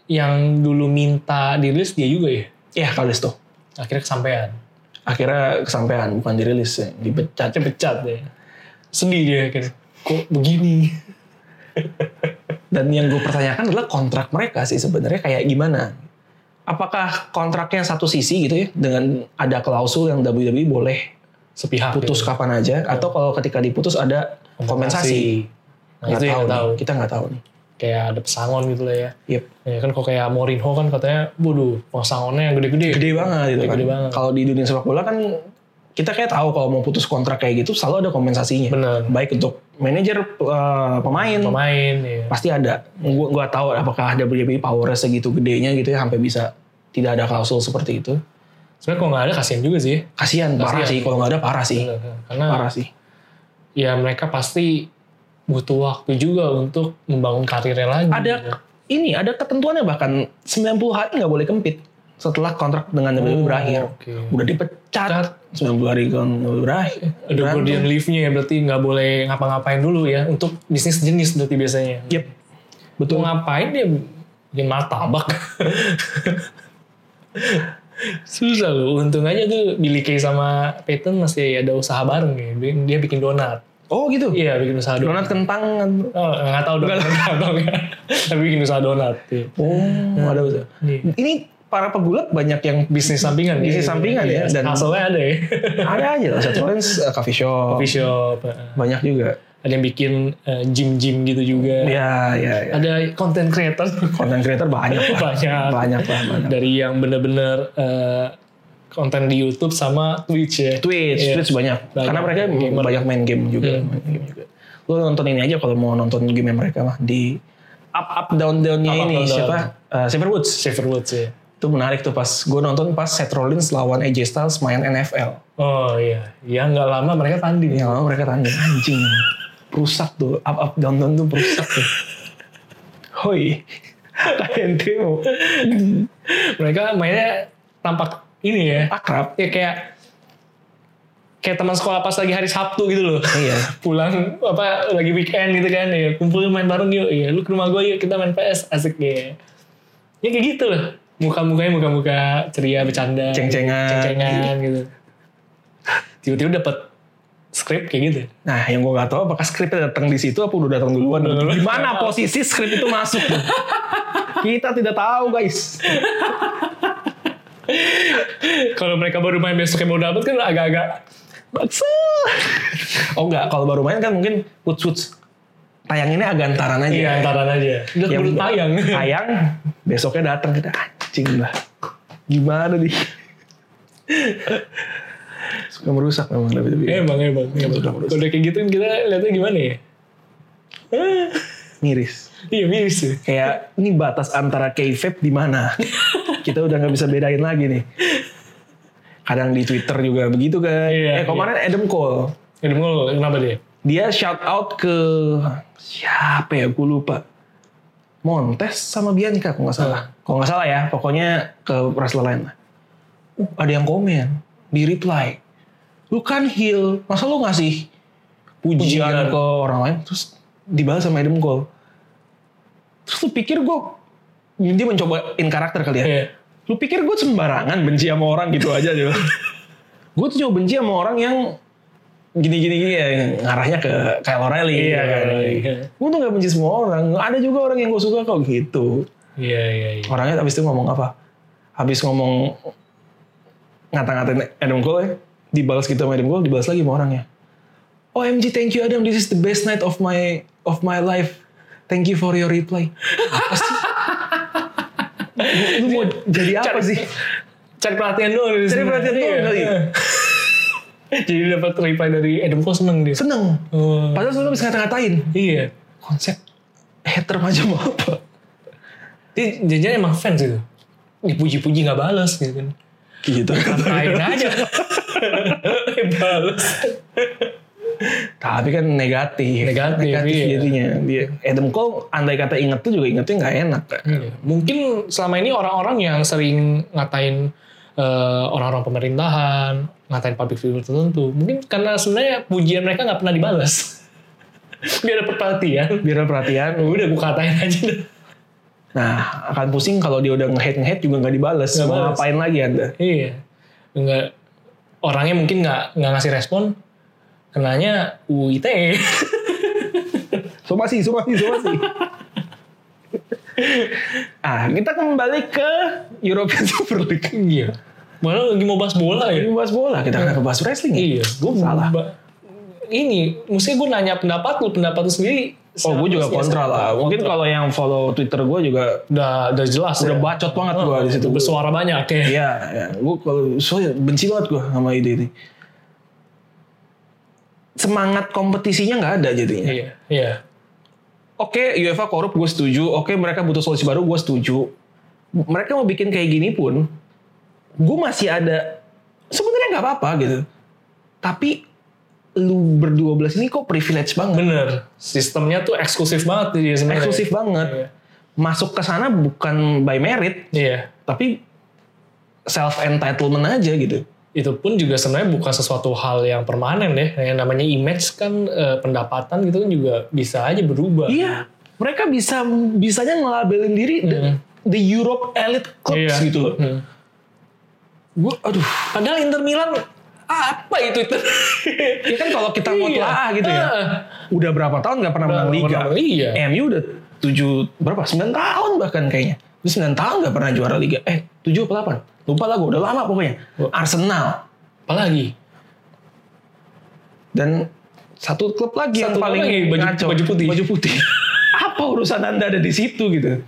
Speaker 3: yang dulu minta dirilis dia juga ya.
Speaker 2: Ya Kalisto.
Speaker 3: Akhirnya kesampaian.
Speaker 2: Akhirnya kesampaian, bukan dirilis ya, dipecat.
Speaker 3: Dia pecat ya. Sedih dia akhirnya. Kok begini?
Speaker 2: Dan yang gue pertanyakan adalah kontrak mereka sih sebenarnya kayak gimana? Apakah kontraknya satu sisi gitu ya dengan ada klausul yang WWE boleh
Speaker 3: Sepihak.
Speaker 2: putus
Speaker 3: gitu.
Speaker 2: kapan aja atau kalau ketika diputus ada kompensasi?
Speaker 3: Nah, itu
Speaker 2: Nggak tahu
Speaker 3: yang
Speaker 2: nih,
Speaker 3: tahu.
Speaker 2: Kita nggak tahu nih.
Speaker 3: Kayak ada pesangon gitu lah ya.
Speaker 2: Yep.
Speaker 3: Ya kan kalau kayak Mourinho kan katanya, waduh, pesangonnya yang gede-gede.
Speaker 2: gede banget gitu kan.
Speaker 3: Gede banget.
Speaker 2: Kalau di dunia sepak bola kan kita kayak tahu kalau mau putus kontrak kayak gitu selalu ada kompensasinya.
Speaker 3: Bener.
Speaker 2: Baik untuk manajer eh, pemain,
Speaker 3: Pemain ya.
Speaker 2: pasti ada. Gua gua tahu apakah ada WWE powernya segitu gedenya gitu ya sampai bisa tidak ada klausul seperti itu.
Speaker 3: Sebenarnya kalau nggak ada kasihan juga sih.
Speaker 2: Kasihan parah
Speaker 3: Kasihan.
Speaker 2: sih kalau nggak ada parah sih.
Speaker 3: Bener, kan? Karena
Speaker 2: Parah sih.
Speaker 3: ya mereka pasti butuh waktu juga untuk membangun karirnya lagi. Iya.
Speaker 2: Ada ini ada ketentuannya bahkan 90 hari nggak boleh kempit setelah kontrak dengan WWE
Speaker 3: Oh,
Speaker 2: berakhir.
Speaker 3: Oke.
Speaker 2: Udah dipecat 90 hari kan berakhir.
Speaker 3: Ada
Speaker 2: Berantem.
Speaker 3: guardian leave-nya ya berarti nggak boleh ngapa-ngapain dulu ya untuk bisnis jenis berarti biasanya.
Speaker 2: Yep. Betul.
Speaker 3: Mau ngapain dia bikin martabak. [laughs] Susah loh, untung aja tuh Billy Kay sama Peyton masih ada usaha bareng ya. Dia, dia bikin donat.
Speaker 2: Oh gitu.
Speaker 3: Iya, bikin usaha donat.
Speaker 2: Donat kentang kan.
Speaker 3: Oh, nggak tahu donat apa enggak. Tapi bikin usaha donat. Iya.
Speaker 2: Oh, ada betul.
Speaker 3: Iya.
Speaker 2: Ini para pegulat banyak yang
Speaker 3: Bisnis sampingan.
Speaker 2: Bisnis sampingan ya,
Speaker 3: Dan
Speaker 2: dan-
Speaker 3: hasilnya [laughs]
Speaker 2: [laughs]
Speaker 3: ada ya.
Speaker 2: ada aja lah. Seth Rollins uh, coffee shop.
Speaker 3: Coffee shop. eh.
Speaker 2: Banyak juga.
Speaker 3: Ada yang bikin eh, gym-gym gitu juga.
Speaker 2: Ya, ya, ya.
Speaker 3: Ada content creator
Speaker 2: Content creator banyak lah.
Speaker 3: Banyak.
Speaker 2: Banyak lah, banyak.
Speaker 3: dari yang bener-bener eh, konten di YouTube sama Twitch ya.
Speaker 2: Twitch,
Speaker 3: Iya.
Speaker 2: Twitch banyak.
Speaker 3: Banyak.
Speaker 2: Karena mereka
Speaker 3: Gamer.
Speaker 2: banyak main game juga.
Speaker 3: Hmm.
Speaker 2: Main game juga. Lo nonton ini aja kalau mau nonton game mereka mah di up up down downnya
Speaker 3: Up, up,
Speaker 2: ini
Speaker 3: down, down.
Speaker 2: siapa? Uh, Xavier Woods.
Speaker 3: Shaver Woods ya.
Speaker 2: Itu menarik tuh pas gue nonton pas Seth Rollins lawan AJ Styles main NFL.
Speaker 3: Oh iya, ya nggak lama mereka tanding.
Speaker 2: Yang lama mereka tanding anjing. Rusak tuh, up up down down tuh rusak tuh. Hoi, Ryan Teo
Speaker 3: mereka mainnya tampak ini ya
Speaker 2: akrab.
Speaker 3: ya kayak kayak teman sekolah pas lagi hari Sabtu gitu loh
Speaker 2: Iya.
Speaker 3: pulang apa lagi weekend gitu kan ya kumpulin main bareng yuk ya lu ke rumah gue yuk kita main PS asik ya ya kayak gitu loh muka-mukanya muka-muka ceria bercanda
Speaker 2: Ceng-cengan.
Speaker 3: ceng-cengan gitu tiba-tiba dapat skrip kayak gitu
Speaker 2: Nah, yang gue gak tahu apakah skripnya datang di situ apa udah datang duluan. Di mana posisi skrip itu masuk? Kita tidak tahu, guys.
Speaker 3: kalau mereka baru main besoknya mau dapat kan agak-agak
Speaker 2: Bakso. Oh enggak, kalau baru main kan mungkin put puts tayanginnya agak antaran aja. Iya.
Speaker 3: iya antaran aja udah
Speaker 2: Yang
Speaker 3: baru tayang
Speaker 2: Tayang, besoknya datang kita anjing lah. Gimana nih? Suka merusak memang WWE.
Speaker 3: emang emang emang
Speaker 2: Udah, udah.
Speaker 3: kalau udah kayak gitu kan kita lihatnya gimana ya Ah,
Speaker 2: Miris.
Speaker 3: iya miris ya
Speaker 2: Kayak ini batas antara kayfabe di mana? Kita udah nggak bisa bedain lagi nih. Kadang di Twitter juga begitu kan. eh
Speaker 3: Iya,
Speaker 2: kemarin Adam Cole
Speaker 3: Adam Cole kenapa dia
Speaker 2: dia shout out ke siapa ya gue lupa Montes sama Bianca kalau nggak salah kalau nggak salah ya pokoknya ke wrestler lain lah Uh, ada yang komen di reply lu kan heel masa lu ngasih pujian,
Speaker 3: Pujian.
Speaker 2: ke orang lain terus dibalas sama Adam Cole terus lu pikir gue dia mencoba in karakter kali ya
Speaker 3: Iya.
Speaker 2: lu pikir gue sembarangan benci sama orang gitu aja
Speaker 3: [laughs]
Speaker 2: gitu. gue tuh cuma benci sama orang yang gini-gini gini ya, yang ngarahnya ke Kyle O'Reilly. gitu
Speaker 3: Iya,
Speaker 2: kan.
Speaker 3: Kyle O'Reilly, iya.
Speaker 2: Gue tuh gak benci semua orang. Ada juga orang yang gue suka kok gitu.
Speaker 3: Iya iya iya.
Speaker 2: Orangnya abis itu ngomong apa? Habis ngomong ngata-ngatain Adam Cole ya, dibalas gitu sama Adam Cole, dibalas lagi sama orangnya. OMG, thank you Adam, this is the best night of my of my life. Thank you for your reply. Apa
Speaker 3: [laughs]
Speaker 2: sih? Lu mau jadi apa
Speaker 3: Cari-
Speaker 2: sih?
Speaker 3: Cari perhatian doang dari
Speaker 2: Cari
Speaker 3: sana.
Speaker 2: perhatian doang
Speaker 3: Iya,
Speaker 2: kali.
Speaker 3: iya. [laughs] Jadi dapat reply dari Adam Cole seneng dia.
Speaker 2: Seneng.
Speaker 3: Oh,
Speaker 2: Padahal sebelum bisa ngata-ngatain.
Speaker 3: iya.
Speaker 2: Konsep hater macam apa?
Speaker 3: Dia jajan emang fans gitu. Dipuji-puji nggak balas gitu kan.
Speaker 2: Gitu.
Speaker 3: Lain aja. [laughs] balas.
Speaker 2: Tapi kan negatif.
Speaker 3: Negatif, iya.
Speaker 2: jadinya. Dia, eh, Adam Cole andai kata inget tuh juga ingetnya nggak enak. kan.
Speaker 3: Iya. Mungkin selama ini orang-orang yang sering ngatain eh, orang-orang pemerintahan, ngatain public figure tertentu, mungkin karena sebenarnya pujian mereka nggak pernah dibalas. [laughs] Biar dapat perhatian.
Speaker 2: Biar perhatian.
Speaker 3: Udah gue katain aja dah.
Speaker 2: Nah akan pusing kalau dia udah nge-hate nge-hate juga nggak dibales.
Speaker 3: Nggak
Speaker 2: Mau
Speaker 3: balas.
Speaker 2: ngapain lagi anda?
Speaker 3: Iya. Enggak orangnya mungkin nggak nggak ngasih respon kenanya UU ITE.
Speaker 2: Somasi, somasi, somasi. ah kita kembali ke European Super League.
Speaker 3: [laughs] iya. Malah lagi mau bahas bola
Speaker 2: Ini
Speaker 3: ya.
Speaker 2: bahas bola, kita akan bahas wrestling ya?
Speaker 3: Iya, gue
Speaker 2: Salah.
Speaker 3: Ini, mesti gue nanya pendapat lu, pendapat lu sendiri.
Speaker 2: Oh gue juga
Speaker 3: seharusnya-
Speaker 2: kontra lah. Mungkin kalau yang follow Twitter gue juga
Speaker 3: Udah, udah jelas
Speaker 2: udah
Speaker 3: ya.
Speaker 2: bacot banget gue di situ.
Speaker 3: Bersuara banyak ya.
Speaker 2: Iya, ya. gue Oh, kalau soalnya benci banget gue sama ide ini. Semangat kompetisinya nggak ada jadinya.
Speaker 3: Iya. Iya.
Speaker 2: Oke, UEFA korup gue setuju. Oke, mereka butuh solusi baru gue setuju. Mereka mau bikin kayak gini pun, gue masih ada. Sebenarnya nggak apa-apa gitu. Tapi lu berdua belas ini kok privilege banget,
Speaker 3: Bener. Sistemnya tuh eksklusif banget dia sebenarnya.
Speaker 2: eksklusif banget.
Speaker 3: Iya.
Speaker 2: Masuk ke sana bukan by merit,
Speaker 3: Iya.
Speaker 2: tapi self entitlement aja gitu.
Speaker 3: itu pun juga sebenarnya bukan sesuatu hal yang permanen deh. Yang namanya image kan eh, pendapatan gitu kan juga bisa aja berubah.
Speaker 2: Iya, mereka bisa bisanya ngelabelin diri the, the Europe elite clubs
Speaker 3: Iya.
Speaker 2: gitu loh.
Speaker 3: Hmm.
Speaker 2: Gue aduh,
Speaker 3: Padahal Inter Milan apa itu Inter?
Speaker 2: ya kan kalau kita mau
Speaker 3: Iya.
Speaker 2: telaah gitu ya.
Speaker 3: Ah.
Speaker 2: Udah berapa tahun nggak pernah
Speaker 3: Udah
Speaker 2: menang
Speaker 3: nggak
Speaker 2: liga? Iya.
Speaker 3: pernah menang liga.
Speaker 2: MU udah 7 berapa? 9 tahun bahkan kayaknya. Udah 9 tahun nggak pernah juara liga. Eh, 7 apa 8? Lupa lah gue, udah lama pokoknya. Arsenal
Speaker 3: Apalagi
Speaker 2: dan satu klub lagi yang
Speaker 3: Satu klub
Speaker 2: paling
Speaker 3: lagi, baju-
Speaker 2: ngaco,
Speaker 3: baju putih.
Speaker 2: Baju putih. Apa urusan Anda ada di situ gitu?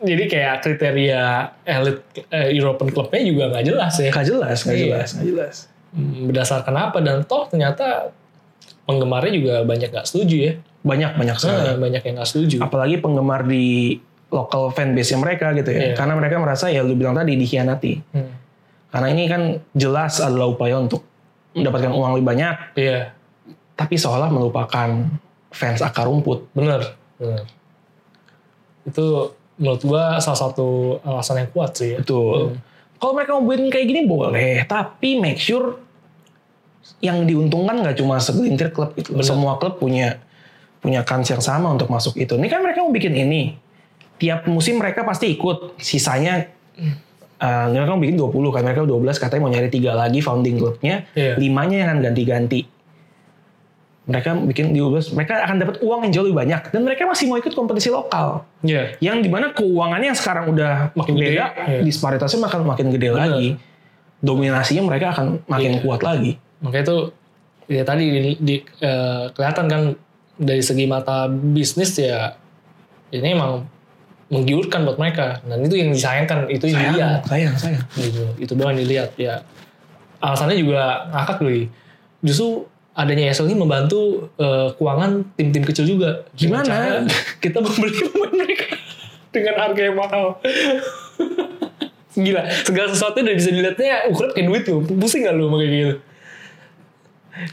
Speaker 3: jadi kayak kriteria elit eh, European clubnya juga nggak jelas ya.
Speaker 2: Gak jelas, gak
Speaker 3: Iya.
Speaker 2: jelas, gak jelas.
Speaker 3: Hmm, Berdasarkan apa dan toh ternyata penggemarnya juga banyak nggak setuju ya.
Speaker 2: Banyak banyak sekali.
Speaker 3: Ah, banyak yang nggak setuju.
Speaker 2: apalagi penggemar di lokal fanbase mereka gitu ya.
Speaker 3: Iya.
Speaker 2: Karena mereka merasa ya lu bilang tadi dikhianati.
Speaker 3: Hmm.
Speaker 2: Karena ini kan jelas adalah upaya untuk mendapatkan uang lebih banyak,
Speaker 3: Iya,
Speaker 2: tapi seolah melupakan fans akar rumput.
Speaker 3: benar. benar. Itu menurut gua salah satu alasan yang kuat sih. ya.
Speaker 2: Betul. Kalau mereka mau bikin kayak gini boleh, tapi make sure yang diuntungkan nggak cuma segelintir klub itu.
Speaker 3: Benar.
Speaker 2: Semua klub punya punya kans yang sama untuk masuk itu. Ini kan mereka mau bikin ini. Tiap musim mereka pasti ikut. Sisanya eh, mereka mau bikin 20 kan mereka 12 katanya mau nyari tiga lagi founding klubnya.
Speaker 3: Iya.
Speaker 2: Limanya yang akan ganti-ganti. Mereka bikin 12, mereka akan dapat uang yang jauh lebih banyak dan mereka masih mau ikut kompetisi lokal
Speaker 3: Iya.
Speaker 2: yang dimana keuangannya yang sekarang udah makin
Speaker 3: Makin gede,
Speaker 2: beda,
Speaker 3: iya.
Speaker 2: disparitasnya makin makin gede
Speaker 3: Bener.
Speaker 2: lagi, dominasinya mereka akan makin
Speaker 3: Iya.
Speaker 2: kuat lagi.
Speaker 3: Makanya tuh ya tadi di- di- eh, kelihatan kan dari segi mata bisnis ya ini emang menggiurkan buat mereka. Dan itu yang disayangkan, itu yang dilihat.
Speaker 2: Sayang, sayang, sayang.
Speaker 3: gitu itu doang yang dilihat ya alasannya juga ngakak Lui justru adanya ESL ini membantu eh, keuangan tim-tim kecil juga Dengan
Speaker 2: Gimana?
Speaker 3: cara [laughs] kita membeli pemain mereka dengan harga yang mahal gila segala sesuatu udah bisa dilihatnya ukuran kayak duit tuh pusing gak lu sama kayak gitu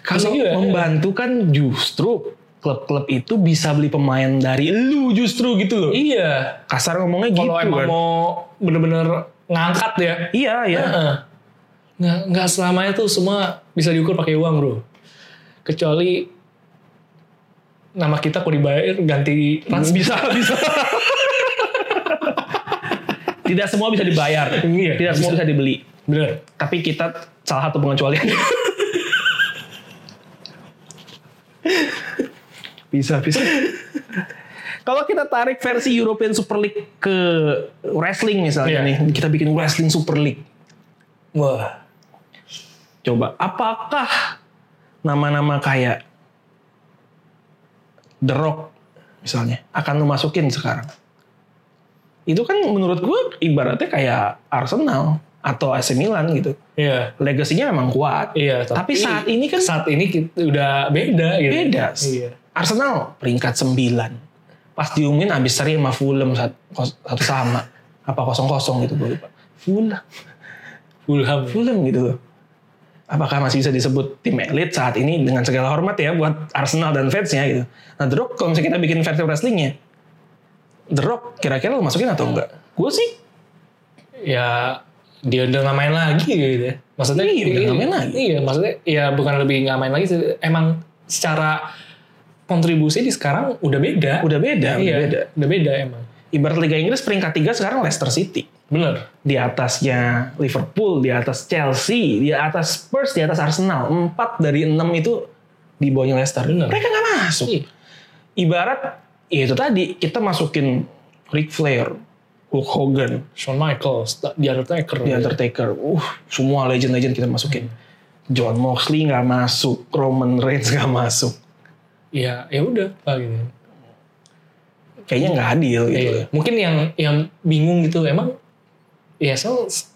Speaker 2: Kalau
Speaker 3: Iya.
Speaker 2: membantu kan justru klub-klub itu bisa beli pemain dari lu justru gitu loh.
Speaker 3: iya
Speaker 2: Kasar ngomongnya gitu
Speaker 3: kalau emang
Speaker 2: kan.
Speaker 3: mau bener-bener ngangkat ya
Speaker 2: Iya, iya.
Speaker 3: Heeh. Nggak, nggak selamanya tuh semua bisa diukur pakai uang bro. Kecuali nama kita kalau dibayar ganti trans
Speaker 2: Hmm.
Speaker 3: bisa [laughs] bisa
Speaker 2: [laughs] Tidak semua bisa dibayar.
Speaker 3: Iya,
Speaker 2: Tidak semua bisa dibeli.
Speaker 3: bener
Speaker 2: Tapi kita salah satu pengecualian. bisa, bisa. Kalau kita tarik versi European Super League ke wrestling misalnya
Speaker 3: Iya.
Speaker 2: nih, kita bikin wrestling Super League.
Speaker 3: wah
Speaker 2: Coba, apakah nama-nama kayak The Rock misalnya akan lu masukin sekarang? Itu kan menurut gue ibaratnya kayak Arsenal atau AC Milan gitu.
Speaker 3: iya
Speaker 2: Legasinya memang kuat.
Speaker 3: iya
Speaker 2: Tapi saat ini kan
Speaker 3: saat ini kita udah beda gitu
Speaker 2: beda.
Speaker 3: iya
Speaker 2: Arsenal peringkat 9. Pas diumumin abis seri sama Fulham sat- kos- satu sama. Apa kosong-kosong gitu gue lupa. Fulham.
Speaker 3: Fulham
Speaker 2: Fulham gitu loh. Apakah masih bisa disebut tim elit saat ini dengan segala hormat ya buat Arsenal dan fansnya gitu. Nah The Rock kalau misalnya kita bikin versi wrestlingnya. The Rock kira-kira lo masukin atau enggak? Gue sih
Speaker 3: ya dia udah nggak main lagi gitu ya. Maksudnya
Speaker 2: Iya, udah nggak main lagi.
Speaker 3: Iya, maksudnya ya bukan lebih nggak main lagi sih. Emang secara kontribusi di sekarang udah beda.
Speaker 2: udah beda. Udah
Speaker 3: iya,
Speaker 2: beda.
Speaker 3: Udah beda emang.
Speaker 2: Ibarat Liga Inggris peringkat 3 sekarang Leicester City.
Speaker 3: Bener.
Speaker 2: di atasnya Liverpool, di atas Chelsea, di atas Spurs, di atas Arsenal. Empat dari enam itu di bawahnya Leicester.
Speaker 3: Bener.
Speaker 2: Mereka nggak masuk.
Speaker 3: Iya.
Speaker 2: Ibarat ya itu tadi kita masukin Ric Flair, Hulk Hogan,
Speaker 3: Shawn Michaels, The Undertaker.
Speaker 2: The Undertaker, uh semua legend-legend kita masukin. John Moxley nggak masuk, Roman Reigns nggak masuk.
Speaker 3: Iya, ya udah lah gitu.
Speaker 2: Kayaknya nggak adil gitu.
Speaker 3: Iya. Mungkin yang yang bingung gitu emang ESL s-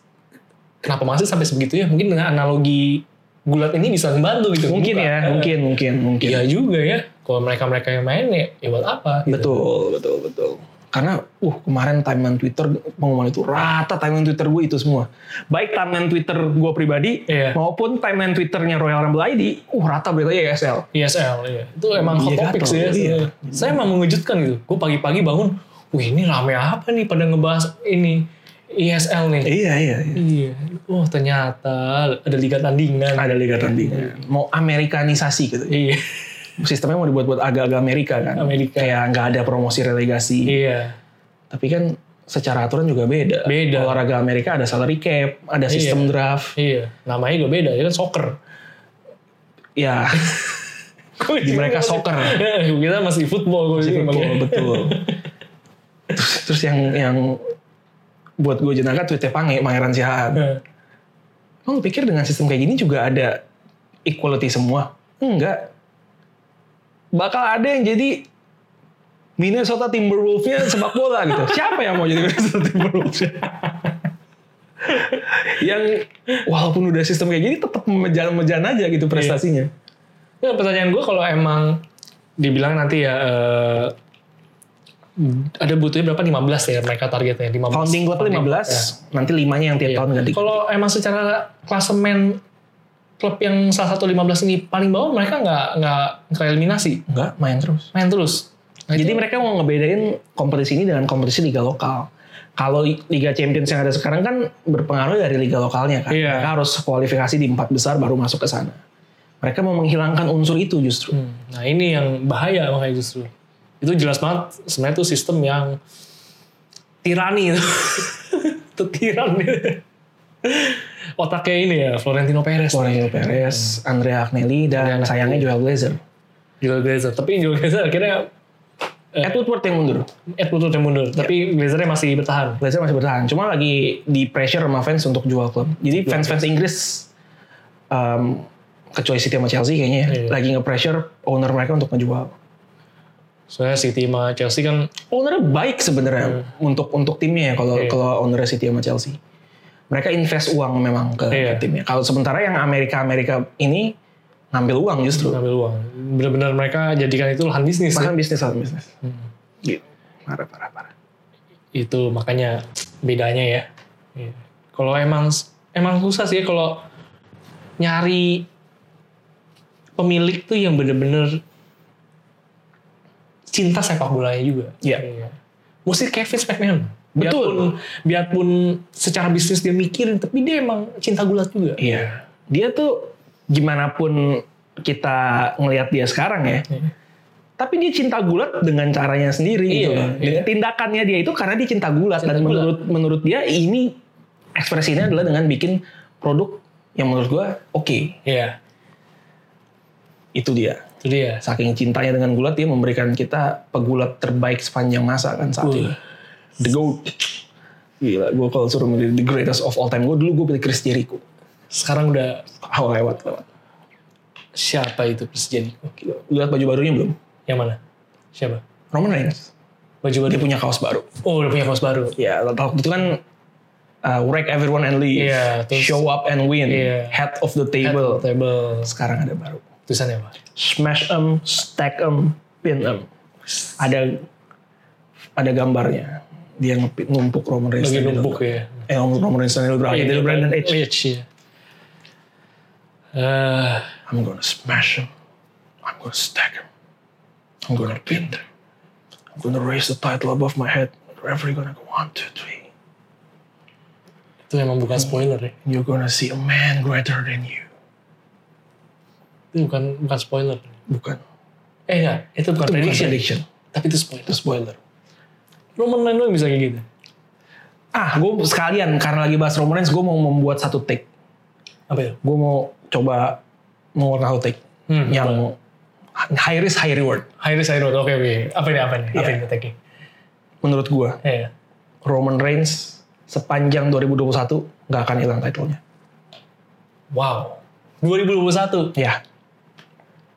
Speaker 3: kenapa masih sampai sebegitu ya? Mungkin dengan analogi gulat ini bisa membantu gitu.
Speaker 2: Mungkin
Speaker 3: Bukan.
Speaker 2: ya,
Speaker 3: Eh,
Speaker 2: mungkin, mungkin, mungkin.
Speaker 3: Iya juga ya. Kalau mereka-mereka yang main ya, ya buat apa? gitu.
Speaker 2: Betul, betul, betul. Karena uh kemarin timeline Twitter pengumuman itu rata timeline Twitter gue itu semua. Baik timeline Twitter gue pribadi
Speaker 3: Iya.
Speaker 2: maupun timeline Twitternya Royal Rumble ID, uh rata beritanya ESL.
Speaker 3: ESL iya. Itu emang hot
Speaker 2: Iya,
Speaker 3: topic sih ya.
Speaker 2: gatel, iya.
Speaker 3: Saya emang mengejutkan gitu. Gue pagi-pagi bangun, wih ini rame apa nih pada ngebahas ini ESL nih.
Speaker 2: Iya, iya, iya.
Speaker 3: Iya. Oh ternyata ada liga tandingan.
Speaker 2: Ada liga tandingan. Iya. Mau Amerikanisasi gitu.
Speaker 3: Iya.
Speaker 2: Sistemnya mau dibuat buat agak-agak Amerika kan.
Speaker 3: Amerika.
Speaker 2: Kayak nggak ada promosi relegasi.
Speaker 3: Iya.
Speaker 2: Tapi kan secara aturan juga beda.
Speaker 3: Beda.
Speaker 2: Olahraga Amerika ada salary cap, ada sistem draft.
Speaker 3: Iya. Namanya juga beda. Dia kan soccer.
Speaker 2: [laughs] Ya, di mereka soccer.
Speaker 3: Iya, [laughs] Kita masih football.
Speaker 2: Masih
Speaker 3: Masih
Speaker 2: football, betul. terus, terus yang yang buat gue jenaka tweetnya Pange, Pangeran Sihaan. Emang lu pikir dengan sistem kayak gini juga ada equality semua? Enggak. Bakal ada yang jadi Minnesota Timberwolves-nya sepak bola gitu. Siapa yang mau jadi Minnesota Timberwolves? yang walaupun udah sistem kayak gini tetap memejan-mejan aja gitu prestasinya.
Speaker 3: [laughs] Nah, pertanyaan gue kalau emang dibilang nanti ya eh, ada butuhnya berapa 15 ya mereka targetnya 15.
Speaker 2: Founding club 15, nanti limanya yang tiap
Speaker 3: Iya.
Speaker 2: tahun ganti.
Speaker 3: Kalau emang secara klasemen klub yang salah satu 15 ini paling bawah mereka nggak nggak tereliminasi
Speaker 2: Enggak, main terus.
Speaker 3: main terus. Nah, itu-
Speaker 2: Jadi mereka mau ngebedain kompetisi ini dengan kompetisi liga lokal. Kalau Liga Champions yang ada sekarang kan berpengaruh dari liga lokalnya kan.
Speaker 3: Iya.
Speaker 2: Mereka harus kualifikasi di empat besar baru masuk ke sana. Mereka mau menghilangkan unsur itu justru.
Speaker 3: Hmm, Nah ini yang bahaya makanya justru. Itu jelas banget sebenarnya itu sistem yang tirani [laughs] itu. itu tiran. Otaknya ini ya Florentino Perez.
Speaker 2: Florentino Perez, Andrea Agnelli, dan
Speaker 3: Andrea Agnelli.
Speaker 2: sayangnya Joel Glazer.
Speaker 3: Joel Glazer. Tapi Joel Glazer akhirnya Eh.
Speaker 2: Ed Woodward yang mundur.
Speaker 3: Edward Woodward yang mundur. Tapi Glazernya masih bertahan.
Speaker 2: Glazer masih bertahan. Cuma lagi di pressure sama fans untuk jual klub. Jadi fans-fans Inggris um, kecuali City sama Chelsea kayaknya ya,
Speaker 3: Iya.
Speaker 2: lagi nge-pressure owner mereka untuk menjual.
Speaker 3: Soalnya City sama Chelsea kan
Speaker 2: ownernya baik sebenarnya untuk untuk timnya ya kalau
Speaker 3: Hmm. Iya.
Speaker 2: kalau ownernya City sama Chelsea. Mereka invest uang memang ke, ke
Speaker 3: Iya.
Speaker 2: timnya. Kalau sementara yang Amerika Amerika ini ngambil uang justru.
Speaker 3: ngambil uang. Benar-benar mereka jadikan itu lahan bisnis. ya.
Speaker 2: Bahkan bisnis sama bisnis.
Speaker 3: Hmm.
Speaker 2: Gitu. Parah parah parah.
Speaker 3: itu makanya bedanya ya. Iya. Kalau emang emang susah sih ya kalau nyari pemilik tuh yang bener-bener cinta sepak bolanya juga.
Speaker 2: Iya.
Speaker 3: Iya. Mesti Kevin McMahon.
Speaker 2: Betul.
Speaker 3: Biarpun, biarpun secara bisnis dia mikirin, tapi dia emang cinta gulat juga.
Speaker 2: Iya. Dia tuh gimana pun kita ngelihat dia sekarang ya.
Speaker 3: Iya.
Speaker 2: Tapi dia cinta gulat dengan caranya sendiri gitu
Speaker 3: Iya,
Speaker 2: loh. Dengan tindakannya dia itu karena dia cinta gulat
Speaker 3: Cinta
Speaker 2: dan
Speaker 3: gulat.
Speaker 2: menurut menurut dia ini ekspresinya adalah dengan bikin produk yang menurut gua oke.
Speaker 3: Iya,
Speaker 2: itu dia
Speaker 3: itu dia.
Speaker 2: saking cintanya dengan gulat dia memberikan kita pegulat terbaik sepanjang masa kan saat
Speaker 3: Wih.
Speaker 2: ini the goat gila gue kalau suruh milih the greatest of all time gue dulu gue pilih Chris Jericho
Speaker 3: Sekarang udah
Speaker 2: oh, lewat lewat
Speaker 3: siapa itu persijani?
Speaker 2: Gila. Lu lihat baju barunya belum
Speaker 3: Yang mana? Siapa?
Speaker 2: Roman Reigns
Speaker 3: Baju baru.
Speaker 2: dia punya kaos baru
Speaker 3: Oh, udah punya kaos baru.
Speaker 2: ya waktu itu kan uh, wreck everyone and leave
Speaker 3: Iya, terus-
Speaker 2: show up and win
Speaker 3: Iya.
Speaker 2: head of the table
Speaker 3: Table.
Speaker 2: sekarang ada baru
Speaker 3: Tulisannya apa?
Speaker 2: smash em stack em pin em ada ada gambarnya dia ngepit numpuk Roman Reigns
Speaker 3: Lagi
Speaker 2: Daniel
Speaker 3: numpuk
Speaker 2: Bryan.
Speaker 3: ya.
Speaker 2: eh Roman, Roman Reigns Daniel Bryan
Speaker 3: Iya,
Speaker 2: Daniel Bryan dan Edge
Speaker 3: Edge. ya. Eh,
Speaker 2: I'm gonna smash him I'm gonna stack him I'm gonna pin him I'm gonna raise the title above my head referee gonna go one two three
Speaker 3: itu emang bukan spoiler ya.
Speaker 2: you're gonna see a man greater than you
Speaker 3: Itu bukan bukan spoiler.
Speaker 2: bukan
Speaker 3: Eh ya, itu
Speaker 2: itu
Speaker 3: bukan
Speaker 2: bukan
Speaker 3: prediction.
Speaker 2: prediction
Speaker 3: Tapi itu spoiler.
Speaker 2: itu spoiler
Speaker 3: Roman Reigns doang bisa kayak gitu.
Speaker 2: ah gue sekalian karena lagi bahas Roman Reigns gue mau membuat satu take
Speaker 3: Apa itu?
Speaker 2: gue mau coba mengeluarkan satu take
Speaker 3: Hmm, apa?
Speaker 2: yang high risk high reward
Speaker 3: high risk high reward. Oke oke. Apa ini apa ini? Apa
Speaker 2: Iya.
Speaker 3: ini tagnya?
Speaker 2: menurut gua
Speaker 3: Eh, ya.
Speaker 2: Roman Reigns sepanjang 2021 nggak akan hilang titlenya
Speaker 3: wow. 2021
Speaker 2: ya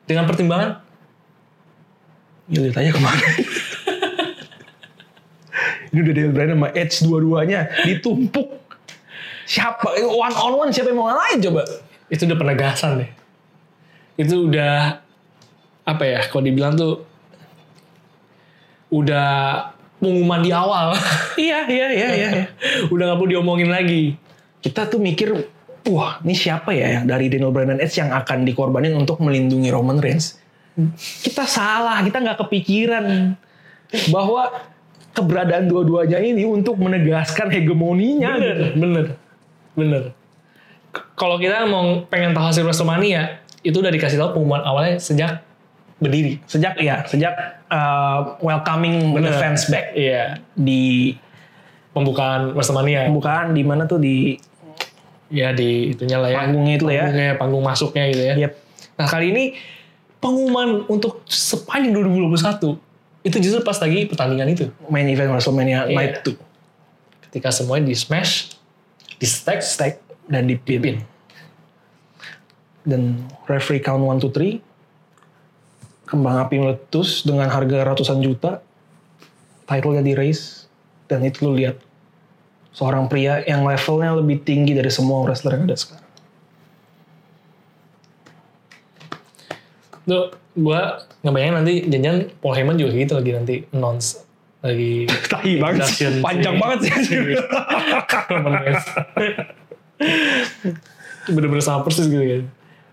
Speaker 3: dengan pertimbangan
Speaker 2: ya lihat aja kemarin [laughs] ini udah Daniel Bryan sama Edge dua-duanya ditumpuk siapa eh, one on one siapa yang mau ngalahin coba
Speaker 3: itu udah penegasan deh. Itu udah apa ya? Kalau dibilang tuh udah pengumuman di awal. [laughs]
Speaker 2: iya iya iya iya iya.
Speaker 3: udah nggak perlu diomongin lagi.
Speaker 2: kita tuh mikir wah ini siapa ya yang dari Daniel Bryan dan Edge yang akan dikorbanin untuk melindungi Roman Reigns kita salah kita nggak kepikiran bahwa keberadaan dua-duanya ini untuk menegaskan hegemoninya gitu.
Speaker 3: Bener, bener, bener. K- Kalau kita mau pengen tahu hasil WrestleMania, itu udah dikasih tahu pengumuman awalnya sejak berdiri.
Speaker 2: sejak ya sejak uh, welcoming the
Speaker 3: Bener.
Speaker 2: fans back
Speaker 3: Iya,
Speaker 2: di
Speaker 3: pembukaan WrestleMania.
Speaker 2: pembukaan di mana tuh di
Speaker 3: Ya di itunya lah ya.
Speaker 2: panggungnya itu ya Iya.
Speaker 3: Panggungnya, panggung masuknya gitu ya.
Speaker 2: Yep.
Speaker 3: Nah kali ini pengumuman untuk sepanjang 2021 itu justru pas lagi pertandingan itu.
Speaker 2: main event WrestleMania
Speaker 3: Iya.
Speaker 2: night 2
Speaker 3: Ketika semuanya di smash, di stack,
Speaker 2: stack dan di pin.
Speaker 3: Pin.
Speaker 2: Dan referee count 1, 2, 3. Kembang api meletus dengan harga ratusan juta. Title-nya di raise. Dan itu lu lihat. Seorang pria yang levelnya lebih tinggi dari semua wrestler yang ada
Speaker 3: [laughs]
Speaker 2: sekarang.
Speaker 3: Tuh, gue ngebayangin nanti janjian Paul Heyman juga gitu lagi nanti announce lagi
Speaker 2: Tahi
Speaker 3: banget sih. Panjang banget
Speaker 2: sih.
Speaker 3: [laughs] Menes. Bener-bener sama persis gitu ya.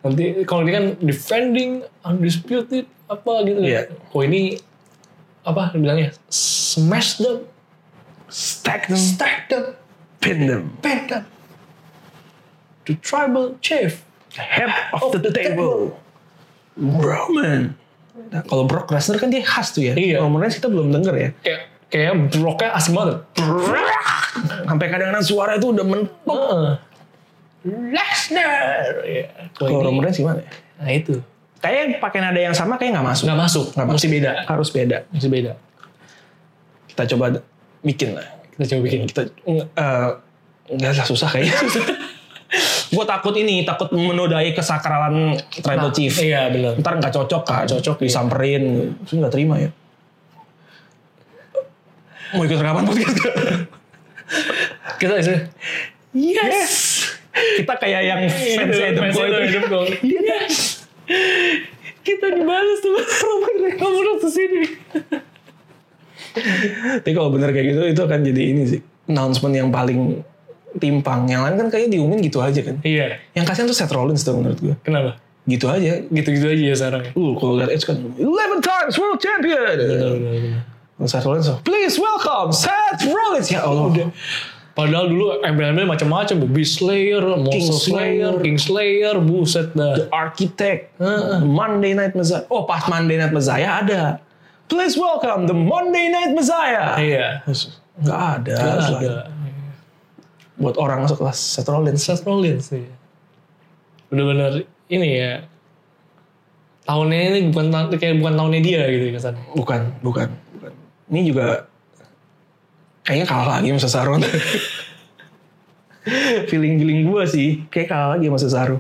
Speaker 3: Nanti kalau ini kan defending, undisputed, apa gitu.
Speaker 2: Iya.
Speaker 3: Oh ini apa bilangnya smash them,
Speaker 2: Stack them,
Speaker 3: stack them,
Speaker 2: pin them,
Speaker 3: bend them. The tribal chief.
Speaker 2: head of the table. Roman. Nah, kalau Brock Lesnar kan dia khas tuh ya.
Speaker 3: Iya.
Speaker 2: Roman Reigns kita belum denger ya.
Speaker 3: Kayak kayak broknya asik banget.
Speaker 2: Sampai kadang-kadang suara itu udah mentok.
Speaker 3: Heeh. Lesnar. Iya.
Speaker 2: Kalau
Speaker 3: Kalau
Speaker 2: Roman
Speaker 3: Nah, ini-
Speaker 2: Reigns gimana ya?
Speaker 3: Nah itu
Speaker 2: Kayaknya pakai nada yang sama kayak nggak masuk.
Speaker 3: nggak masuk,
Speaker 2: Nggak masuk.
Speaker 3: mesti beda,
Speaker 2: Harus beda.
Speaker 3: mesti beda.
Speaker 2: Kita coba d- bikin lah.
Speaker 3: Kita coba bikin.
Speaker 2: Kita eh, nggak lah susah [laughs] kayaknya. Gue takut ini, takut menodai kesakralan tribal
Speaker 3: Nah,
Speaker 2: chief.
Speaker 3: Iya benar.
Speaker 2: Ntar nggak cocok kan?
Speaker 3: cocok, iya.
Speaker 2: disamperin, terus nggak terima ya. Mau ikut rekaman podcast? nggak?
Speaker 3: Kita sih.
Speaker 2: yes. Kita kayak yang fans Adam Boy Iya. itu.
Speaker 3: Kita dibalas tuh Roman Reigns langsung sini.
Speaker 2: Tapi kalau bener kayak gitu itu akan jadi ini sih announcement yang paling timpang. Yang lain kan kayaknya diumumin gitu aja kan.
Speaker 3: Iya.
Speaker 2: Yang kasihan tuh Seth Rollins tuh menurut gue.
Speaker 3: Kenapa?
Speaker 2: Gitu aja.
Speaker 3: Gitu-gitu aja ya sekarang. ya.
Speaker 2: Uh, kalau lihat Edge kan 11 times world champion.
Speaker 3: Benar, benar, benar.
Speaker 2: Iya, Kalau Seth Rollins, please welcome Seth Rollins. Ya Allah.
Speaker 3: Udah. Padahal dulu embel-embel macam-macam, Beast Slayer, Monster Slayer,
Speaker 2: Slayer.
Speaker 3: King Slayer, buset dah.
Speaker 2: The Architect, Monday Night Messiah. Oh, pas Monday Night Messiah ada. Please welcome the Monday Night Messiah.
Speaker 3: Iya.
Speaker 2: Terus, Nggak ada.
Speaker 3: Ada.
Speaker 2: selain Buat orang sekelas Seth Rollins.
Speaker 3: Seth Rollins sih. Bener-bener ini ya. Tahunnya ini bukan ta- kayak bukan tahunnya dia gitu kesannya.
Speaker 2: Bukan, bukan, bukan. Ini juga kayaknya kalah lagi sama Cesaro. [laughs] Feeling-feeling gue sih, kayak kalah lagi sama Cesaro.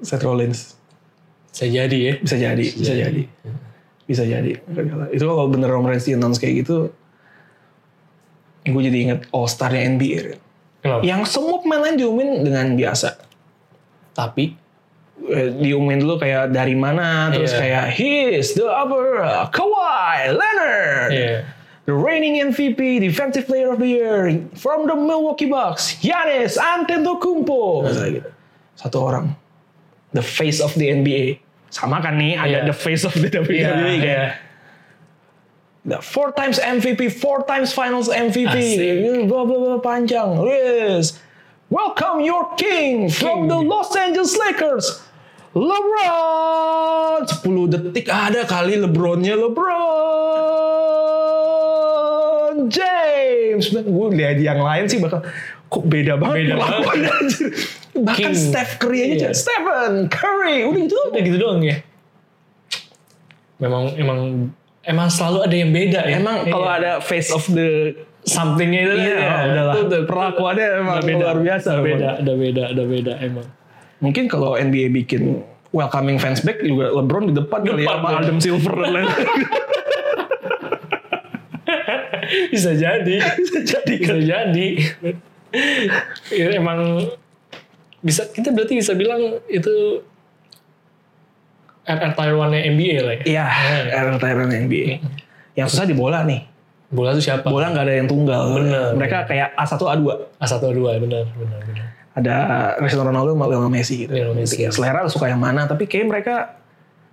Speaker 2: Seth Rollins.
Speaker 3: Bisa jadi ya.
Speaker 2: Bisa jadi, bisa, jadi. Bisa jadi. akan kalah. Itu kalau bener Roman Reigns di-announce kayak gitu, gue jadi inget All Star-nya NBA. Ren.
Speaker 3: Kenapa?
Speaker 2: Yang semua pemain lain diumumin dengan biasa.
Speaker 3: Tapi
Speaker 2: Eh, diumumin dulu kayak dari mana, terus
Speaker 3: Iya.
Speaker 2: kayak he's the upper uh, Kawhi Leonard.
Speaker 3: Iya.
Speaker 2: The reigning MVP, Defensive Player of the Year from the Milwaukee Bucks, Giannis Antetokounmpo. Misalnya gitu. Satu orang. The face of the NBA. Sama kan nih ada
Speaker 3: Iya.
Speaker 2: the face of the E WWE
Speaker 3: Iya,
Speaker 2: kayak.
Speaker 3: iya.
Speaker 2: The Nah, four times MVP, four times Finals MVP.
Speaker 3: Asik.
Speaker 2: Blah blah blah panjang. Yes. Welcome your king from
Speaker 3: King.
Speaker 2: the Los Angeles Lakers. LeBron 10 detik ada kali LeBronnya LeBron James gue lihat yang lain sih bakal kok beda banget
Speaker 3: Beda
Speaker 2: perlakuan, anjir. bahkan
Speaker 3: King.
Speaker 2: Steph Curry aja
Speaker 3: Iya.
Speaker 2: Stephen Curry udah gitu
Speaker 3: Udah gitu doang ya. Memang emang emang selalu ada yang beda ya.
Speaker 2: emang kalau ada face of the
Speaker 3: somethingnya itu
Speaker 2: Iya,
Speaker 3: ya,
Speaker 2: udahlah.
Speaker 3: itu udah-
Speaker 2: Perlakuannya emang
Speaker 3: udah beda.
Speaker 2: luar biasa
Speaker 3: Udah
Speaker 2: emang.
Speaker 3: Beda, udah beda, udah beda emang.
Speaker 2: mungkin kalau NBA bikin welcoming fans back juga LeBron di depan kali ya
Speaker 3: Depan,
Speaker 2: sama
Speaker 3: ya.
Speaker 2: Adam Silver dan lain
Speaker 3: Bisa jadi.
Speaker 2: [laughs] bisa jadi kan
Speaker 3: bisa jadi Ya, emang bisa kita berarti bisa bilang itu RR Taiwan nya NBA lah ya
Speaker 2: iya era Tyrant NBA yang susah di bola nih
Speaker 3: bola tuh siapa
Speaker 2: bola nggak ada yang tunggal
Speaker 3: Bener.
Speaker 2: mereka kayak A1 A2
Speaker 3: A1 A2 benar benar benar
Speaker 2: ada Cristiano Ronaldo sama Lionel Messi gitu
Speaker 3: Lionel Messi.
Speaker 2: Ya, selera lu suka yang mana tapi kayak mereka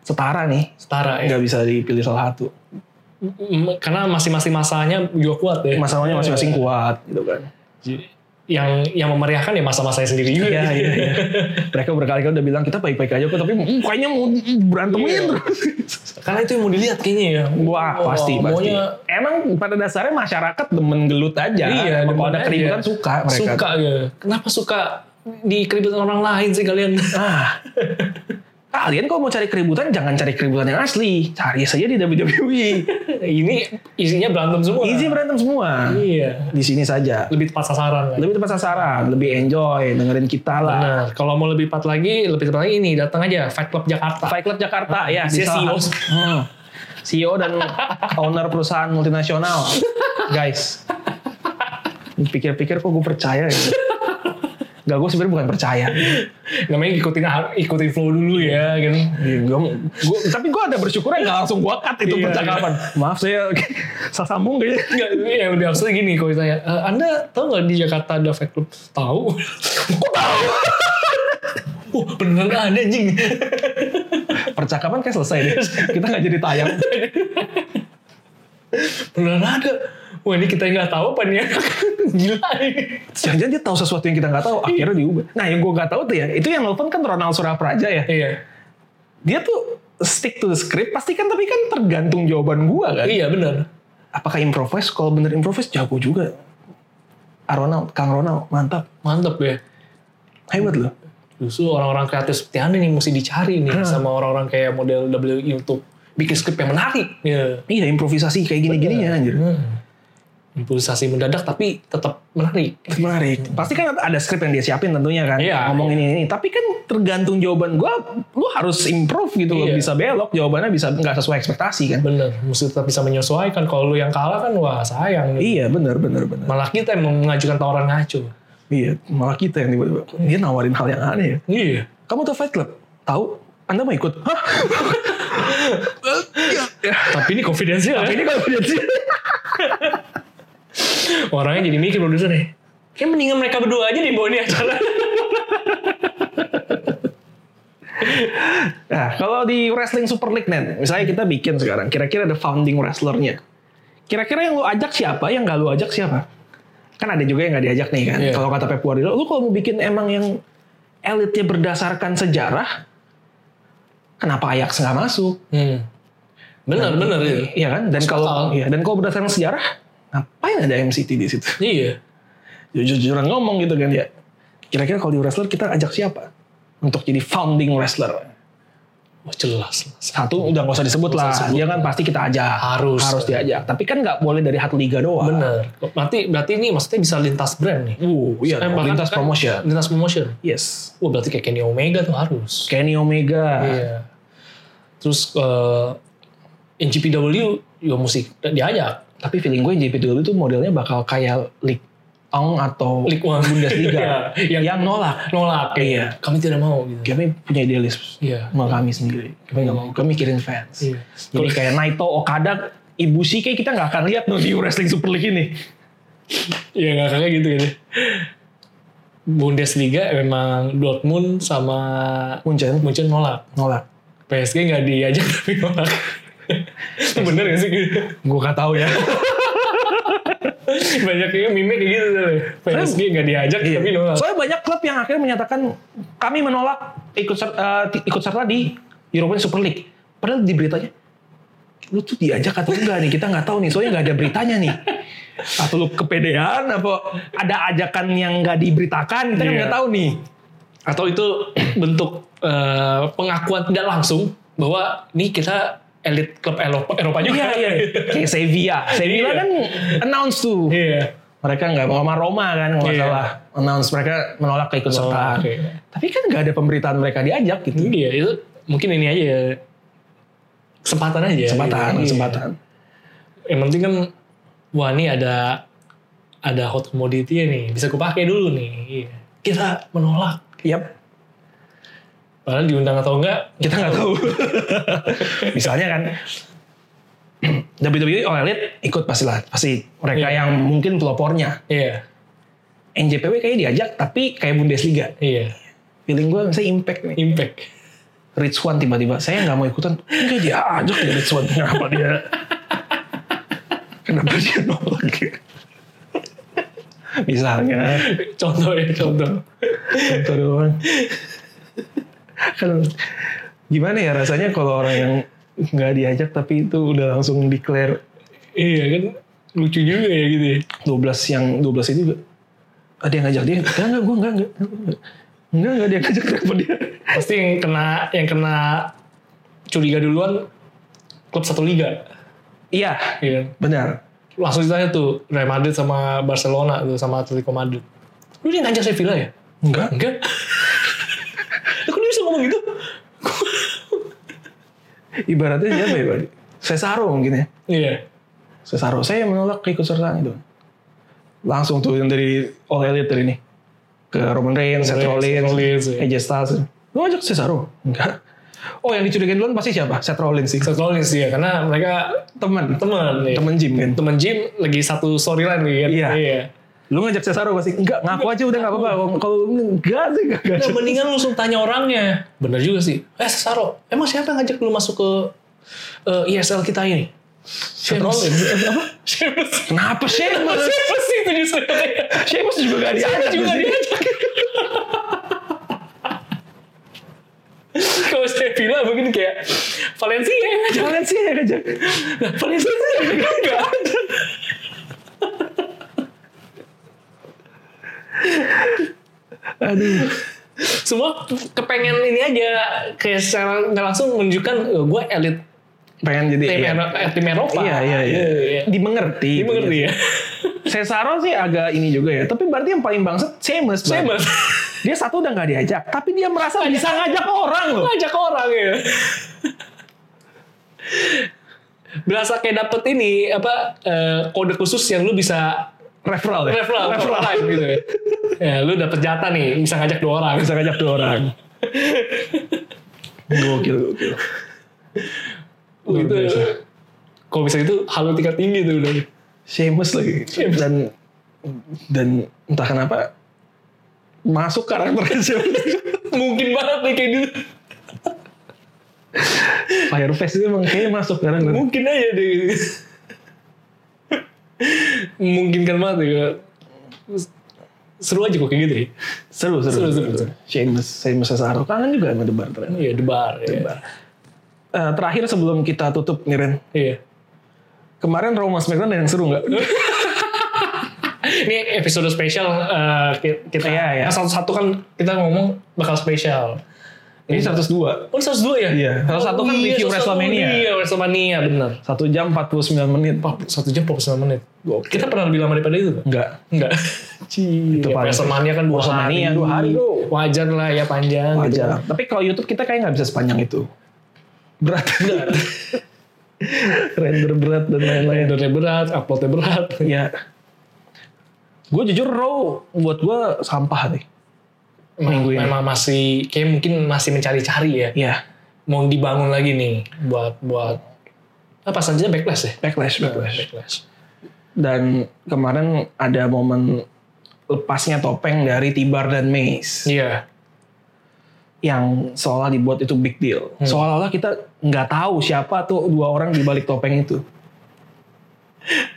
Speaker 2: setara nih
Speaker 3: setara ya
Speaker 2: nggak bisa dipilih salah satu
Speaker 3: M- karena masing-masing masanya juga kuat ya
Speaker 2: masalahnya masing-masing kuat gitu kan
Speaker 3: Jadi, yang yang memeriahkan ya masa-masanya sendiri juga
Speaker 2: Iya, iya, iya. Mereka berkali-kali udah bilang kita baik-baik aja kok, tapi mm, kayaknya mau mm, gitu. berantemin
Speaker 3: Iya.
Speaker 2: terus.
Speaker 3: [laughs] karena itu yang mau dilihat kayaknya ya
Speaker 2: Wah,
Speaker 3: Wah,
Speaker 2: pasti, pasti.
Speaker 3: maunya
Speaker 2: Emang pada dasarnya masyarakat demen gelut aja.
Speaker 3: Iya,
Speaker 2: Emang kalau
Speaker 3: demen
Speaker 2: ada
Speaker 3: aja.
Speaker 2: keributan suka mereka.
Speaker 3: suka ya kenapa suka di keributan orang lain sih kalian [laughs]
Speaker 2: Ah. Kalian kalau mau cari keributan, jangan cari keributan yang asli. Cari saja di WWE.
Speaker 3: ini isinya berantem semua
Speaker 2: Easy berantem semua.
Speaker 3: Iya,
Speaker 2: Di sini saja.
Speaker 3: lebih tepat sasaran lah.
Speaker 2: Lebih tepat sasaran, lebih enjoy, dengerin kita lah.
Speaker 3: Benar. Kalau mau lebih tepat lagi, lebih tepat lagi ini datang aja Fight Club Jakarta.
Speaker 2: Fight Club Jakarta ya,
Speaker 3: Dia CEO.
Speaker 2: Hmm. CEO dan owner perusahaan multinasional. Guys. Pikir-pikir kok gue percaya ya. Gak gue sebenarnya bukan percaya.
Speaker 3: Namanya ikutin ikutin flow dulu ya, kan.
Speaker 2: Ya, gua- gua- tapi gue ada bersyukurnya gak langsung gue cut itu
Speaker 3: Iya,
Speaker 2: percakapan. Maaf saya salah sambung kayaknya.
Speaker 3: Enggak, ya udah maksudnya gini kalau ditanya, "E, Anda tahu nggak di Jakarta ada Fight Club? Tahu. [laughs] "Oh, Kok tahu? Wah, beneran ada anjing.
Speaker 2: Percakapan kayak selesai deh. Kita nggak jadi tayang.
Speaker 3: [laughs] Beneran ada. Wah ini kita yang nggak tahu apa nih [laughs] ya? Gila ini.
Speaker 2: Jangan-jangan dia tahu sesuatu yang kita nggak tahu. Akhirnya diubah. Nah yang gue nggak tahu tuh ya, itu yang nelfon kan Ronald Surapraja ya.
Speaker 3: Iya.
Speaker 2: Dia tuh stick to the script. Pasti kan tapi kan tergantung jawaban gue kan.
Speaker 3: Iya bener.
Speaker 2: Apakah improvise? Kalau bener improvise jago juga. Ah, Ronald, Kang Ronald, mantap.
Speaker 3: Mantep ya.
Speaker 2: Hebat loh.
Speaker 3: Justru orang-orang kreatif seperti Anda nih mesti dicari nih sama orang-orang kayak model WWE untuk bikin skrip yang menarik. Iya.
Speaker 2: Iya improvisasi kayak gini-gininya anjir.
Speaker 3: Hmm. Improvisasi mendadak tapi tetap menarik.
Speaker 2: Menarik. Pasti kan ada skrip yang dia siapin tentunya kan.
Speaker 3: Iya,
Speaker 2: Ngomong ini ini. Tapi kan tergantung jawaban gue, lu harus improve gitu loh.
Speaker 3: Iya.
Speaker 2: Bisa belok, jawabannya bisa nggak sesuai ekspektasi kan.
Speaker 3: Bener, mesti tetap bisa menyesuaikan. Kalau lu yang kalah kan wah sayang. gitu.
Speaker 2: Iya benar benar benar.
Speaker 3: Malah kita yang mengajukan tawaran ngaco.
Speaker 2: Iya malah kita yang tiba-tiba dia nawarin hal yang aneh. ya.
Speaker 3: Iya.
Speaker 2: Kamu tuh Fight Club? Tahu? Anda mau ikut? Hah?
Speaker 3: [laughs] Tapi ini konfidensial ya.
Speaker 2: ini konfidensi.
Speaker 3: Orangnya jadi mikir produser nih. Kayak mendingan mereka berdua aja di bawah ini acara.
Speaker 2: Nah kalau di wrestling Super League nen, misalnya kita bikin sekarang, kira-kira ada founding wrestlernya. Kira-kira yang lu ajak siapa? Yang nggak lu ajak siapa? Kan ada juga yang nggak diajak nih kan.
Speaker 3: Iya.
Speaker 2: Kalau kata Pep Guardiola, lu kalau mau bikin emang yang elitnya berdasarkan sejarah, kenapa Ajax nggak masuk?
Speaker 3: hmm. Bener, bener. Iya.
Speaker 2: Iya kan? Dan
Speaker 3: Masuk akal.
Speaker 2: kalau iya, dan kalau berdasarkan sejarah, ngapain ada MCT di situ?
Speaker 3: iya.
Speaker 2: Jujur-jujuran ngomong gitu kan ya. Kira-kira kalau di wrestler kita ajak siapa? Untuk jadi founding wrestler.
Speaker 3: Wah jelas.
Speaker 2: Satu udah nggak usah disebut
Speaker 3: Nggak
Speaker 2: lah.
Speaker 3: usah disebut.
Speaker 2: Dia kan pasti kita ajak.
Speaker 3: Harus.
Speaker 2: Harus diajak. Tapi kan nggak boleh dari hati liga doang.
Speaker 3: Bener. Berarti, berarti ini maksudnya bisa lintas brand nih.
Speaker 2: Uh, iya.
Speaker 3: Eh, bahkan
Speaker 2: lintas
Speaker 3: kan-
Speaker 2: promotion.
Speaker 3: Lintas promotion.
Speaker 2: Yes.
Speaker 3: Wah berarti kayak Kenny Omega tuh harus.
Speaker 2: Kenny Omega.
Speaker 3: Iya. Terus eh NGPW ya musik diajak.
Speaker 2: Tapi feeling gue JPW itu modelnya bakal kayak League Ong atau
Speaker 3: League One
Speaker 2: Bundesliga.
Speaker 3: [laughs] Iya,
Speaker 2: yang nolak.
Speaker 3: nolak. kayak,
Speaker 2: Iya.
Speaker 3: Kami tidak mau gitu.
Speaker 2: Kami punya idealisme.
Speaker 3: Iya.
Speaker 2: sama kami sendiri. Kami nggak mau, kami mikirin fans.
Speaker 3: Iya.
Speaker 2: Jadi kayak Naito, Okada, Ibushi kayak kita nggak akan lihat tuh di Wrestling Super League ini.
Speaker 3: Iya nggak kayak gitu gitu. Bundesliga memang Dortmund sama
Speaker 2: Munchen
Speaker 3: Munchen nolak.
Speaker 2: nolak.
Speaker 3: PSG nggak diajak [laughs] tapi nolak. Itu Bener gak sih? gitu?
Speaker 2: Gue nggak tahu [laughs] ya.
Speaker 3: Banyak yang mimik kayak gitu. tuh. PSG nggak diajak
Speaker 2: Iya.
Speaker 3: tapi nolak.
Speaker 2: Soalnya banyak klub yang akhirnya menyatakan kami menolak ikut ser- eh, ti- ikut serta di European Super League. Padahal di beritanya lu tuh diajak atau enggak nih kita nggak tahu nih soalnya nggak ada beritanya nih atau lu kepedean apa ada ajakan yang nggak diberitakan kita kan
Speaker 3: Iya.
Speaker 2: nggak tahu nih
Speaker 3: Atau itu bentuk eh, pengakuan tidak langsung bahwa ini kita elit klub Eropa, kan? Eropa juga.
Speaker 2: Iya iya. Kayak Sevilla. Sevilla
Speaker 3: Iya.
Speaker 2: kan announce tuh.
Speaker 3: [laughs] Iya.
Speaker 2: Mereka nggak mau sama Roma kan kalau nggak
Speaker 3: Iya. Oh,
Speaker 2: salah announce mereka menolak keikutsertaan.
Speaker 3: Oke.
Speaker 2: Tapi kan nggak ada pemberitaan mereka diajak gitu.
Speaker 3: Iya itu mungkin ini aja ya, kesempatan aja.
Speaker 2: Kesempatan, ya.
Speaker 3: Iya.
Speaker 2: kesempatan.
Speaker 3: yang penting kan wah ini ada ada hot commodity nya nih bisa gue pakai dulu nih Iya. kita menolak
Speaker 2: Yap,
Speaker 3: padahal diundang atau enggak
Speaker 2: kita nggak tahu. Misalnya kan WWE All Elite ikut pastilah, pasti mereka
Speaker 3: Iya.
Speaker 2: yang mungkin pelopornya.
Speaker 3: iya
Speaker 2: NJPW kayaknya diajak tapi kayak Bundesliga.
Speaker 3: iya
Speaker 2: Feeling gue misalnya impact nih.
Speaker 3: impact [laughs]
Speaker 2: Rizwan tiba-tiba saya nggak mau ikutan enggak dia ajak ya Rizwan [laughs] kenapa dia kenapa dia nolak ya? misalnya
Speaker 3: contoh ya contoh
Speaker 2: contoh doang kan gimana ya rasanya kalau orang yang nggak diajak tapi itu udah langsung declare
Speaker 3: iya kan lucu juga ya gitu ya
Speaker 2: 12 yang 12 itu juga ada yang ngajak dia enggak enggak gue enggak enggak enggak enggak dia ngajak kenapa dia
Speaker 3: pasti yang kena yang kena curiga duluan klub satu liga
Speaker 2: iya
Speaker 3: iya kan?
Speaker 2: benar
Speaker 3: langsung ditanya tuh Real Madrid sama Barcelona tuh sama Atletico Madrid lu dia ngajak Sevilla ya
Speaker 2: enggak
Speaker 3: enggak [laughs] aku dia bisa ngomong gitu
Speaker 2: ibaratnya siapa ya Pak? Cesaro mungkin ya
Speaker 3: iya
Speaker 2: Cesaro, saya menolak keikutsertaan itu. Langsung tuh yang dari All Elite dari ini ke Roman Reigns, Seth
Speaker 3: Roman Reigns, Iya, Rollins,
Speaker 2: Rollins,
Speaker 3: ya.
Speaker 2: AJ Styles. Lu ajak Cesaro? Enggak. Oh yang dicurigain duluan pasti siapa? Seth Rollins sih.
Speaker 3: Seth Rollins ya karena mereka
Speaker 2: Temen,
Speaker 3: teman ya.
Speaker 2: temen gym kan.
Speaker 3: teman gym lagi satu storyline nih kan
Speaker 2: Iya. Lu ngajak Cesaro pasti enggak, ngaku aja udah nggak apa-apa. Kalau- Kalau enggak sih enggak.
Speaker 3: Nah, mendingan lu langsung tanya orangnya. Bener juga sih. Eh Cesaro, emang siapa yang ngajak lu masuk ke eh, ISL kita ini? ya?
Speaker 2: Seth Rollins. Eh, apa?
Speaker 3: Siapa sih?
Speaker 2: Kenapa
Speaker 3: Emang
Speaker 2: Sheamus?
Speaker 3: siapa sih itu justru?
Speaker 2: Sheamus juga gak
Speaker 3: Siapa
Speaker 2: diajak. di
Speaker 3: juga
Speaker 2: sini.
Speaker 3: diajak? Kalau saya bilang mungkin kayak Valencia yang ngajak.
Speaker 2: Jangan sih yang ngajak.
Speaker 3: Nah, Valencia sih enggak ada.
Speaker 2: Aduh.
Speaker 3: Semua kepengen ini aja kayak secara nggak langsung menunjukkan eh, gue elit
Speaker 2: Pengen jadi
Speaker 3: tim,
Speaker 2: iya.
Speaker 3: Ero- eh, tim Eropa.
Speaker 2: Iya, iya, iya. Dimengerti.
Speaker 3: Ini mengerti
Speaker 2: [laughs]
Speaker 3: ya?
Speaker 2: Cesaro sih agak ini juga ya. Tapi berarti yang paling bangset Sheamus. Bang.
Speaker 3: Saya mas
Speaker 2: Dia satu udah nggak diajak, tapi dia merasa bisa ngajak orang loh.
Speaker 3: [laughs] ngajak orang ya. Berasa kayak dapet ini apa eh, kode khusus yang lu bisa
Speaker 2: Referral ya.
Speaker 3: referral, referral gitu ya. ya. lu dapet jatah nih bisa ngajak dua orang.
Speaker 2: Bisa ngajak dua orang. Gokil, gokil. Luar
Speaker 3: gitu.
Speaker 2: biasa.
Speaker 3: Kalau bisa itu halo tingkat tinggi tuh udah. [laughs]
Speaker 2: Sheamus lagi.
Speaker 3: Sheamus.
Speaker 2: Dan dan entah kenapa masuk [laughs] karakternya Sheamus.
Speaker 3: Mungkin banget nih kayak gitu.
Speaker 2: Fireface itu emang kayaknya masuk karakter.
Speaker 3: Mungkin aja deh. [laughs] Memungkinkan banget ya. Seru aja kok kayak gitu ya.
Speaker 2: Seru,
Speaker 3: Seru,
Speaker 2: seru.
Speaker 3: seru, seru.
Speaker 2: Sheamus, Sheamus Cesaro. Kangen juga sama The Bar ternyata.
Speaker 3: Iya, debar. ya.
Speaker 2: Eh, terakhir sebelum kita tutup nih Ren.
Speaker 3: Iya.
Speaker 2: Kemarin Raw sama SmackDown ada yang seru nggak?
Speaker 3: Ini episode spesial eh, ki- kita.
Speaker 2: Iya, iya.
Speaker 3: Yang satu-satu kan kita ngomong bakal spesial.
Speaker 2: Ini 102.
Speaker 3: Oh, 102 ya?
Speaker 2: Iya. 101 kan review
Speaker 3: 101.
Speaker 2: WrestleMania.
Speaker 3: Iya, WrestleMania, benar.
Speaker 2: 1 jam 49 menit. Pak,
Speaker 3: Satu jam 49 menit. Kita pernah lebih lama daripada itu kan?
Speaker 2: Enggak.
Speaker 3: Enggak.
Speaker 2: [laughs] Itu
Speaker 3: Ya,
Speaker 2: paling.
Speaker 3: WrestleMania kan dua hari.
Speaker 2: WrestleMania dua hari, bro.
Speaker 3: Wajar lah ya panjang. gitu.
Speaker 2: Wajar. Tapi kalau YouTube kita kayak nggak bisa sepanjang itu. Berat. [laughs] Render berat dan lain-lain.
Speaker 3: Rendernya berat, uploadnya berat.
Speaker 2: Ya. Gue jujur Raw buat gue sampah nih. Minggu ini.
Speaker 3: Memang masih, kayak mungkin masih mencari-cari ya.
Speaker 2: Ya.
Speaker 3: Mau dibangun lagi nih buat buat apa saja backlash ya?
Speaker 2: Backlash, backlash.
Speaker 3: Backlash.
Speaker 2: Dan kemarin ada momen lepasnya topeng dari Tibar dan Mace.
Speaker 3: Iya.
Speaker 2: Yang seolah dibuat itu big deal.
Speaker 3: Hmm.
Speaker 2: Seolah-olah kita nggak tahu siapa tuh dua orang di balik topeng itu.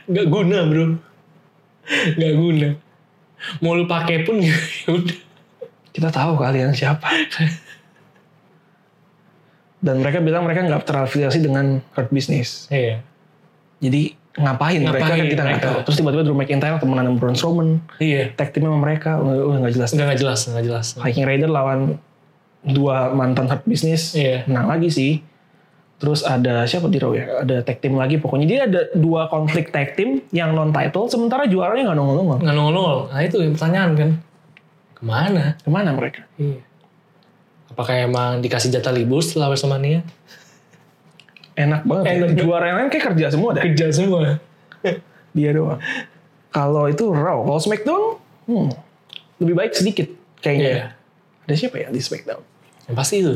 Speaker 3: Gak guna bro. Gak guna. Mau lu pakai pun [laughs] ya udah.
Speaker 2: kita tahu kalian
Speaker 3: [laughs]
Speaker 2: siapa. Dan mereka bilang mereka nggak terafiliasi dengan hard business.
Speaker 3: Iya.
Speaker 2: Jadi ngapain, mereka
Speaker 3: Ngapain
Speaker 2: kan kita nggak
Speaker 3: mereka?
Speaker 2: tahu. Terus tiba-tiba Drew McIntyre temenan sama Braun Strowman,
Speaker 3: Iya.
Speaker 2: tag teamnya sama mereka udah udah nggak jelas.
Speaker 3: Enggak nggak jelas, nggak jelas.
Speaker 2: Viking Raider lawan dua mantan hard business,
Speaker 3: Iya.
Speaker 2: menang lagi sih. Terus ada siapa di Raw ya? Ada tag team lagi. Pokoknya dia ada dua konflik tag team yang non title, sementara juaranya nggak nongol-nongol.
Speaker 3: Nggak nongol-nongol. Nah itu yang pertanyaan kan. Kemana?
Speaker 2: Kemana mereka?
Speaker 3: Iya. Apakah emang dikasih jatah libur setelah WrestleMania?
Speaker 2: Enak banget. ya.
Speaker 3: Enak.
Speaker 2: Juara yang lain kayak kerja semua deh.
Speaker 3: Kerja semua.
Speaker 2: dia doang. Kalau itu Raw, kalau SmackDown, hmm, lebih baik sedikit
Speaker 3: Iya.
Speaker 2: kayaknya. Ada siapa ya di SmackDown?
Speaker 3: Yang pasti itu.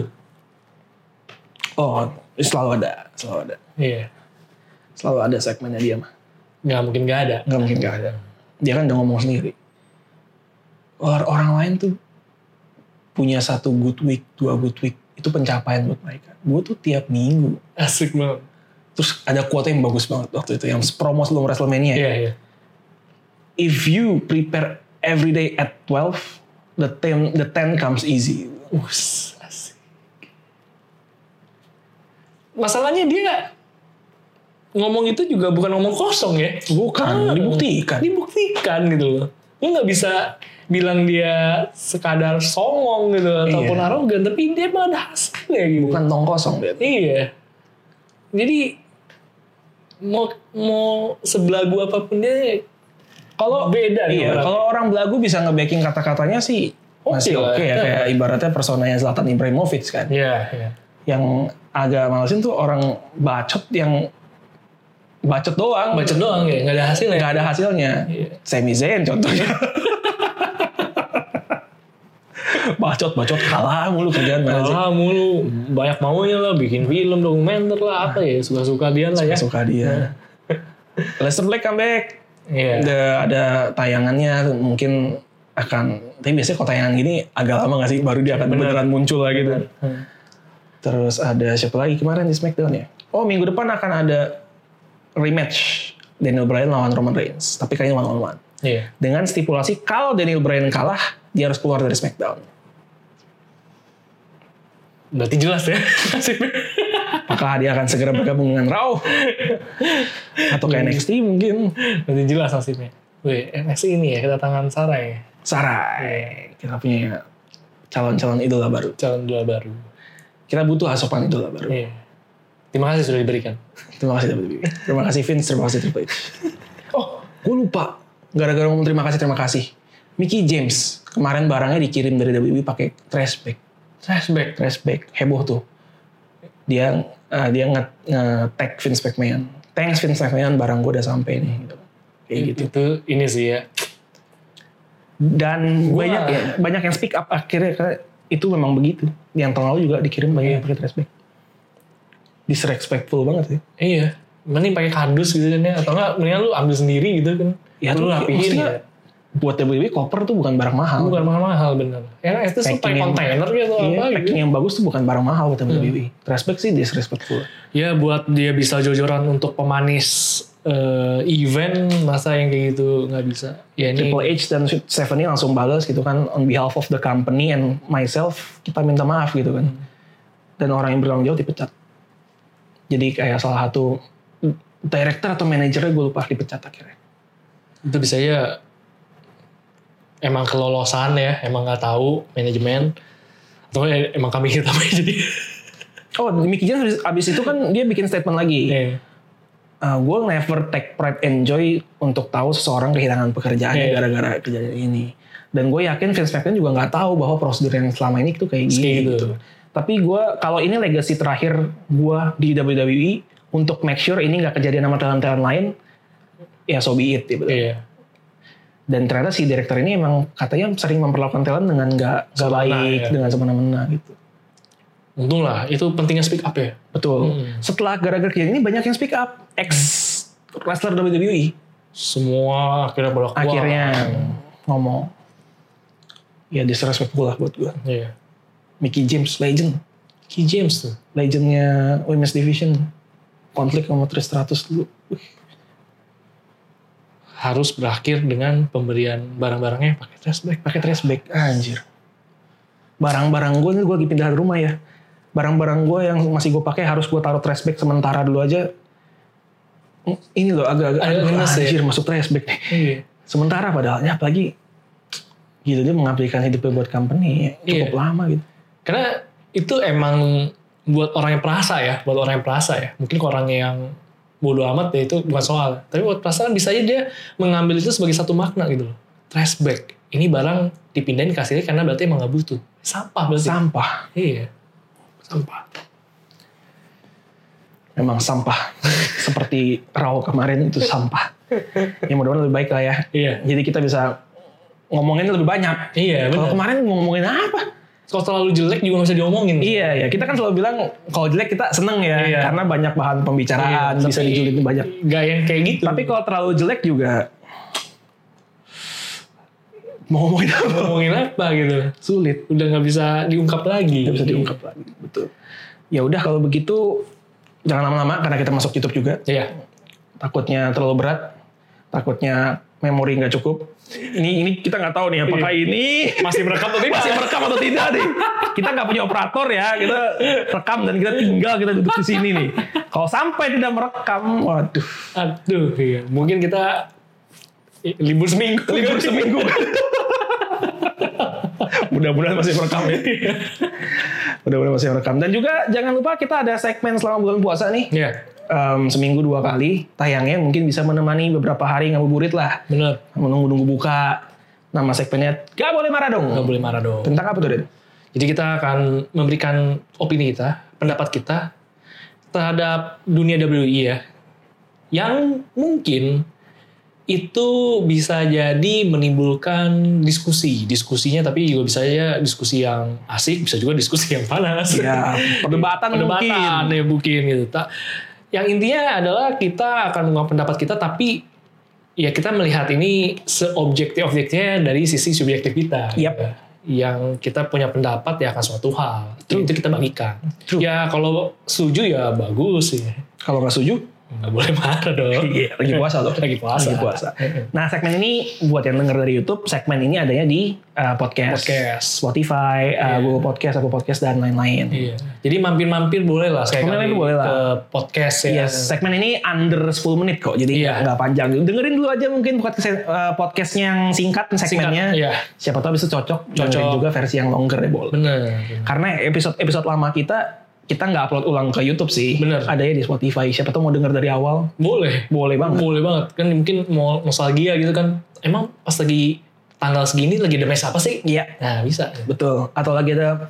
Speaker 2: Oh, selalu ada, selalu ada,
Speaker 3: Iya.
Speaker 2: selalu ada segmennya dia mah.
Speaker 3: Nggak mungkin nggak ada.
Speaker 2: Nggak mungkin nggak ada. Dia kan udah ngomong sendiri. Or- orang lain tuh punya satu good week, dua good week itu pencapaian buat mereka. Gue tuh tiap minggu.
Speaker 3: Asik banget.
Speaker 2: Terus ada quote yang bagus banget waktu itu yang promo sebelum WrestleMania.
Speaker 3: Iya, iya.
Speaker 2: if you prepare every day at 12, the 10, the 10 comes easy.
Speaker 3: Us, asik. Masalahnya dia ngomong itu juga bukan ngomong kosong ya.
Speaker 2: Bukan, kan dibuktikan.
Speaker 3: Dibuktikan gitu loh. Lu nggak bisa bilang dia sekadar songong gitu ataupun
Speaker 2: Iya.
Speaker 3: arogan, tapi dia emang ada hasilnya gitu.
Speaker 2: Bukan tong kosong. Dad.
Speaker 3: Iya. Jadi mau mau sebelah gua apapun dia kalau beda nih
Speaker 2: Iya,
Speaker 3: orang.
Speaker 2: kalau orang belagu bisa nge-backing kata-katanya sih
Speaker 3: Oke
Speaker 2: masih
Speaker 3: lah.
Speaker 2: oke ya. Kayak ibaratnya personanya Zlatan Ibrahimovic kan.
Speaker 3: Iya, iya.
Speaker 2: Yang agak malesin tuh orang bacot yang bacot doang.
Speaker 3: Baca doang ya, nggak ada hasilnya.
Speaker 2: Nggak ada hasilnya.
Speaker 3: Iya.
Speaker 2: Semi Zayn
Speaker 3: [laughs]
Speaker 2: contohnya. Bacot-bacot kalah mulu kerjaan mana sih.
Speaker 3: Kalah mulu, banyak maunya lah, bikin film, dokumenter lah, apa ya, suka-suka dia lah ya.
Speaker 2: suka dia. Lester Black comeback.
Speaker 3: Iya.
Speaker 2: ada ada tayangannya mungkin akan tapi biasanya kalau tayangan gini agak lama gak sih baru dia akan
Speaker 3: Bener.
Speaker 2: beneran muncul lah gitu
Speaker 3: Hmm.
Speaker 2: terus ada siapa lagi kemarin di Smackdown ya oh minggu depan akan ada rematch Daniel Bryan lawan Roman Reigns tapi kayaknya one on one
Speaker 3: Iya.
Speaker 2: dengan stipulasi kalau Daniel Bryan kalah dia harus keluar dari Smackdown
Speaker 3: Berarti jelas ya. [laughs] nasibnya.
Speaker 2: apakah dia akan segera bergabung dengan Raw atau ke NXT mungkin
Speaker 3: Berarti jelas nasibnya. Wih, NXT ini ya kedatangan Sarah ya.
Speaker 2: Sarai kita punya calon-calon idola baru
Speaker 3: Calon dua baru.
Speaker 2: kita butuh asupan idola baru
Speaker 3: Iya. Terima kasih sudah diberikan.
Speaker 2: Terima kasih WWE. Terima kasih Vince, terima kasih Triple H. Oh, gue lupa. Gara-gara ngomong terima kasih, terima kasih. Mickey James, kemarin barangnya dikirim dari WWE pakai trash bag.
Speaker 3: Flashback.
Speaker 2: Trash bag, heboh tuh. Dia eh, dia nge, tag Vince McMahon. Thanks Vince McMahon, barang gue udah sampai nih. Gitu. Kayak gitu.
Speaker 3: Itu ini sih ya.
Speaker 2: Dan
Speaker 3: Gua-
Speaker 2: banyak ya, banyak yang speak up akhirnya karena itu memang begitu. Yang tahun lalu juga dikirim banyak yang pakai trash bag. Disrespectful banget sih.
Speaker 3: Iya. Mending pakai kardus gitu kan ya. Atau enggak mendingan lu ambil sendiri gitu kan.
Speaker 2: Ya, tuh,
Speaker 3: lu rapihin
Speaker 2: maksudnya
Speaker 3: ya.
Speaker 2: Buat WWE, koper tuh bukan barang mahal.
Speaker 3: Bukan mahal-mahal bener. Ya, NXT tuh
Speaker 2: Packing
Speaker 3: pakai
Speaker 2: yang-
Speaker 3: kontainer gitu
Speaker 2: Iya,
Speaker 3: apa gitu. Hmm.
Speaker 2: packing yang bagus tuh bukan barang mahal kata WWE. Respect sih disrespectful.
Speaker 3: Ya buat dia bisa jor-joran untuk pemanis eh, event masa yang kayak gitu nggak bisa. Ya ini
Speaker 2: Triple H dan Stephanie langsung balas gitu kan on behalf of the company and myself kita minta maaf gitu kan. Dan orang yang bertanggung jawab dipecat. Jadi kayak salah satu director atau manajernya gue lupa dipecat akhirnya.
Speaker 3: itu bisa ya emang kelolosan ya, emang nggak tahu manajemen atau ya emang kami kita jadi.
Speaker 2: Oh, Mickey James abis, abis itu kan dia bikin statement lagi.
Speaker 3: Iya.
Speaker 2: gue never take pride and joy untuk tahu seseorang kehilangan pekerjaannya
Speaker 3: Iya.
Speaker 2: gara-gara kejadian ini. Dan gue yakin Vince McMahon juga nggak tahu bahwa prosedur yang selama ini itu kayak gini.
Speaker 3: Kayak gitu.
Speaker 2: gitu. Tapi gue kalau ini legacy terakhir gue di WWE untuk make sure ini nggak kejadian sama talent-talent lain, ya so be it. Gitu.
Speaker 3: Iya.
Speaker 2: Dan ternyata si director ini emang katanya sering memperlakukan talent dengan nggak nggak
Speaker 3: Semena-mena,
Speaker 2: baik,
Speaker 3: ya.
Speaker 2: dengan semena-mena gitu.
Speaker 3: Untung lah itu pentingnya speak up ya.
Speaker 2: Betul.
Speaker 3: Hmm.
Speaker 2: Setelah gara-gara kejadian ini banyak yang speak up. Ex wrestler WWE
Speaker 3: Semua akhirnya pada keluar.
Speaker 2: akhirnya ngomong ya disrespectful lah buat gue
Speaker 3: Iya.
Speaker 2: Mickey James legend
Speaker 3: Key James tuh.
Speaker 2: legendnya Women's Division konflik sama Tristratus dulu
Speaker 3: harus berakhir dengan pemberian barang-barangnya pakai trash bag.
Speaker 2: pakai trash bag anjir barang-barang gue nih gue lagi pindah rumah ya barang-barang gue yang masih gue pakai harus gue taruh trash bag sementara dulu aja ini loh agak-agak
Speaker 3: Agak
Speaker 2: aduh,
Speaker 3: ngenes ya.
Speaker 2: anjir masuk trash bag nih
Speaker 3: Iya.
Speaker 2: sementara padahal ya apalagi gitu dia mengaplikan hidupnya buat company ya, cukup
Speaker 3: Iya.
Speaker 2: lama gitu
Speaker 3: Karena itu emang buat orang yang perasa ya, buat orang yang perasa ya. Mungkin ke orang yang bodoh amat ya itu bukan soal. Tapi buat perasa kan bisa aja dia mengambil itu sebagai satu makna gitu loh. Trash bag. Ini barang dipindahin kasirnya karena berarti emang gak butuh. Sampah berarti.
Speaker 2: sampah
Speaker 3: iya. Sampah.
Speaker 2: memang
Speaker 3: [laughs]
Speaker 2: sampah seperti raw kemarin itu sampah ya mudah-mudahan lebih baik lah ya
Speaker 3: Iya.
Speaker 2: jadi kita bisa ngomongin lebih banyak
Speaker 3: Iya
Speaker 2: kalau
Speaker 3: benar.
Speaker 2: kemarin mau ngomongin apa
Speaker 3: Kalau terlalu jelek juga gak bisa diomongin.
Speaker 2: iya ya kita kan selalu bilang kalau jelek kita seneng ya
Speaker 3: Iya.
Speaker 2: karena banyak bahan pembicaraan
Speaker 3: Iya,
Speaker 2: bisa
Speaker 3: tapi-
Speaker 2: dijulitin banyak
Speaker 3: Gak yang kayak gitu.
Speaker 2: tapi kalau terlalu jelek juga mau ngomongin apa
Speaker 3: ngomongin apa gitu.
Speaker 2: sulit
Speaker 3: Udah gak bisa diungkap lagi.
Speaker 2: nggak bisa diungkap lagi betul ya udah kalau begitu jangan lama-lama karena kita masuk YouTube juga
Speaker 3: Iya.
Speaker 2: takutnya terlalu berat, takutnya memori nggak cukup. Ini ini kita nggak tahu nih apakah
Speaker 3: Iya.
Speaker 2: ini
Speaker 3: Masih merekam tapi
Speaker 2: masih merekam atau tidak nih. Kita nggak punya operator ya, kita rekam dan kita tinggal kita duduk di sini nih. Kalau sampai tidak merekam, waduh,
Speaker 3: Aduh, iya. Mungkin kita i- libur seminggu.
Speaker 2: [laughs] libur seminggu. Mudah-mudahan masih merekam ya. Mudah-mudahan masih merekam. Dan juga jangan lupa kita ada segmen selama bulan puasa nih.
Speaker 3: Iya,
Speaker 2: Em, seminggu dua kali tayangnya mungkin bisa menemani beberapa hari ngabuburit lah.
Speaker 3: bener.
Speaker 2: menunggu-nunggu buka nama segmennya gak boleh marah dong
Speaker 3: Gak boleh marah dong.
Speaker 2: tentang apa tuh Den?
Speaker 3: Jadi kita akan memberikan opini kita, pendapat kita terhadap dunia WWE ya. Yang mungkin itu bisa jadi menimbulkan diskusi. Diskusinya tapi juga bisa aja diskusi yang asik, bisa juga diskusi yang panas. [laughs]
Speaker 2: ya perdebatan,
Speaker 3: perdebatan
Speaker 2: mungkin
Speaker 3: ya mungkin gitu tak yang intinya adalah kita akan mengungkap pendapat kita tapi ya kita melihat ini seobjektif-objektifnya dari sisi subjektif kita.
Speaker 2: Yap.
Speaker 3: Ya. Yang kita punya pendapat ya akan suatu hal.
Speaker 2: True.
Speaker 3: Itu kita bagikan.
Speaker 2: True.
Speaker 3: Ya kalau setuju ya bagus ya.
Speaker 2: Kalau nggak setuju,
Speaker 3: Nggak boleh [laughs] marah dong.
Speaker 2: iya, lagi puasa loh.
Speaker 3: Lagi puasa.
Speaker 2: Lagi puasa. Nah, segmen ini buat yang denger dari YouTube, segmen ini adanya di eh, podcast,
Speaker 3: Podcast.
Speaker 2: Spotify, eh,
Speaker 3: Iya.
Speaker 2: Google Podcast, Apple Podcast dan lain-lain.
Speaker 3: Iya. Jadi mampir-mampir boleh lah saya
Speaker 2: Mampir-mampir boleh lah.
Speaker 3: ke podcast ya.
Speaker 2: Yes, Iya, segmen ini under 10 menit kok, jadi
Speaker 3: Iya.
Speaker 2: nggak panjang. Dengerin dulu aja mungkin buat kese- eh, podcast yang singkat segmennya.
Speaker 3: Iya,
Speaker 2: Siapa tahu bisa cocok,
Speaker 3: Cocok.
Speaker 2: dengerin juga versi yang longer ya boleh.
Speaker 3: bener.
Speaker 2: Karena episode-episode lama kita kita nggak upload ulang ke YouTube sih.
Speaker 3: Bener.
Speaker 2: Adanya di Spotify. Siapa tahu mau denger dari awal,
Speaker 3: Boleh.
Speaker 2: boleh banget.
Speaker 3: Boleh banget. Kan mungkin mau nostalgia gitu kan. Emang pas lagi tanggal segini lagi ada match apa sih?
Speaker 2: Iya,
Speaker 3: Nah bisa.
Speaker 2: betul. Atau lagi ada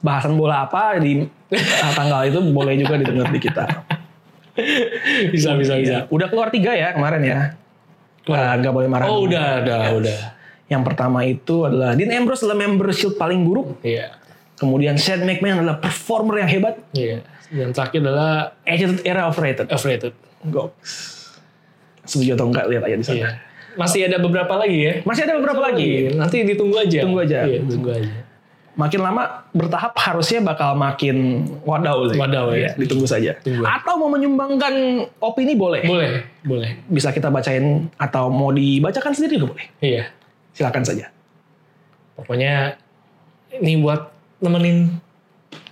Speaker 2: bahasan bola apa di eh, tanggal itu boleh juga didengar di kita.
Speaker 3: [laughs] bisa, bisa, bisa.
Speaker 2: Iya. Udah keluar tiga ya kemarin ya. Nah, nggak boleh marah.
Speaker 3: Oh udah, udah, udah.
Speaker 2: Yang pertama itu adalah Dean Ambrose adalah member Shield paling buruk.
Speaker 3: Iya.
Speaker 2: Kemudian Shane McMahon adalah performer yang hebat.
Speaker 3: Iya. Yang terakhir adalah
Speaker 2: Attitude era overrated.
Speaker 3: overrated.
Speaker 2: Gok. Setuju atau enggak lihat aja di sana.
Speaker 3: Iya. Masih ada beberapa lagi ya? Iya,
Speaker 2: Masih ada beberapa lagi.
Speaker 3: Nanti ditunggu aja.
Speaker 2: Tunggu aja.
Speaker 3: Iya, tunggu aja.
Speaker 2: Makin lama bertahap harusnya bakal makin wadaw. sih.
Speaker 3: Wadaw, ya.
Speaker 2: Iya, Ditunggu saja.
Speaker 3: Tunggu.
Speaker 2: Atau mau menyumbangkan opini boleh.
Speaker 3: Boleh, boleh.
Speaker 2: Bisa kita bacain atau mau dibacakan sendiri juga boleh.
Speaker 3: Iya.
Speaker 2: Silakan saja.
Speaker 3: Pokoknya ini buat nemenin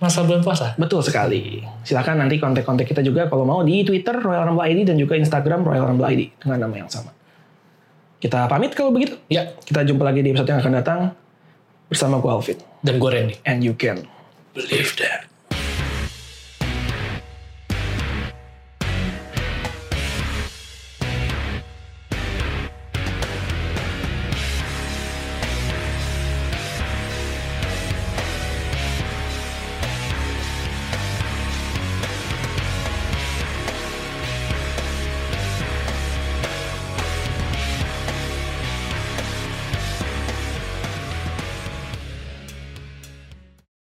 Speaker 3: masa bulan puasa.
Speaker 2: Betul sekali. Silakan nanti kontak-kontak kita juga kalau mau di Twitter Royal Rumble ID dan juga Instagram Royal Rumble ID dengan nama yang sama. Kita pamit kalau begitu.
Speaker 3: Ya.
Speaker 2: Kita jumpa lagi di episode yang akan datang bersama gue Alvin.
Speaker 3: Dan gue Randy.
Speaker 2: And you can
Speaker 3: Believe that.